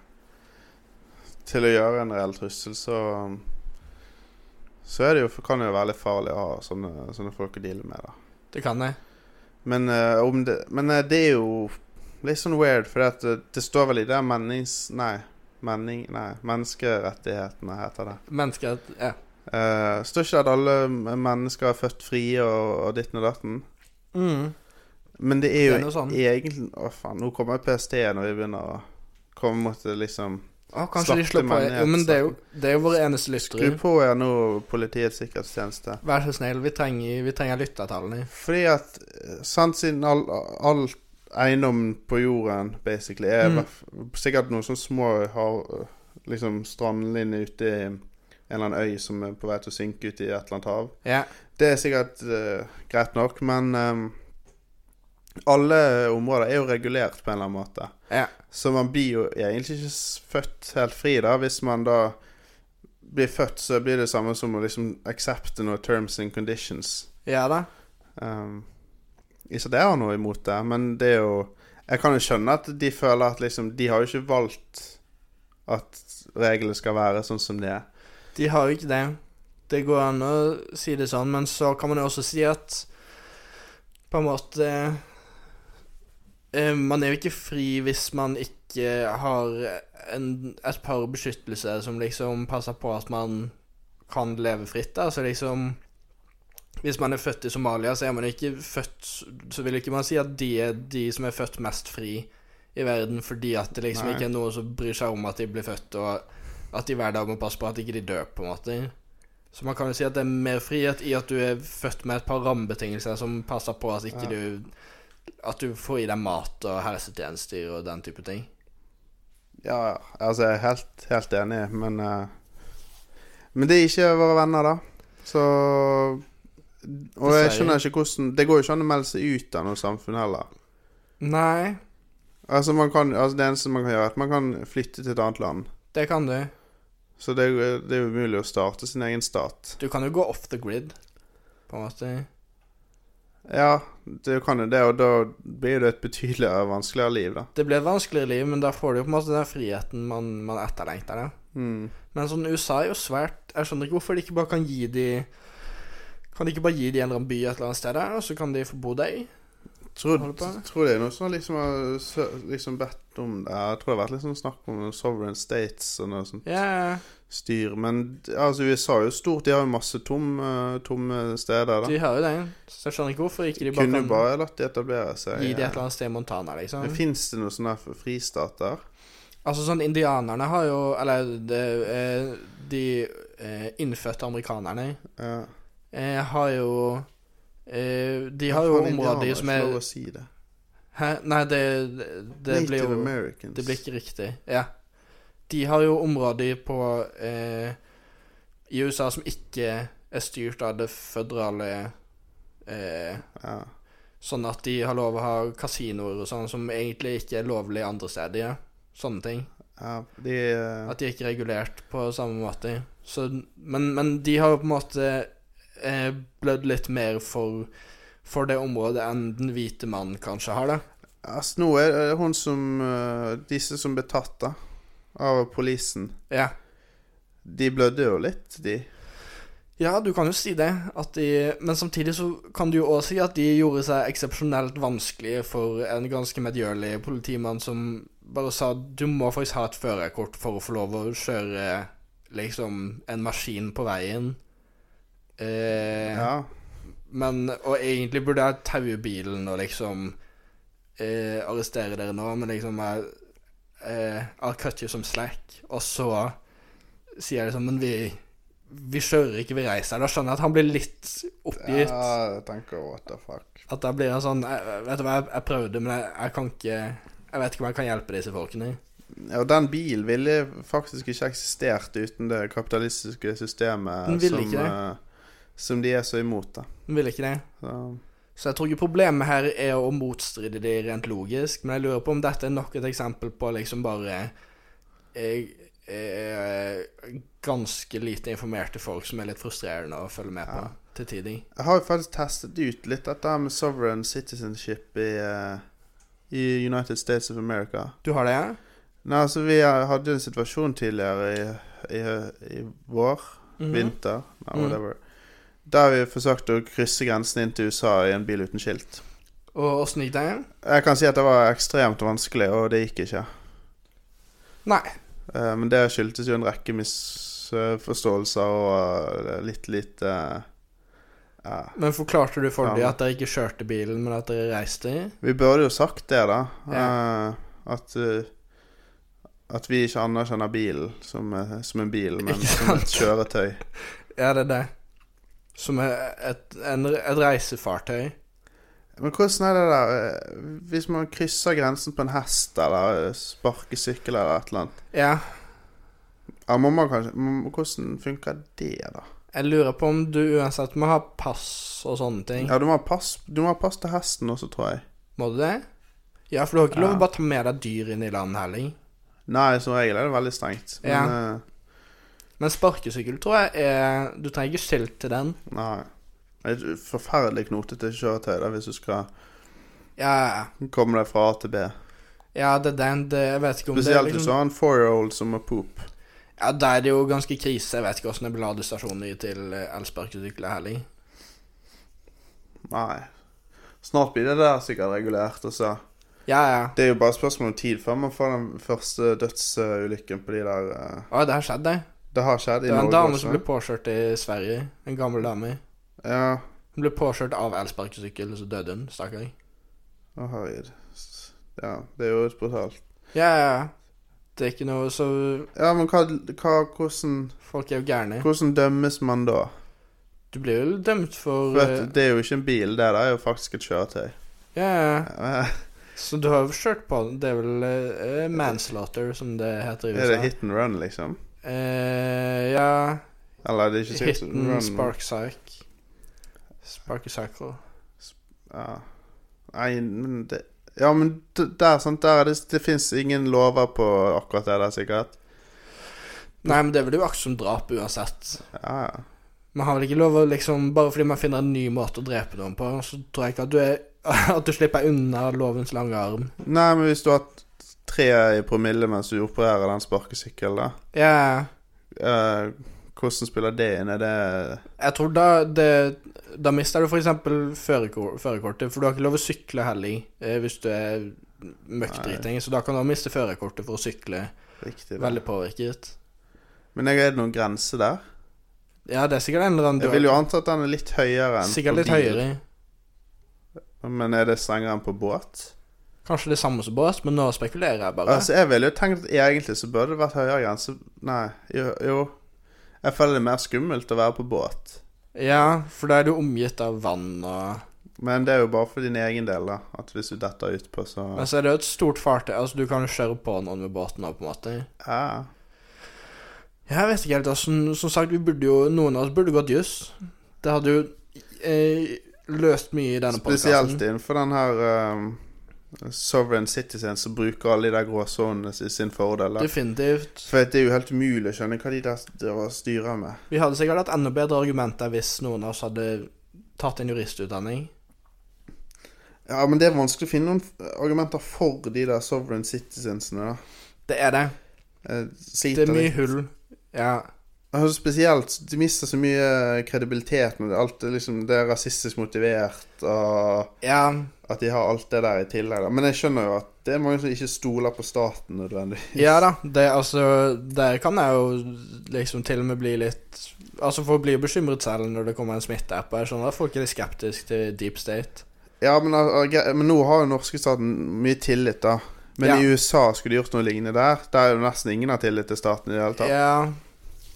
[SPEAKER 3] Til å gjøre en reell trussel, så Så er det jo, kan det jo være litt farlig å ha sånne, sånne folk å deale med, da.
[SPEAKER 2] Det kan jeg.
[SPEAKER 3] Men, eh, om det, men eh, det er jo litt sånn weird, for det, det står vel i det mennings... Nei. Menning, nei, menneskerettighetene heter det.
[SPEAKER 2] Mennesker ja.
[SPEAKER 3] Eh, står ikke det at alle mennesker er født frie og, og ditten og datten? Men det er jo
[SPEAKER 2] Mm. Det er noe sånn.
[SPEAKER 3] egentlig Å, faen. Nå kommer PST når vi begynner å komme mot det, liksom
[SPEAKER 2] Å, kanskje de
[SPEAKER 3] Slakte
[SPEAKER 2] slår på
[SPEAKER 3] menn i
[SPEAKER 2] Jo, men det er jo,
[SPEAKER 3] rettssaken.
[SPEAKER 2] det er jo vår eneste
[SPEAKER 3] Skru
[SPEAKER 2] lyttere.
[SPEAKER 3] på ja, nå Politiets sikkerhetstjeneste.
[SPEAKER 2] Vær så snill, vi trenger, vi trenger lyttertallene.
[SPEAKER 3] Fordi at eh, sant siden all, all eiendom på jorden basically er
[SPEAKER 2] Mm.
[SPEAKER 3] hvert- sikkert noen sånne små har eh, liksom strandlinjer ute i en eller annen øy som er på vei til å synke ut i et eller annet hav.
[SPEAKER 2] Ja.
[SPEAKER 3] Det er sikkert eh, greit nok, men eh, alle områder er jo regulert på en eller annen måte.
[SPEAKER 2] Ja.
[SPEAKER 3] Så man blir jo egentlig ikke s- født helt fri, da. Hvis man da blir født, så blir det samme som å liksom aksepte noen terms and conditions.
[SPEAKER 2] ja da.
[SPEAKER 3] Um, ikke at jeg har noe imot det, men det er jo Jeg kan jo skjønne at de føler at liksom De har jo ikke valgt at reglene skal være sånn som de er.
[SPEAKER 2] De har jo ikke det. Det går an å si det sånn, men så kan man jo også si at på en måte eh, Man er jo ikke fri hvis man ikke har en, et par beskyttelse som liksom passer på at man kan leve fritt. da. Så liksom Hvis man er født i Somalia, så er man ikke født Så vil ikke man si at de er de som er født mest fri i verden, fordi at det liksom
[SPEAKER 3] Nei.
[SPEAKER 2] ikke er noen som bryr seg om at de blir født, og at de hver dag må passe på at ikke de dør, på en måte. Så man kan jo si at det er mer frihet i at du er født med et par rammebetingelser som passer på at ikke du At du får i deg mat og helsetjenester og den type ting.
[SPEAKER 3] Ja, ja. Altså, jeg er helt, helt enig, men eh, Men det er ikke våre venner, da. Så Og jeg
[SPEAKER 2] Dessverre.
[SPEAKER 3] skjønner ikke hvordan Det går jo ikke an å melde seg ut av noe samfunn heller.
[SPEAKER 2] Nei,
[SPEAKER 3] Altså, man kan, altså Det eneste man kan gjøre, er at man kan flytte til et annet land.
[SPEAKER 2] det kan du.
[SPEAKER 3] Så det, er jo- det er jo umulig å starte sin egen stat.
[SPEAKER 2] Du kan jo gå off the grid, på en måte.
[SPEAKER 3] Ja, du kan jo det, og da blir det et betydelig vanskeligere liv, da.
[SPEAKER 2] Det blir et vanskeligere liv, men da får du jo på en måte den friheten man, man etterlengter. Da.
[SPEAKER 3] Mm.
[SPEAKER 2] Men sånn USA er jo svært Jeg skjønner ikke hvorfor de ikke bare kan gi de Kan de ikke bare gi de en eller annen by et eller annet sted der, og så kan de få bo der?
[SPEAKER 3] Tror,
[SPEAKER 2] Holder på.
[SPEAKER 3] tror det er noe som har liksom, har sø- liksom bedt om det. Jeg tror det har vært litt sånn snakk om sovereign states og noe sånt
[SPEAKER 2] Ja, ja.
[SPEAKER 3] styr. Men d- altså, USA er jo stort. De har jo masse tom, eh, tomme steder. da
[SPEAKER 2] de har jo det. Så jeg skjønner ikke hvorfor ikke de bare
[SPEAKER 3] Kunne
[SPEAKER 2] kan
[SPEAKER 3] jo bare latt de etablere seg.
[SPEAKER 2] Gi det et
[SPEAKER 3] eh.
[SPEAKER 2] eller annet sted i Montana, liksom.
[SPEAKER 3] Men Fins det noen sånne f- fristater?
[SPEAKER 2] Altså sånn, indianerne har jo Eller det, eh, de eh, innfødte amerikanerne
[SPEAKER 3] Ja.
[SPEAKER 2] eh, har jo eh, De har jo
[SPEAKER 3] Faen,
[SPEAKER 2] områder
[SPEAKER 3] indianer,
[SPEAKER 2] som
[SPEAKER 3] ikke
[SPEAKER 2] er
[SPEAKER 3] lov å si det.
[SPEAKER 2] Hæ? Nei, det, det, det
[SPEAKER 3] Native
[SPEAKER 2] blir jo
[SPEAKER 3] Americans.
[SPEAKER 2] Det blir ikke riktig. Ja. De har jo områder på eh, I USA som ikke er styrt av det føderale eh,
[SPEAKER 3] ja.
[SPEAKER 2] Sånn at de har lov å ha kasinoer og sånn som egentlig ikke er lovlig andre steder. ja. Sånne ting.
[SPEAKER 3] ja, de eh,
[SPEAKER 2] At de ikke er regulert på samme måte. Så, men, men de har jo på en måte eh, blødd litt mer for, for det området enn den hvite mannen kanskje har, da.
[SPEAKER 3] Altså, nå er det hun som eh, Disse som ble tatt, da. Av polisen.
[SPEAKER 2] Ja.
[SPEAKER 3] De blødde jo litt, de.
[SPEAKER 2] ja, du kan jo si det. At de, men samtidig så kan du jo òg si at de gjorde seg eksepsjonelt vanskelige for en ganske medgjørlig politimann som bare sa du må faktisk ha et førerkort for å få lov å kjøre liksom en maskin på veien. Eh,
[SPEAKER 3] Ja.
[SPEAKER 2] Men, og egentlig burde jeg taue bilen og liksom eh, arrestere dere nå, men liksom jeg eh, I'll cut you some slack. Og så sier jeg liksom Men vi, vi kjører ikke, vi reiser. Da skjønner jeg at han blir litt oppgitt.
[SPEAKER 3] ja jeg tenker what the fuck.
[SPEAKER 2] At da blir han sånn jeg, Vet du hva, jeg, jeg prøvde, men jeg, jeg kan ikke Jeg vet ikke om jeg kan hjelpe disse folkene.
[SPEAKER 3] Ja, og den bilen ville faktisk ikke eksistert uten det kapitalistiske systemet
[SPEAKER 2] Den ville
[SPEAKER 3] som,
[SPEAKER 2] ikke det.
[SPEAKER 3] eh, som de er så imot, da.
[SPEAKER 2] Han ville ikke det.
[SPEAKER 3] Så,
[SPEAKER 2] Så jeg tror ikke problemet her er å motstride det rent logisk, men jeg lurer på om dette er nok et eksempel på liksom bare eh, eh, ganske lite informerte folk som er litt frustrerende å følge med på til tider.
[SPEAKER 3] jeg har jo faktisk testet ut litt dette her med sovereign citizenship i, eh, i United States of America.
[SPEAKER 2] Du har det, ja?
[SPEAKER 3] Nei, altså vi eh, hadde jo en situasjon tidligere i, i, i vår, vinter, nei,
[SPEAKER 2] Mhm.
[SPEAKER 3] whatever, der vi forsøkte å krysse grensen inn til USA i en bil uten skilt.
[SPEAKER 2] Og åssen gikk det?
[SPEAKER 3] Jeg kan si at det var ekstremt vanskelig, og det gikk ikke.
[SPEAKER 2] Nei.
[SPEAKER 3] Eh, Men det skyldtes jo en rekke misforståelser og eh, litt lite ja.
[SPEAKER 2] Men forklarte du for
[SPEAKER 3] Ja.
[SPEAKER 2] dem at dere ikke kjørte bilen, men at dere reiste?
[SPEAKER 3] Vi burde jo sagt det, da. eh, At, eh, at vi ikke anerkjenner bilen som, eh, som en bil, men
[SPEAKER 2] Ikke
[SPEAKER 3] som et kjøretøy.
[SPEAKER 2] Ja, det er det. Som et, en, et reisefartøy.
[SPEAKER 3] Men hvordan er det der eh, Hvis man krysser grensen på en hest eller eh, sparkesykkel eller et eller annet
[SPEAKER 2] Ja.
[SPEAKER 3] ja, må man kanskje, må- Hvordan funker det, da?
[SPEAKER 2] Jeg lurer på om du uansett må ha pass og sånne ting.
[SPEAKER 3] Ja, du må ha pass, du må ha pass til hesten også, tror jeg.
[SPEAKER 2] Må du det? Ja, for du har ikke lov å bare ta med deg dyr inn i land heller.
[SPEAKER 3] Nei, som regel er det veldig strengt. Men
[SPEAKER 2] Ja.
[SPEAKER 3] eh,
[SPEAKER 2] Men sparkesykkel tror jeg er Du trenger ikke skilt til den.
[SPEAKER 3] nei. Det er Et forferdelig knotete kjøretøy da, hvis du skal
[SPEAKER 2] Ja, ja,
[SPEAKER 3] komme deg fra A til B.
[SPEAKER 2] ja, det er den det, Jeg vet ikke om
[SPEAKER 3] Spesielt
[SPEAKER 2] det er
[SPEAKER 3] hvis du
[SPEAKER 2] liksom,
[SPEAKER 3] har en four-year-old som må poop.
[SPEAKER 2] Ja, da er det jo ganske krise. Jeg vet ikke åssen det blir ladestasjoner til eh, elsparkesykler heller.
[SPEAKER 3] Nei. Snart blir det der sikkert regulert, og så
[SPEAKER 2] Ja, ja.
[SPEAKER 3] Det er jo bare spørsmål om tid før man får den første dødsulykken på de der eh,
[SPEAKER 2] Å, det har skjedd, det.
[SPEAKER 3] Det har skjedd i
[SPEAKER 2] Det var
[SPEAKER 3] Norge
[SPEAKER 2] en dame
[SPEAKER 3] også.
[SPEAKER 2] som ble påkjørt i Sverige. En gammel dame.
[SPEAKER 3] Ja.
[SPEAKER 2] Hun ble påkjørt av elsparkesykkel, og så døde hun. Stakkar.
[SPEAKER 3] Å, herregud. S- Ja, det er jo brutalt.
[SPEAKER 2] Ja, ja, ja. Det er ikke noe Så
[SPEAKER 3] Ja, men hva, hva hvordan,
[SPEAKER 2] folk er jo gærne.
[SPEAKER 3] hvordan dømmes man da?
[SPEAKER 2] Du blir jo dømt for
[SPEAKER 3] For at
[SPEAKER 2] eh,
[SPEAKER 3] det er jo ikke en bil, det der er jo faktisk et kjøretøy. [LAUGHS]
[SPEAKER 2] Ja, ja.
[SPEAKER 3] Eh,
[SPEAKER 2] Så du har jo kjørt på den. Det er vel eh, manslaughter, som det heter i USA.
[SPEAKER 3] Er det hit and run, liksom?
[SPEAKER 2] Eh, ja
[SPEAKER 3] Eller er det ikke sikkert
[SPEAKER 2] Hitten
[SPEAKER 3] run-
[SPEAKER 2] sparksark. Sparkecycle.
[SPEAKER 3] Ja. Nei, men det Ja, men d- der, sant, der er det, det fins ingen lover på akkurat det der, sikkert.
[SPEAKER 2] Nei, men det er vel jo akkurat som drap uansett.
[SPEAKER 3] Ja, ja.
[SPEAKER 2] Man har vel ikke lov å liksom Bare fordi man finner en ny måte å drepe noen på, så tror jeg ikke at du er [LAUGHS] At du slipper unna lovens lange arm.
[SPEAKER 3] Nei, men hvis du har hatt tre i promille mens du opererer den sparkesykkelen, da
[SPEAKER 2] Ja,
[SPEAKER 3] eh, Hvordan spiller det inn? Er det
[SPEAKER 2] jeg tror da det Da mister du f.eks. førerkortet, for du har ikke lov å sykle heller eh, hvis du er møkkdriting, så da kan du også miste førerkortet for å sykle
[SPEAKER 3] riktig? da?
[SPEAKER 2] veldig påvirket.
[SPEAKER 3] Men er det noen grense der?
[SPEAKER 2] Ja, det er sikkert en eller annen
[SPEAKER 3] Jeg vil jo anta at den er litt høyere enn
[SPEAKER 2] Sikkert
[SPEAKER 3] på
[SPEAKER 2] litt
[SPEAKER 3] bil.
[SPEAKER 2] høyere.
[SPEAKER 3] Men er det strengere enn på båt?
[SPEAKER 2] Kanskje det er samme som båt, men nå spekulerer jeg bare.
[SPEAKER 3] Altså, jeg ville jo tenkt at egentlig så burde det vært høyere grense Nei, jo, jo. Jeg føler det er mer skummelt å være på båt.
[SPEAKER 2] Ja, for da er du omgitt av vann og
[SPEAKER 3] Men det er jo bare for din egen del, da. At hvis du detter utpå, så
[SPEAKER 2] Men så er det jo et stort fartøy, altså du kan jo kjøre på noen med båten òg, på en måte.
[SPEAKER 3] ja.
[SPEAKER 2] Jeg vet ikke helt, altså. Som- Som sagt, vi burde jo Noen av oss burde gått juss. Det hadde jo eh, løst mye i denne
[SPEAKER 3] Spesielt
[SPEAKER 2] podkasten.
[SPEAKER 3] innenfor den her um, Sovereign Citizen som bruker alle de der gråsonene i sin fordel. Da.
[SPEAKER 2] Definitivt.
[SPEAKER 3] For det er jo helt umulig å skjønne hva de der driver og styrer med.
[SPEAKER 2] Vi hadde sikkert hatt enda bedre argumenter hvis noen av oss hadde tatt en juristutdanning.
[SPEAKER 3] Ja, men det er vanskelig å finne noen f- argumenter for de der Sovereign Citizensene, da.
[SPEAKER 2] Det er det.
[SPEAKER 3] Jeg
[SPEAKER 2] Det
[SPEAKER 3] sliter
[SPEAKER 2] er mye
[SPEAKER 3] litt.
[SPEAKER 2] hull. Ja.
[SPEAKER 3] Altså, spesielt, de mister så mye eh, kredibilitet når det, alt, er liksom, det er rasistisk motivert og
[SPEAKER 2] Ja.
[SPEAKER 3] At de har alt det der i tillegg. Da. Men jeg skjønner jo at det er mange som ikke stoler på staten nødvendigvis.
[SPEAKER 2] Ja da, det altså Der kan jeg jo liksom til og med bli litt Altså folk blir jo bekymret selv når det kommer en smitteapp, og jeg skjønner at folk er litt skeptiske til deep state.
[SPEAKER 3] Ja, men, al- al- men nå har jo norske staten mye tillit, da. Men
[SPEAKER 2] Ja.
[SPEAKER 3] i USA skulle de gjort noe lignende der. Der er jo nesten ingen har tillit til staten i det hele tatt.
[SPEAKER 2] Ja,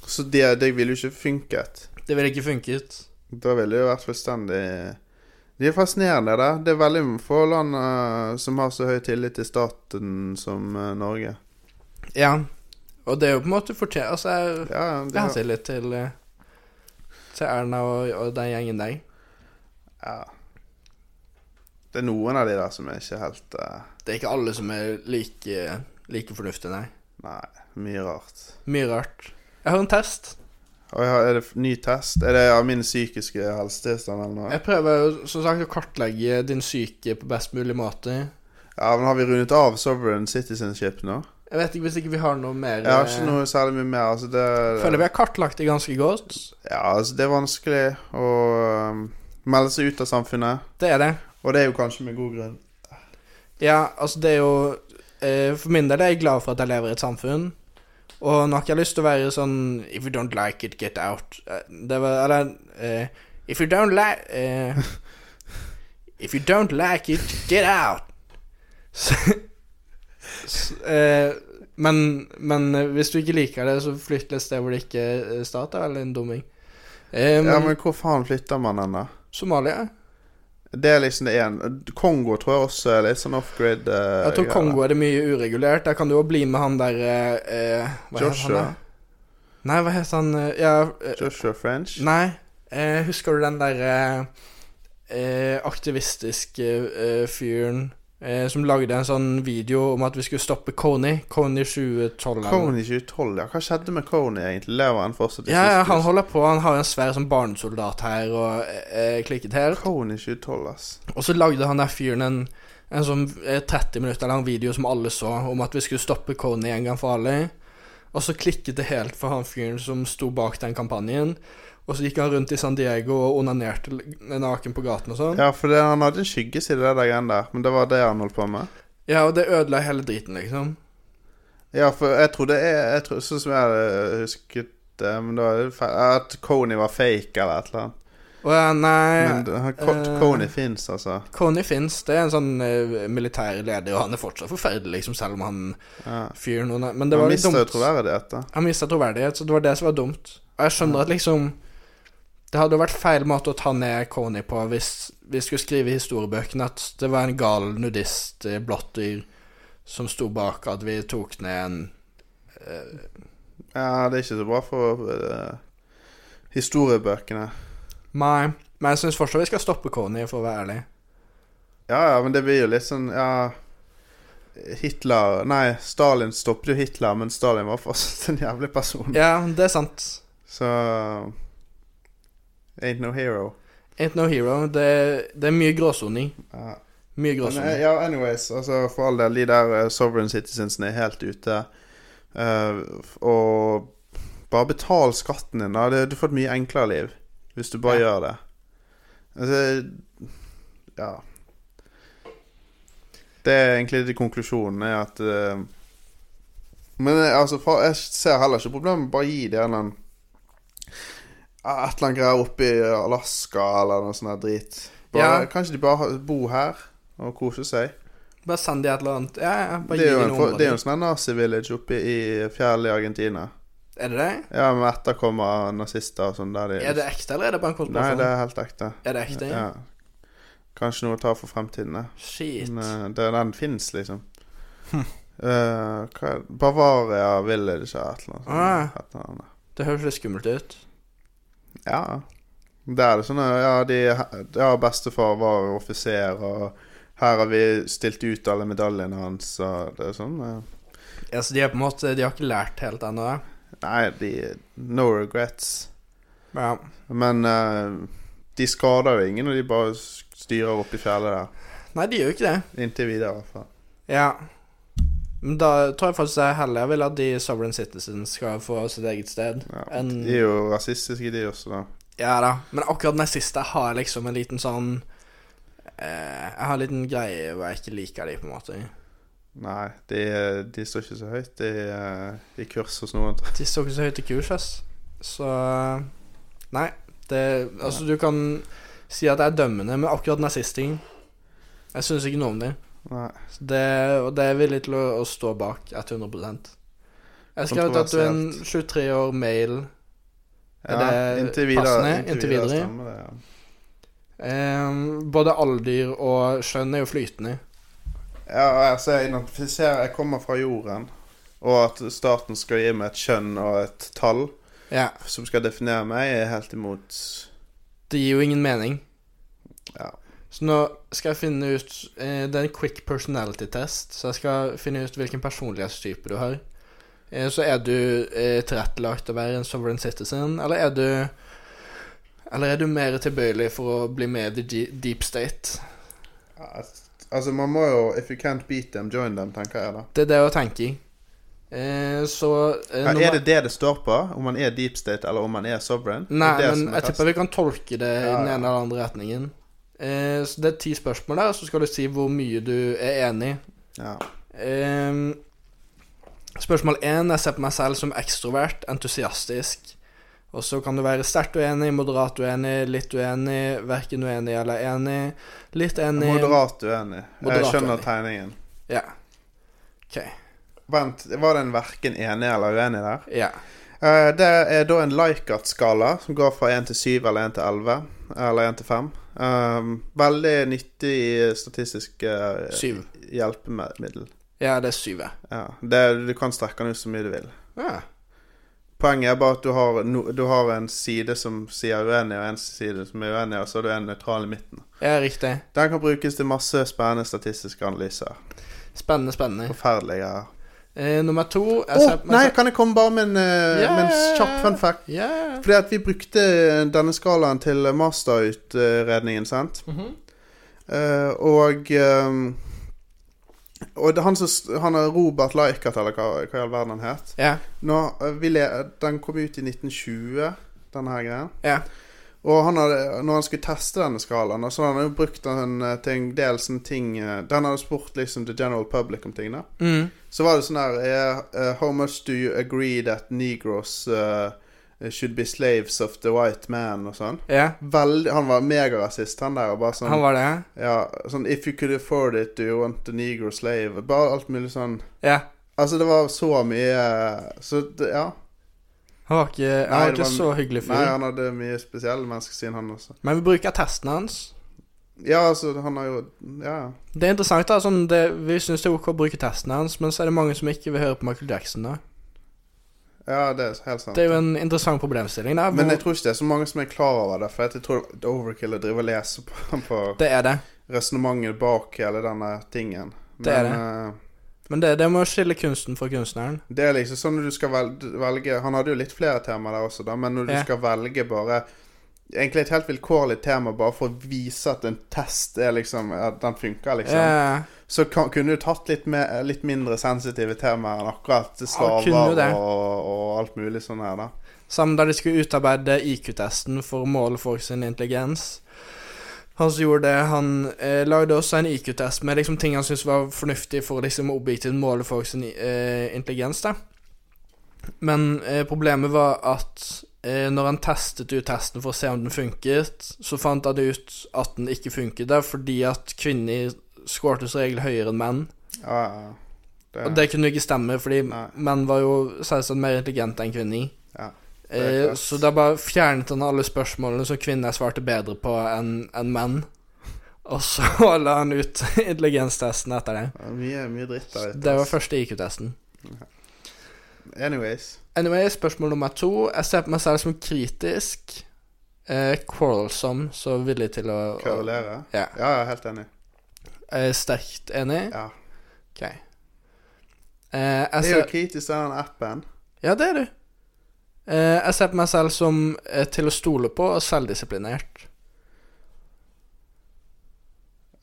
[SPEAKER 3] Så det, det ville jo ikke funket.
[SPEAKER 2] det ville ikke funket.
[SPEAKER 3] Da ville det jo vært fullstendig Det er fascinerende, det. der. Det er veldig få land eh, som har så høy tillit til staten som eh, Norge.
[SPEAKER 2] Ja. Og det er jo på en måte fortjent Altså, jeg,
[SPEAKER 3] Ja, de
[SPEAKER 2] jeg har
[SPEAKER 3] har,
[SPEAKER 2] tillit til eh, Til Erna og, og den gjengen der.
[SPEAKER 3] ja. Det er noen av de der som er ikke helt eh,
[SPEAKER 2] Det er ikke alle som er like, like fornuftige, nei.
[SPEAKER 3] Nei, mye rart.
[SPEAKER 2] Mye rart. Jeg har en test.
[SPEAKER 3] Og jeg har, er det f- ny test? Er det av min psykiske helsetilstand eller noe?
[SPEAKER 2] Jeg prøver jo, som sagt å kartlegge din syke på best mulig måte.
[SPEAKER 3] Ja, men har vi rundet av sovereign citizenship nå?
[SPEAKER 2] Jeg vet ikke hvis ikke vi har noe mer
[SPEAKER 3] Jeg har
[SPEAKER 2] eh,
[SPEAKER 3] ikke noe særlig mye mer. Altså, det,
[SPEAKER 2] Føler vi har kartlagt det ganske godt.
[SPEAKER 3] ja, altså, det er vanskelig å um, melde seg ut av samfunnet.
[SPEAKER 2] Det er det.
[SPEAKER 3] Og det er jo kanskje med god grunn.
[SPEAKER 2] Ja, altså det er jo eh, For min del er jeg glad for at jeg lever i et samfunn. Og nå har ikke jeg lyst til å være sånn If you don't like it, get out. Eh, Det var Eller eh, If you don't like eh, If you don't like it, get out. Så, s- eh, men, men eh, hvis du ikke liker det, så flytt til et sted hvor det ikke er stat. Det er vel en dumming. Eh, men,
[SPEAKER 3] Ja, men hvor faen flytter man den, da?
[SPEAKER 2] Somalia?
[SPEAKER 3] Det er liksom det ene. Kongo tror jeg også er litt sånn off-grid. eh,
[SPEAKER 2] Jeg tror
[SPEAKER 3] greier.
[SPEAKER 2] Kongo er det mye uregulert. Der kan du jo bli med han der eh, eh, Hva heter
[SPEAKER 3] Joshua.
[SPEAKER 2] han? da? Nei, hva heter han eh, Ja eh,
[SPEAKER 3] Joshua French.
[SPEAKER 2] Nei, eh, husker du den der eh, eh, aktivistiske eh, fyren eh, som lagde en sånn video om at vi skulle stoppe Kony? Kony 2012. eller-
[SPEAKER 3] Kony 2012, ja. Hva skjedde med Kony egentlig? Lever han fortsatt i
[SPEAKER 2] Ja, ja, han
[SPEAKER 3] sykehus?
[SPEAKER 2] holder på. Han har en svær sånn barnesoldat her og eh, eh, klikket her.
[SPEAKER 3] Kony 2012, ass.
[SPEAKER 2] Og så lagde han der fyren en, en sånn eh, 30 minutter lang video som alle så, om at vi skulle stoppe Kony en gang for alle. Og så klikket det helt for han fyren som sto bak den kampanjen. Og så gikk han rundt i San Diego og onanerte l- naken på gaten og sånn.
[SPEAKER 3] Ja, for det, han hadde en skyggeside, det der greien der. Men det var det han holdt på med.
[SPEAKER 2] Ja, og det ødela hele driten, liksom.
[SPEAKER 3] Ja, for jeg trodde jeg, jeg trodde, Sånn som jeg hadde husket det, men da er det feil At Coney var fake eller et eller annet.
[SPEAKER 2] Og ja, nei
[SPEAKER 3] Men det- han-
[SPEAKER 2] eh,
[SPEAKER 3] Coney fins, altså.
[SPEAKER 2] Coney Finns, det er en sånn eh, militær leder, og han er fortsatt forferdelig, liksom, selv om han
[SPEAKER 3] Ja.
[SPEAKER 2] fyr noen Men det
[SPEAKER 3] Han
[SPEAKER 2] var litt
[SPEAKER 3] mister jo
[SPEAKER 2] dumt.
[SPEAKER 3] troverdighet, da.
[SPEAKER 2] Han mista troverdighet, så det var det som var dumt. Og jeg skjønner at liksom Det hadde jo vært feil måte å ta ned Coney på hvis vi skulle skrive i historiebøkene at det var en gal nudist, eh, blått dyr, som sto bak at vi tok ned en
[SPEAKER 3] Ja, det er ikke så bra for eh, historiebøkene.
[SPEAKER 2] Nei, men jeg syns fortsatt vi skal stoppe Coney, for å være ærlig.
[SPEAKER 3] Ja, ja, men det blir jo litt sånn Ja, Hitler Nei, Stalin stoppet jo Hitler, men Stalin var fortsatt en jævlig person.
[SPEAKER 2] Ja, det er sant.
[SPEAKER 3] Så Ain't no hero.
[SPEAKER 2] Ain't no hero. Det, det er mye gråsoning.
[SPEAKER 3] Ja.
[SPEAKER 2] Mye
[SPEAKER 3] Men,
[SPEAKER 2] gråsoning.
[SPEAKER 3] eh, ja, anyways, altså for all del, de der eh, sovereign citizensene er helt ute. Eh, f- og bare betal skatten din, da. Det- Du får et mye enklere liv hvis du bare gjør det. Altså Ja. Det er egentlig det konklusjonen er at eh, Men eh, altså, fa- jeg ser heller ikke problemet med å bare gi det en eller annen Et eller annet greier oppe i Alaska eller noe sånt der drit. Bare,
[SPEAKER 2] Ja.
[SPEAKER 3] Kanskje de bare ha- bo her og kose seg.
[SPEAKER 2] Bare send de et eller annet. Ja, ja, bare
[SPEAKER 3] Det
[SPEAKER 2] gi
[SPEAKER 3] er jo
[SPEAKER 2] de
[SPEAKER 3] en,
[SPEAKER 2] noe
[SPEAKER 3] for- det er jo
[SPEAKER 2] område.
[SPEAKER 3] en sånn nazi-village oppe i fjellet i Argentina.
[SPEAKER 2] Er det det?
[SPEAKER 3] Ja, med etterkommere av nazister og sånn. Der de
[SPEAKER 2] Er det ekte, altså. eller er det bare en
[SPEAKER 3] Nei,
[SPEAKER 2] konspirasjon?
[SPEAKER 3] det er helt ekte.
[SPEAKER 2] Er det ekte?
[SPEAKER 3] Ja. Kanskje noe å ta for fremtiden, det.
[SPEAKER 2] Shit. Hm.
[SPEAKER 3] Men eh, det, den fins, liksom. Eh, hva, er- Bavaria Village eller et eller annet.
[SPEAKER 2] Ah.
[SPEAKER 3] sånt. Et eller annet.
[SPEAKER 2] Det høres litt skummelt ut.
[SPEAKER 3] Ja. Det er det sånn Ja, de, ja bestefar var offiser, og her har vi stilt ut alle medaljene hans, og det er sånn eh,
[SPEAKER 2] Ja, så Altså, de er på en måte De har ikke lært helt ennå. ja.
[SPEAKER 3] Nei, de No regrets.
[SPEAKER 2] Ja.
[SPEAKER 3] Men eh, de skader jo ingen, og de bare styrer opp i fjellet der.
[SPEAKER 2] Nei, de gjør jo ikke det.
[SPEAKER 3] Inntil videre, i hvert fall.
[SPEAKER 2] Ja. Men da tror jeg faktisk jeg heller vil at de sovereign citizens skal få sitt eget sted.
[SPEAKER 3] Ja.
[SPEAKER 2] enn
[SPEAKER 3] De er jo rasistiske, de også, da.
[SPEAKER 2] Ja da. Men akkurat den siste har jeg liksom en liten sånn eh, Jeg har en liten greie hvor jeg ikke liker de, på en måte.
[SPEAKER 3] Nei, de, de står ikke så høyt i, eh, i kurs hos noen. [LAUGHS]
[SPEAKER 2] De står ikke så høyt i kurs, ass. Så Nei. Det Altså, du kan si at det er dømmende, men akkurat nazistingen Jeg syns ikke noe om det.
[SPEAKER 3] Nei.
[SPEAKER 2] Så Det, og det er villig til å, å stå bak 100 Jeg skrev at du er en 23 år male. Er det passende? Inntil videre?
[SPEAKER 3] stemmer det. Ja.
[SPEAKER 2] Ehm, både alder og skjønn er jo flytende.
[SPEAKER 3] ja, altså, jeg identifiserer Jeg kommer fra jorden, og at staten skal gi meg et kjønn og et tall
[SPEAKER 2] Ja,
[SPEAKER 3] som skal definere meg, er jeg helt imot
[SPEAKER 2] Det gir jo ingen mening.
[SPEAKER 3] Ja.
[SPEAKER 2] Så nå skal jeg finne ut eh, Det er en quick personality test, så jeg skal finne ut hvilken personlighetstype du har. Eh, så er du eh, tilrettelagt til å være en sovereign citizen, eller er du Eller er du mer tilbøyelig for å bli med i the de- deep state?
[SPEAKER 3] Altså, man må jo If you can't beat them, join them, tenker jeg, da.
[SPEAKER 2] Det er det jeg tenker. Eh, så eh,
[SPEAKER 3] Ja,
[SPEAKER 2] nummer-
[SPEAKER 3] er det det det står på? Om man er deep state, eller om man er sovereign?
[SPEAKER 2] Nei,
[SPEAKER 3] det er det som
[SPEAKER 2] men
[SPEAKER 3] er
[SPEAKER 2] jeg
[SPEAKER 3] testen.
[SPEAKER 2] tipper vi kan tolke det i
[SPEAKER 3] Ja,
[SPEAKER 2] den
[SPEAKER 3] ja.
[SPEAKER 2] ene eller andre retningen. Eh, så det er ti spørsmål der, så skal du si hvor mye du er enig.
[SPEAKER 3] ja.
[SPEAKER 2] Eh, spørsmål én Jeg ser på meg selv som ekstrovert, entusiastisk. Og så kan du være sterkt uenig, moderat uenig, litt uenig, verken uenig eller enig. Litt enig
[SPEAKER 3] Moderat uenig. Eh, Jeg
[SPEAKER 2] Moderat
[SPEAKER 3] skjønner
[SPEAKER 2] uenig.
[SPEAKER 3] tegningen.
[SPEAKER 2] Ja. OK.
[SPEAKER 3] Vent, var den verken enig eller uenig der?
[SPEAKER 2] Ja.
[SPEAKER 3] Eh, det er da en Likert-skala som går fra 1 til 7 eller 1 til 11. Eller 1 til 5. Um, veldig nyttig statistisk eh,
[SPEAKER 2] Syv.
[SPEAKER 3] hjelpemiddel.
[SPEAKER 2] Ja, det er syv, ja.
[SPEAKER 3] Ja. Det, du kan strekke den ut så mye du vil.
[SPEAKER 2] ja.
[SPEAKER 3] Poenget er bare at du har, no, du har en side som sier uenig, og en side som er uenig, og så er du en nøytral i midten.
[SPEAKER 2] Ja, riktig.
[SPEAKER 3] Den kan brukes til masse spennende statistiske analyser.
[SPEAKER 2] Spennende, spennende.
[SPEAKER 3] Forferdelige
[SPEAKER 2] Eh, nummer to
[SPEAKER 3] Å,
[SPEAKER 2] jeg ser på meg
[SPEAKER 3] nei,
[SPEAKER 2] selv-
[SPEAKER 3] kan jeg komme bare med en, eh,
[SPEAKER 2] Ja,
[SPEAKER 3] med en
[SPEAKER 2] ja, ja,
[SPEAKER 3] kjapp
[SPEAKER 2] ja.
[SPEAKER 3] fun fact?
[SPEAKER 2] Ja, ja, ja.
[SPEAKER 3] Fordi at vi brukte eh, denne skalaen til masterutredningen, sant?
[SPEAKER 2] Mhm.
[SPEAKER 3] Eh, og eh, og det, han, som, s- han er Robert Likert, eller hva, hva i all verden han het.
[SPEAKER 2] Ja,
[SPEAKER 3] Nå, eh, vi le, den kom ut i 1920, denne her greien.
[SPEAKER 2] ja.
[SPEAKER 3] Og han hadde, når han skulle teste denne skalaen, da, så hadde han jo brukt den eh, til en del sånne ting eh, Den hadde spurt liksom the general public om tingene.
[SPEAKER 2] Mm.
[SPEAKER 3] Så var det sånn her eh, eh, How much do you agree that negros eh, should be slaves of the white man? Og sånn.
[SPEAKER 2] Ja,
[SPEAKER 3] Veldig, han var megarasist, han der. Og bare sånn,
[SPEAKER 2] han var det.
[SPEAKER 3] ja, sånn If you could afford it, do you want a negro slave? Bare alt mulig sånn.
[SPEAKER 2] Ja.
[SPEAKER 3] Altså, det var så mye eh, Så det, ja.
[SPEAKER 2] Han var ikke, han
[SPEAKER 3] Nei,
[SPEAKER 2] var
[SPEAKER 3] det
[SPEAKER 2] ikke
[SPEAKER 3] var-
[SPEAKER 2] så hyggelig
[SPEAKER 3] Nei,
[SPEAKER 2] fyr.
[SPEAKER 3] han hadde mye spesielle menneskesyn, han også.
[SPEAKER 2] Men vi bruker testen hans.
[SPEAKER 3] Ja, altså, han har jo Ja.
[SPEAKER 2] Det er interessant, da. Sånn det, vi syns det er ok å bruke testen hans, men så er det mange som ikke vil høre på Michael Jackson, da.
[SPEAKER 3] Ja, det er helt sant.
[SPEAKER 2] Det er jo en interessant problemstilling, da.
[SPEAKER 3] Men
[SPEAKER 2] hvor-
[SPEAKER 3] jeg tror ikke det er så mange som er klar over det. For jeg tror det er Overkill å drive og lese på, [LAUGHS] på
[SPEAKER 2] det er det.
[SPEAKER 3] resonnementet bak hele denne tingen. Men,
[SPEAKER 2] Det er
[SPEAKER 3] eh,
[SPEAKER 2] Men det, det må skille kunsten fra kunstneren.
[SPEAKER 3] det er liksom sånn når du skal velge, velge Han hadde jo litt flere temaer der også, da, men når du
[SPEAKER 2] Ja.
[SPEAKER 3] skal velge bare Egentlig et helt vilkårlig tema bare for å vise at en test er liksom At den funker, liksom.
[SPEAKER 2] Eh,
[SPEAKER 3] Så kan, kunne du tatt litt, mer, litt mindre sensitive temaer enn akkurat slaver
[SPEAKER 2] kunne jo det.
[SPEAKER 3] og, og alt mulig sånn her, da.
[SPEAKER 2] Samt da de skulle utarbeide IQ-testen for å måle folk sin intelligens. Han som gjorde det, han eh, lagde også en IQ-test med liksom ting han syntes var fornuftig for å liksom objektivt måle folk sin eh, intelligens. da. Men eh, problemet var at eh, når han testet ut testen for å se om den funket, så fant han ut at den ikke funket da, fordi at kvinner skårte som regel høyere enn menn.
[SPEAKER 3] Ja, ja.
[SPEAKER 2] Og det kunne jo ikke stemme, fordi
[SPEAKER 3] Nei.
[SPEAKER 2] menn var jo selvsagt mer intelligente enn kvinner.
[SPEAKER 3] Ja, det er
[SPEAKER 2] Eh,
[SPEAKER 3] klart.
[SPEAKER 2] så da bare fjernet han alle spørsmålene som kvinner svarte bedre på enn enn menn. Og så [LAUGHS] la han ut intelligenstesten etter det.
[SPEAKER 3] Ja, Mye, mye dritt der ute.
[SPEAKER 2] Det var første IQ-testen.
[SPEAKER 3] Anyways.
[SPEAKER 2] Anyway, spørsmål nummer to. Jeg ser på meg selv som kritisk, eh, quarrelsome, så villig til å å-
[SPEAKER 3] Kverulere?
[SPEAKER 2] Ja.
[SPEAKER 3] Ja, ja, helt enig.
[SPEAKER 2] Eh, sterkt enig.
[SPEAKER 3] Ja.
[SPEAKER 2] Ok. Eh, jeg
[SPEAKER 3] Det er
[SPEAKER 2] ser-
[SPEAKER 3] jo kritisk til den appen.
[SPEAKER 2] Ja, det er du. Eh, jeg ser på meg selv som eh, til å stole på og selvdisiplinert.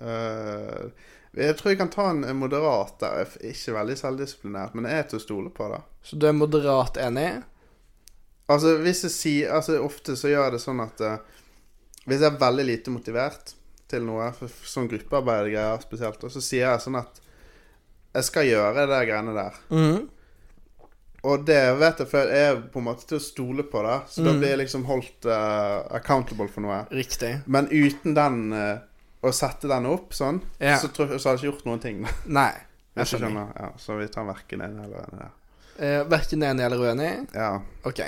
[SPEAKER 3] Eh, jeg tror jeg kan ta en en moderat der. Jeg er Ikke veldig selvdisiplinert, men jeg er til å stole på, da.
[SPEAKER 2] Så du er moderat enig?
[SPEAKER 3] Altså, hvis jeg sier Altså, ofte så gjør jeg det sånn at eh, Hvis jeg er veldig lite motivert til noe, for, for sånn gruppearbeidergreier spesielt, og så sier jeg sånn at Jeg skal gjøre de greiene der.
[SPEAKER 2] Mhm.
[SPEAKER 3] Og det vet jeg, for jeg er på en måte til å stole på det. Så da blir jeg liksom holdt eh, accountable for noe.
[SPEAKER 2] Riktig.
[SPEAKER 3] Men uten den eh, Å sette den opp sånn,
[SPEAKER 2] Ja.
[SPEAKER 3] så, tror, jeg- så hadde jeg ikke gjort noen ting. da.
[SPEAKER 2] Nei.
[SPEAKER 3] Hvis
[SPEAKER 2] Jeg
[SPEAKER 3] du
[SPEAKER 2] skjønner.
[SPEAKER 3] skjønner. Ja, så vi tar verken en eller en der.
[SPEAKER 2] Eh, verken enig eller uenig?
[SPEAKER 3] Ja.
[SPEAKER 2] Ok.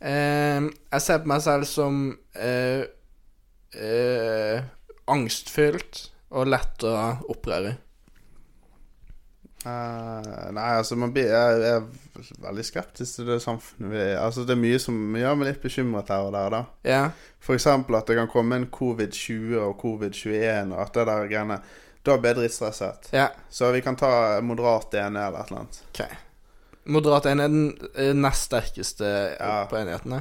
[SPEAKER 2] Eh, jeg ser på meg selv som eh, eh, angstfylt og lett å opprøre.
[SPEAKER 3] Eh, nei, altså man blir jeg, jeg er veldig skeptisk til det samfunnet vi Altså det er mye som gjør meg litt bekymret her og der, da.
[SPEAKER 2] Ja.
[SPEAKER 3] For eksempel at det kan komme en covid-20 og covid-21 og at det der greiene Da blir jeg drittstresset.
[SPEAKER 2] ja.
[SPEAKER 3] Så vi kan ta moderat ene eller et eller annet.
[SPEAKER 2] Ok. Moderat enig er den eh, nest sterkeste
[SPEAKER 3] Ja.
[SPEAKER 2] på enighetene.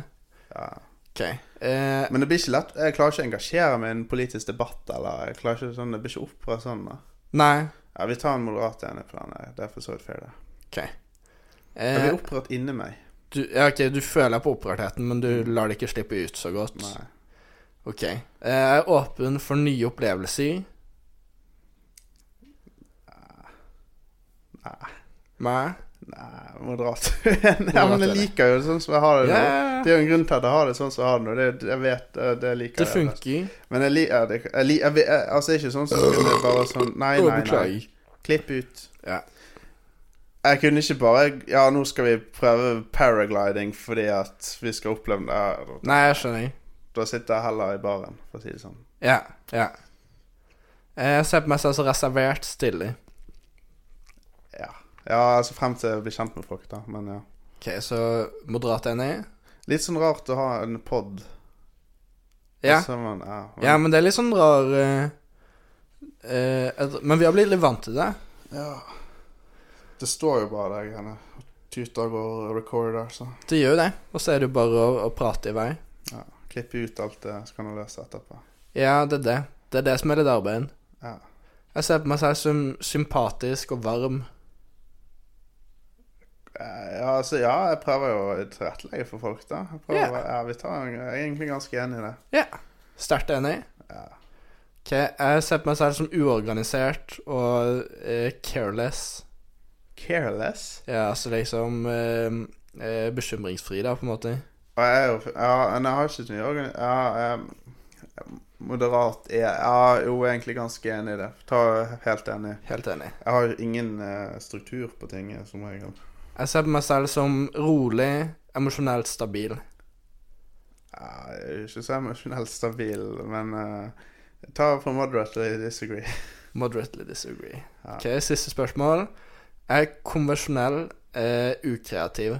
[SPEAKER 3] Ja.
[SPEAKER 2] Ok. Eh,
[SPEAKER 3] Men det blir ikke lett. Jeg klarer ikke å engasjere meg i en politisk debatt. Eller jeg klarer ikke sånn, Det blir ikke opprørt sånn. da
[SPEAKER 2] nei.
[SPEAKER 3] Ja, Vi tar en moderat ene på den. jeg. Det er for så vidt fair, det.
[SPEAKER 2] Ok.
[SPEAKER 3] Jeg
[SPEAKER 2] Eh,
[SPEAKER 3] blir opprørt inni meg.
[SPEAKER 2] du, ja, ok, du føler på opprørtheten, men du lar det ikke slippe ut så godt.
[SPEAKER 3] Nei.
[SPEAKER 2] Ok. Eh, Jeg er åpen for nye opplevelser. Nei.
[SPEAKER 3] [LAUGHS] Nei, moderat ene. Ja, men jeg
[SPEAKER 2] ene.
[SPEAKER 3] liker jo det sånn som jeg har det nå.
[SPEAKER 2] Ja.
[SPEAKER 3] Det er jo en grunn til at jeg har det sånn som jeg har det nå. Det, jeg vet, eh, det
[SPEAKER 2] Det
[SPEAKER 3] liker jeg best.
[SPEAKER 2] funker.
[SPEAKER 3] Men jeg liker det jeg, li- jeg, vet- jeg, Altså, det er ikke sånn som kunne bare sånn Nei,
[SPEAKER 2] Å,
[SPEAKER 3] nei, nei.
[SPEAKER 2] Beklager.
[SPEAKER 3] Klipp ut.
[SPEAKER 2] Ja.
[SPEAKER 3] Jeg kunne ikke bare Ja, nå skal vi prøve paragliding fordi at vi skal oppleve det.
[SPEAKER 2] Nei, jeg skjønner.
[SPEAKER 3] Da sitter jeg heller i baren, for å si det sånn.
[SPEAKER 2] Ja. ja. Eh, Jeg ser på meg selv som reservert stille.
[SPEAKER 3] Ja. ja, altså frem til jeg blir kjent med folk, da. Men ja.
[SPEAKER 2] Ok, så moderat enig?
[SPEAKER 3] Litt sånn rart å ha en pod.
[SPEAKER 2] Ja.
[SPEAKER 3] Så man, ja, men,
[SPEAKER 2] ja, men det er litt sånn rar eh, eh, et- Men vi har blitt litt vant til det.
[SPEAKER 3] Det står jo bare der greiene. Tuter går og recorder, så
[SPEAKER 2] Det gjør jo det. Og så er det jo bare å, å prate i vei.
[SPEAKER 3] ja. Klippe ut alt det skandaløse etterpå.
[SPEAKER 2] Ja, det er det. Det er det som er litt arbeid.
[SPEAKER 3] Ja.
[SPEAKER 2] Jeg ser på meg selv som sympatisk og varm.
[SPEAKER 3] Eh, Ja, altså, ja, jeg prøver jo å tilrettelegge for folk, da. Jeg, prøver,
[SPEAKER 2] Ja.
[SPEAKER 3] ja, vi tar, jeg er egentlig ganske enig i det.
[SPEAKER 2] Ja. Sterkt enig.
[SPEAKER 3] Ja.
[SPEAKER 2] Ok, Jeg ser på meg selv som uorganisert og eh, careless.
[SPEAKER 3] Careless.
[SPEAKER 2] Ja, altså liksom eh, eh, Bekymringsfri, da, på en måte.
[SPEAKER 3] Og jeg er jo Ja, men jeg har ikke så mye organi... Ja, jeg, moderat er Ja, jo, jeg er egentlig ganske enig i det. Ta helt enig.
[SPEAKER 2] Helt enig.
[SPEAKER 3] Jeg har ingen eh, struktur på ting, eh, som regel.
[SPEAKER 2] Jeg ser på meg selv som rolig, emosjonelt stabil.
[SPEAKER 3] Ja, jeg er ikke så emosjonelt stabil, men eh, ta for moderately disagree. [LAUGHS]
[SPEAKER 2] Moderately disagree.
[SPEAKER 3] Ja.
[SPEAKER 2] Ok, Siste spørsmål. Jeg er konvensjonell, eh, ukreativ.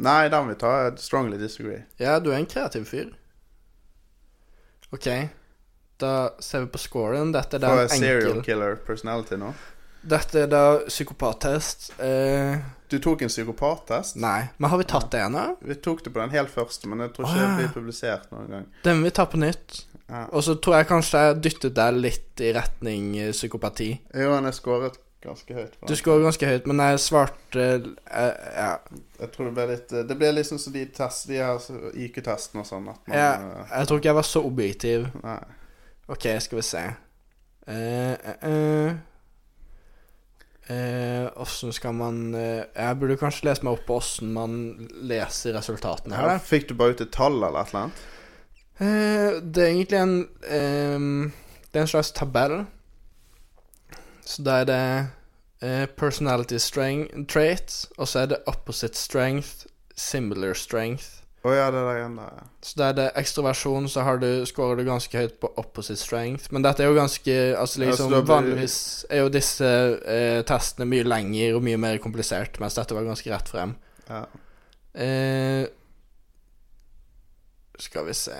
[SPEAKER 3] Nei, den vil ta strongly disagree.
[SPEAKER 2] Ja, du er en kreativ fyr. Ok, da ser vi på scoren. Dette er da
[SPEAKER 3] For
[SPEAKER 2] en
[SPEAKER 3] serial
[SPEAKER 2] enkel
[SPEAKER 3] killer personality nå.
[SPEAKER 2] Dette er da psykopattest. Eh,
[SPEAKER 3] Du tok en psykopattest.
[SPEAKER 2] nei, men har vi tatt det ennå?
[SPEAKER 3] Vi tok det på den helt første, men jeg tror
[SPEAKER 2] Å,
[SPEAKER 3] ikke
[SPEAKER 2] ja.
[SPEAKER 3] det blir publisert noen gang.
[SPEAKER 2] Den vil vi ta på nytt.
[SPEAKER 3] Ja.
[SPEAKER 2] Og så tror jeg kanskje jeg dyttet deg litt i retning eh, psykopati.
[SPEAKER 3] Jo, han er skåret ganske høyt. på
[SPEAKER 2] Du
[SPEAKER 3] den.
[SPEAKER 2] scorer ganske høyt, men jeg svarte eh, Ja,
[SPEAKER 3] Jeg tror det blir litt eh, Det blir liksom som de test, de her så- IQ-testene og sånn. At man
[SPEAKER 2] jeg,
[SPEAKER 3] eh,
[SPEAKER 2] jeg tror ikke jeg var så objektiv.
[SPEAKER 3] Nei.
[SPEAKER 2] Ok, skal vi se. Eh, eh, eh. Eh, Åssen skal man eh, Jeg burde kanskje lese meg opp på åssen man leser resultatene her.
[SPEAKER 3] Ja,
[SPEAKER 2] da.
[SPEAKER 3] fikk du bare ut et tall eller et eller annet?
[SPEAKER 2] Eh, det er egentlig en ehm, Det er en slags tabell. Så da er det eh, personality strength, trait, og så er det opposite strength, similar strength.
[SPEAKER 3] Å ja, det der igjen der, ja.
[SPEAKER 2] Så da er det ekstroversjon, så har du, scorer du ganske høyt på opposite strength. Men dette er jo ganske Altså
[SPEAKER 3] Ja, så
[SPEAKER 2] liksom
[SPEAKER 3] da blir-
[SPEAKER 2] Vanligvis er jo disse eh, testene mye lengre og mye mer komplisert, mens dette var ganske rett frem.
[SPEAKER 3] ja.
[SPEAKER 2] Eh, skal vi se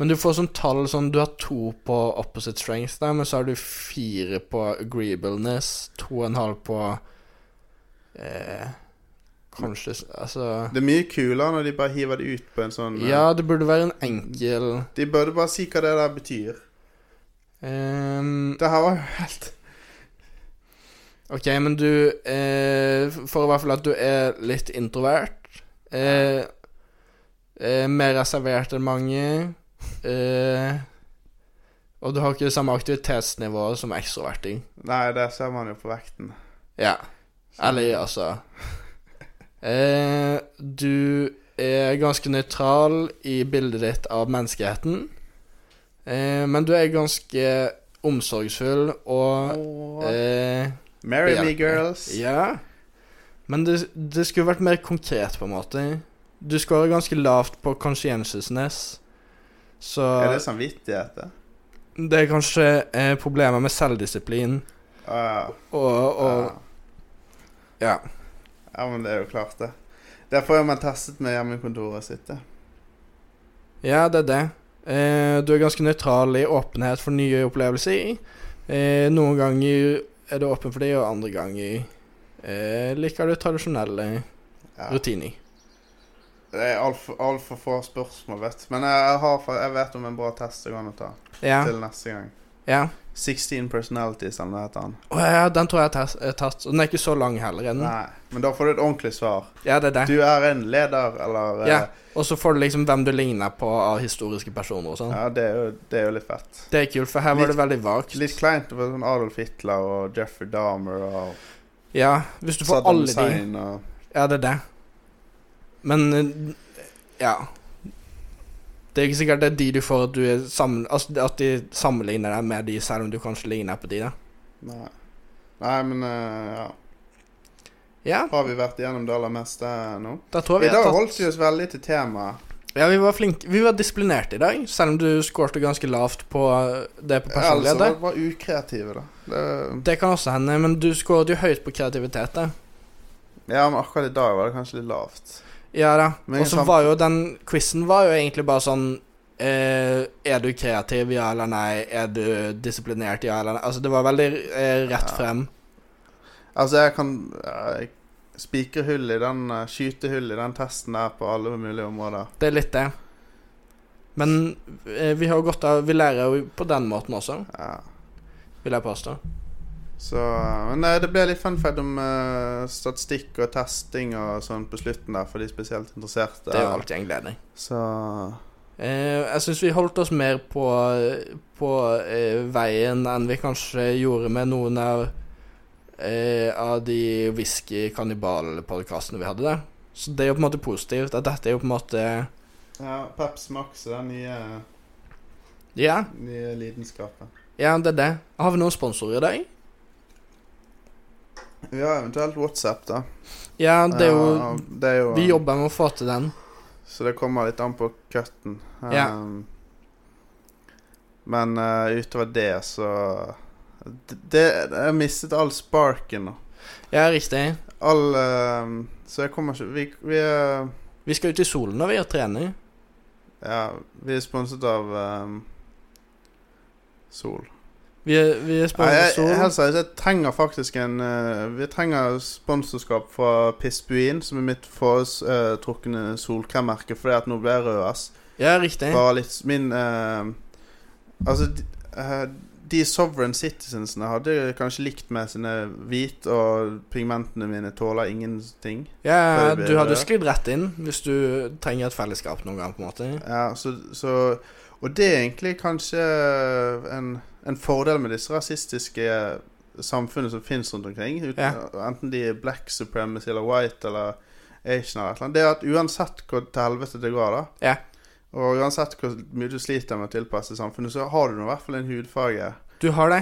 [SPEAKER 2] Men du får sånn tall sånn Du har to på opposite strength, der, men så har du fire på agreeableness, to og en halv på eh, Conscious Altså
[SPEAKER 3] Det er mye kulere når de bare hiver det ut på en sånn eh,
[SPEAKER 2] ja, det burde være en enkel
[SPEAKER 3] De burde bare si hva det der betyr.
[SPEAKER 2] ehm,
[SPEAKER 3] Det her var jo helt
[SPEAKER 2] Ok, men du eh, For i hvert fall at du er litt introvert. Eh, eh, mer reservert enn mange. Eh, og du har ikke det samme aktivitetsnivået som ekstroverting.
[SPEAKER 3] Nei, det ser man jo på vekten.
[SPEAKER 2] Ja. Eller altså eh, Du er ganske nøytral i bildet ditt av menneskeheten. Eh, men du er ganske omsorgsfull og eh,
[SPEAKER 3] Marry me,
[SPEAKER 2] Hjelp.
[SPEAKER 3] girls.
[SPEAKER 2] Ja. Men det, det skulle vært mer konkret, på en måte. Du scorer ganske lavt på conscientiousness. Så
[SPEAKER 3] Er det
[SPEAKER 2] det,
[SPEAKER 3] samvittighet, det?
[SPEAKER 2] er kanskje eh, problemer med selvdisiplin
[SPEAKER 3] Å Ah, ja.
[SPEAKER 2] og, og
[SPEAKER 3] ja.
[SPEAKER 2] ja.
[SPEAKER 3] ja, men det er jo klart, det. Derfor har man testet med hjemmekontoret sitt, det.
[SPEAKER 2] Ja, det er det. Eh, du er ganske nøytral i åpenhet for nye opplevelser. Eh, noen ganger er du åpen for det, og andre ganger eh, liker du tradisjonelle
[SPEAKER 3] Ja.
[SPEAKER 2] rutiner.
[SPEAKER 3] Det er altfor alt for få spørsmål, vet du. Men jeg, har, fa- jeg vet om en bra test det går an å ta
[SPEAKER 2] Ja.
[SPEAKER 3] til neste gang.
[SPEAKER 2] ja.
[SPEAKER 3] 16 personalities, eller hva heter han.
[SPEAKER 2] Å ja, den tror jeg jeg tas- er tatt. Og den er ikke så lang heller. er den?
[SPEAKER 3] Nei, men da får du et ordentlig svar.
[SPEAKER 2] Mm. Ja, det er det.
[SPEAKER 3] Du er en leder, eller eh,
[SPEAKER 2] Ja, og så får du liksom hvem du ligner på av historiske personer og sånn.
[SPEAKER 3] ja det, er jo, det er jo litt fett.
[SPEAKER 2] Det er kult, for her var det veldig vagt.
[SPEAKER 3] Litt kleint å være sånn Adolf Hitler og Jeffrey Dahmer og
[SPEAKER 2] Ja, hvis du får
[SPEAKER 3] Saddam
[SPEAKER 2] alle de
[SPEAKER 3] Hussein og
[SPEAKER 2] Ja, det er det. Men eh, ja. Det er ikke sikkert det er de du får at du er sammen... Altså at de sammenligner deg med de, selv om du kanskje ligner på de, da.
[SPEAKER 3] Nei. Nei, men eh, ja.
[SPEAKER 2] Ja,
[SPEAKER 3] Har vi vært igjennom det aller meste nå?
[SPEAKER 2] da tror
[SPEAKER 3] I
[SPEAKER 2] jeg vi
[SPEAKER 3] dag
[SPEAKER 2] har
[SPEAKER 3] holdt vi
[SPEAKER 2] tatt
[SPEAKER 3] oss veldig til temaet.
[SPEAKER 2] Ja, vi var flinke. Vi var disiplinerte i dag, selv om du skårte ganske lavt på eh, det på
[SPEAKER 3] Ellers var
[SPEAKER 2] personlighet.
[SPEAKER 3] det bare ukreative, da. Det,
[SPEAKER 2] Det kan også hende, men du skåret jo høyt på kreativitet, da.
[SPEAKER 3] Ja, men akkurat i dag var det kanskje litt lavt.
[SPEAKER 2] Ja da.
[SPEAKER 3] Men
[SPEAKER 2] Og så
[SPEAKER 3] samt-
[SPEAKER 2] var jo den quizen var jo egentlig bare sånn eh, Er du kreativ, ja eller nei? Er du disiplinert, ja eller nei? Altså, det var veldig eh, rett
[SPEAKER 3] Ja.
[SPEAKER 2] frem.
[SPEAKER 3] Altså, jeg kan eh, spikre hull i den eh, Skyte hull i den testen der på alle mulige områder.
[SPEAKER 2] Det er litt det. Men eh, vi har jo godt av Vi lærer jo på den måten også,
[SPEAKER 3] Ja.
[SPEAKER 2] vil jeg påstå.
[SPEAKER 3] Så, men eh, det ble litt funfed om eh, statistikk og testing og sånn på slutten der, for de spesielt interesserte.
[SPEAKER 2] Det er jo alltid en glede.
[SPEAKER 3] Så
[SPEAKER 2] Eh, jeg syns vi holdt oss mer på, på eh, veien enn vi kanskje gjorde med noen av, eh, av de whisky-kannibal-podkastene vi hadde der. Så det er jo på en måte positivt. At dette er jo på en måte
[SPEAKER 3] ja, Peps Max er den nye,
[SPEAKER 2] Ja,
[SPEAKER 3] nye lidenskapen.
[SPEAKER 2] ja det er det. Har vi noen sponsorer i dag?
[SPEAKER 3] Vi har eventuelt WhatsApp, da.
[SPEAKER 2] Ja, det er jo
[SPEAKER 3] Ja, det er jo
[SPEAKER 2] Vi jobber med å få til den.
[SPEAKER 3] Så det kommer litt an på cutten.
[SPEAKER 2] Ja.
[SPEAKER 3] Um, men eh, utover det, så det, det, Jeg mistet all sparken nå.
[SPEAKER 2] Ja, riktig.
[SPEAKER 3] All eh, Så jeg kommer ikke Vi, vi er
[SPEAKER 2] Vi skal ut i solen når vi er trener.
[SPEAKER 3] Ja, vi er sponset av ehm, Sol.
[SPEAKER 2] Vi er, vi er
[SPEAKER 3] Nei, jeg,
[SPEAKER 2] sponset
[SPEAKER 3] helt seriøst, jeg trenger faktisk en eh, Vi trenger sponsorskap fra Pissbuin, som er mitt foretrukne solkremmerke, fordi at nå ble jeg rød, ass.
[SPEAKER 2] Ja, riktig.
[SPEAKER 3] Bare litt Min eh, Altså, de, eh, de sovereign citizensene hadde kanskje likt meg sine hvit, og pigmentene mine tåler ingenting.
[SPEAKER 2] Ja,
[SPEAKER 3] Bare
[SPEAKER 2] du
[SPEAKER 3] bedre.
[SPEAKER 2] hadde sklidd rett inn hvis du trenger et fellesskap noen gang, på en måte.
[SPEAKER 3] Ja, så, så Og det er egentlig kanskje en, en fordel med disse rasistiske samfunnene som finnes rundt omkring. Uten, Enten de er black supremacy eller white eller asian eller et eller annet. Det er at uansett hvor til helvete det går, da,
[SPEAKER 2] Ja.
[SPEAKER 3] og uansett hvor mye du sliter med å tilpasse samfunnet, så har du nå i hvert fall en hudfarge.
[SPEAKER 2] Du har det?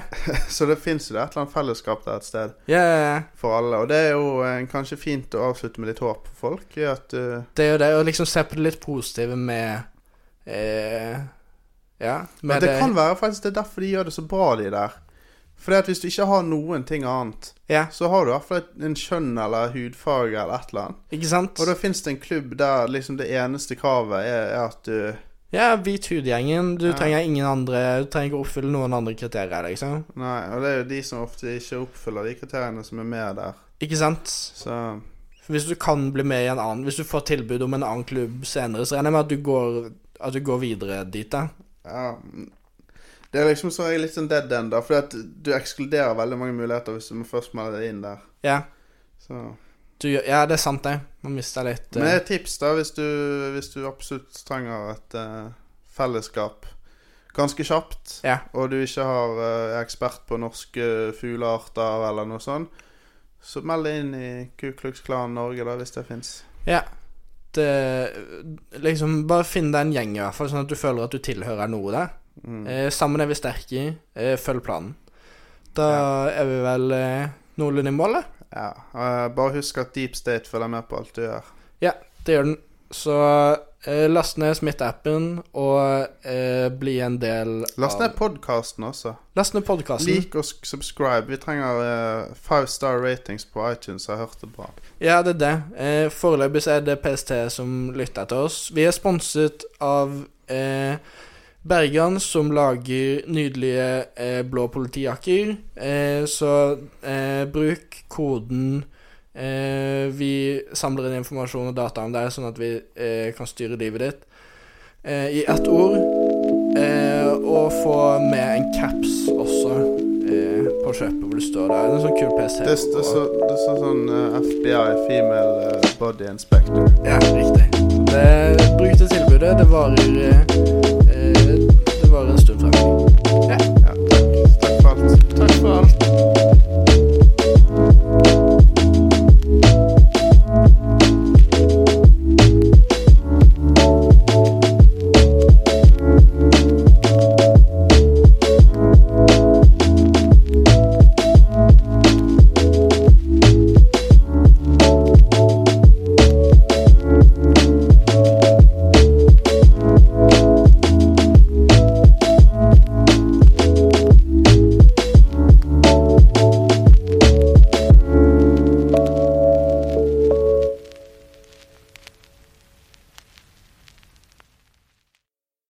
[SPEAKER 3] Så det fins jo det et eller annet fellesskap der et sted
[SPEAKER 2] Ja, ja, ja.
[SPEAKER 3] for alle. Og det er jo eh, kanskje fint å avslutte med litt håp for folk. i At eh,
[SPEAKER 2] Det er jo det å liksom se på det litt positive med eh, Ja.
[SPEAKER 3] Men
[SPEAKER 2] Med
[SPEAKER 3] det, kan være faktisk det er derfor de gjør det så bra, de der. Fordi at hvis du ikke har noen ting annet,
[SPEAKER 2] Ja,
[SPEAKER 3] så har du i hvert fall et- en kjønn eller hudfarge eller et eller annet.
[SPEAKER 2] ikke sant?
[SPEAKER 3] Og da fins det en klubb der liksom det eneste kravet er, er at du
[SPEAKER 2] Ja, hvit hudgjengen. Du trenger ingen andre Du trenger ikke å oppfylle noen andre kriterier, liksom.
[SPEAKER 3] Nei, og det er jo de som ofte ikke oppfyller de kriteriene som er med der.
[SPEAKER 2] Ikke sant?
[SPEAKER 3] Så
[SPEAKER 2] Hvis du kan bli med i en annen Hvis du får tilbud om en annen klubb senere, så regner jeg med at du går, at du går videre dit, da.
[SPEAKER 3] ja Det er liksom så jeg er litt sånn dead end, da. Fordi at du ekskluderer veldig mange muligheter hvis du først melder deg inn der.
[SPEAKER 2] Ja.
[SPEAKER 3] Så.
[SPEAKER 2] Du, gjør- ja, det er sant, det. Man mister litt
[SPEAKER 3] Men det
[SPEAKER 2] eh,
[SPEAKER 3] er et tips da hvis du, hvis du absolutt trenger et eh, fellesskap ganske kjapt,
[SPEAKER 2] Ja.
[SPEAKER 3] og du ikke har, eh, er ekspert på norske eh, fuglearter eller noe sånt, så meld deg inn i Ku Klux Klan Norge, da, hvis det fins.
[SPEAKER 2] Ja. Det, liksom, bare finn deg en gjeng, i hvert fall, sånn at du føler at du tilhører noe der.
[SPEAKER 3] Mm.
[SPEAKER 2] Eh, sammen er vi sterke i. Eh, følg planen. Da er vi vel eh, noenlunde i mål, da.
[SPEAKER 3] Ja. eh, bare husk at Deep State følger med på alt du gjør.
[SPEAKER 2] Ja, det gjør den. Så eh, last ned Smith-appen, og eh, bli en del av
[SPEAKER 3] Last ned podkasten også.
[SPEAKER 2] Last ned podkasten.
[SPEAKER 3] Lik og sk- subscribe. Vi trenger eh, five star ratings på iTunes, jeg har hørt det bra.
[SPEAKER 2] Ja, det er det. Eh, foreløpig så er det PST som lytter til oss. Vi er sponset av eh, Bergan, som lager nydelige eh, blå politijakker. Eh, så eh, bruk koden eh, Vi samler inn informasjon og data om deg, sånn at vi eh, kan styre livet ditt eh, i ett ord. Eh, og få med en caps også eh, på kjøpet, hvor det står der. Det er en sånn kul PST.
[SPEAKER 3] Det, det, er så, det er så, sånn eh, FBI, female eh, body inspector.
[SPEAKER 2] Ja, riktig. Det, bruk det tilbudet. Det varer eh,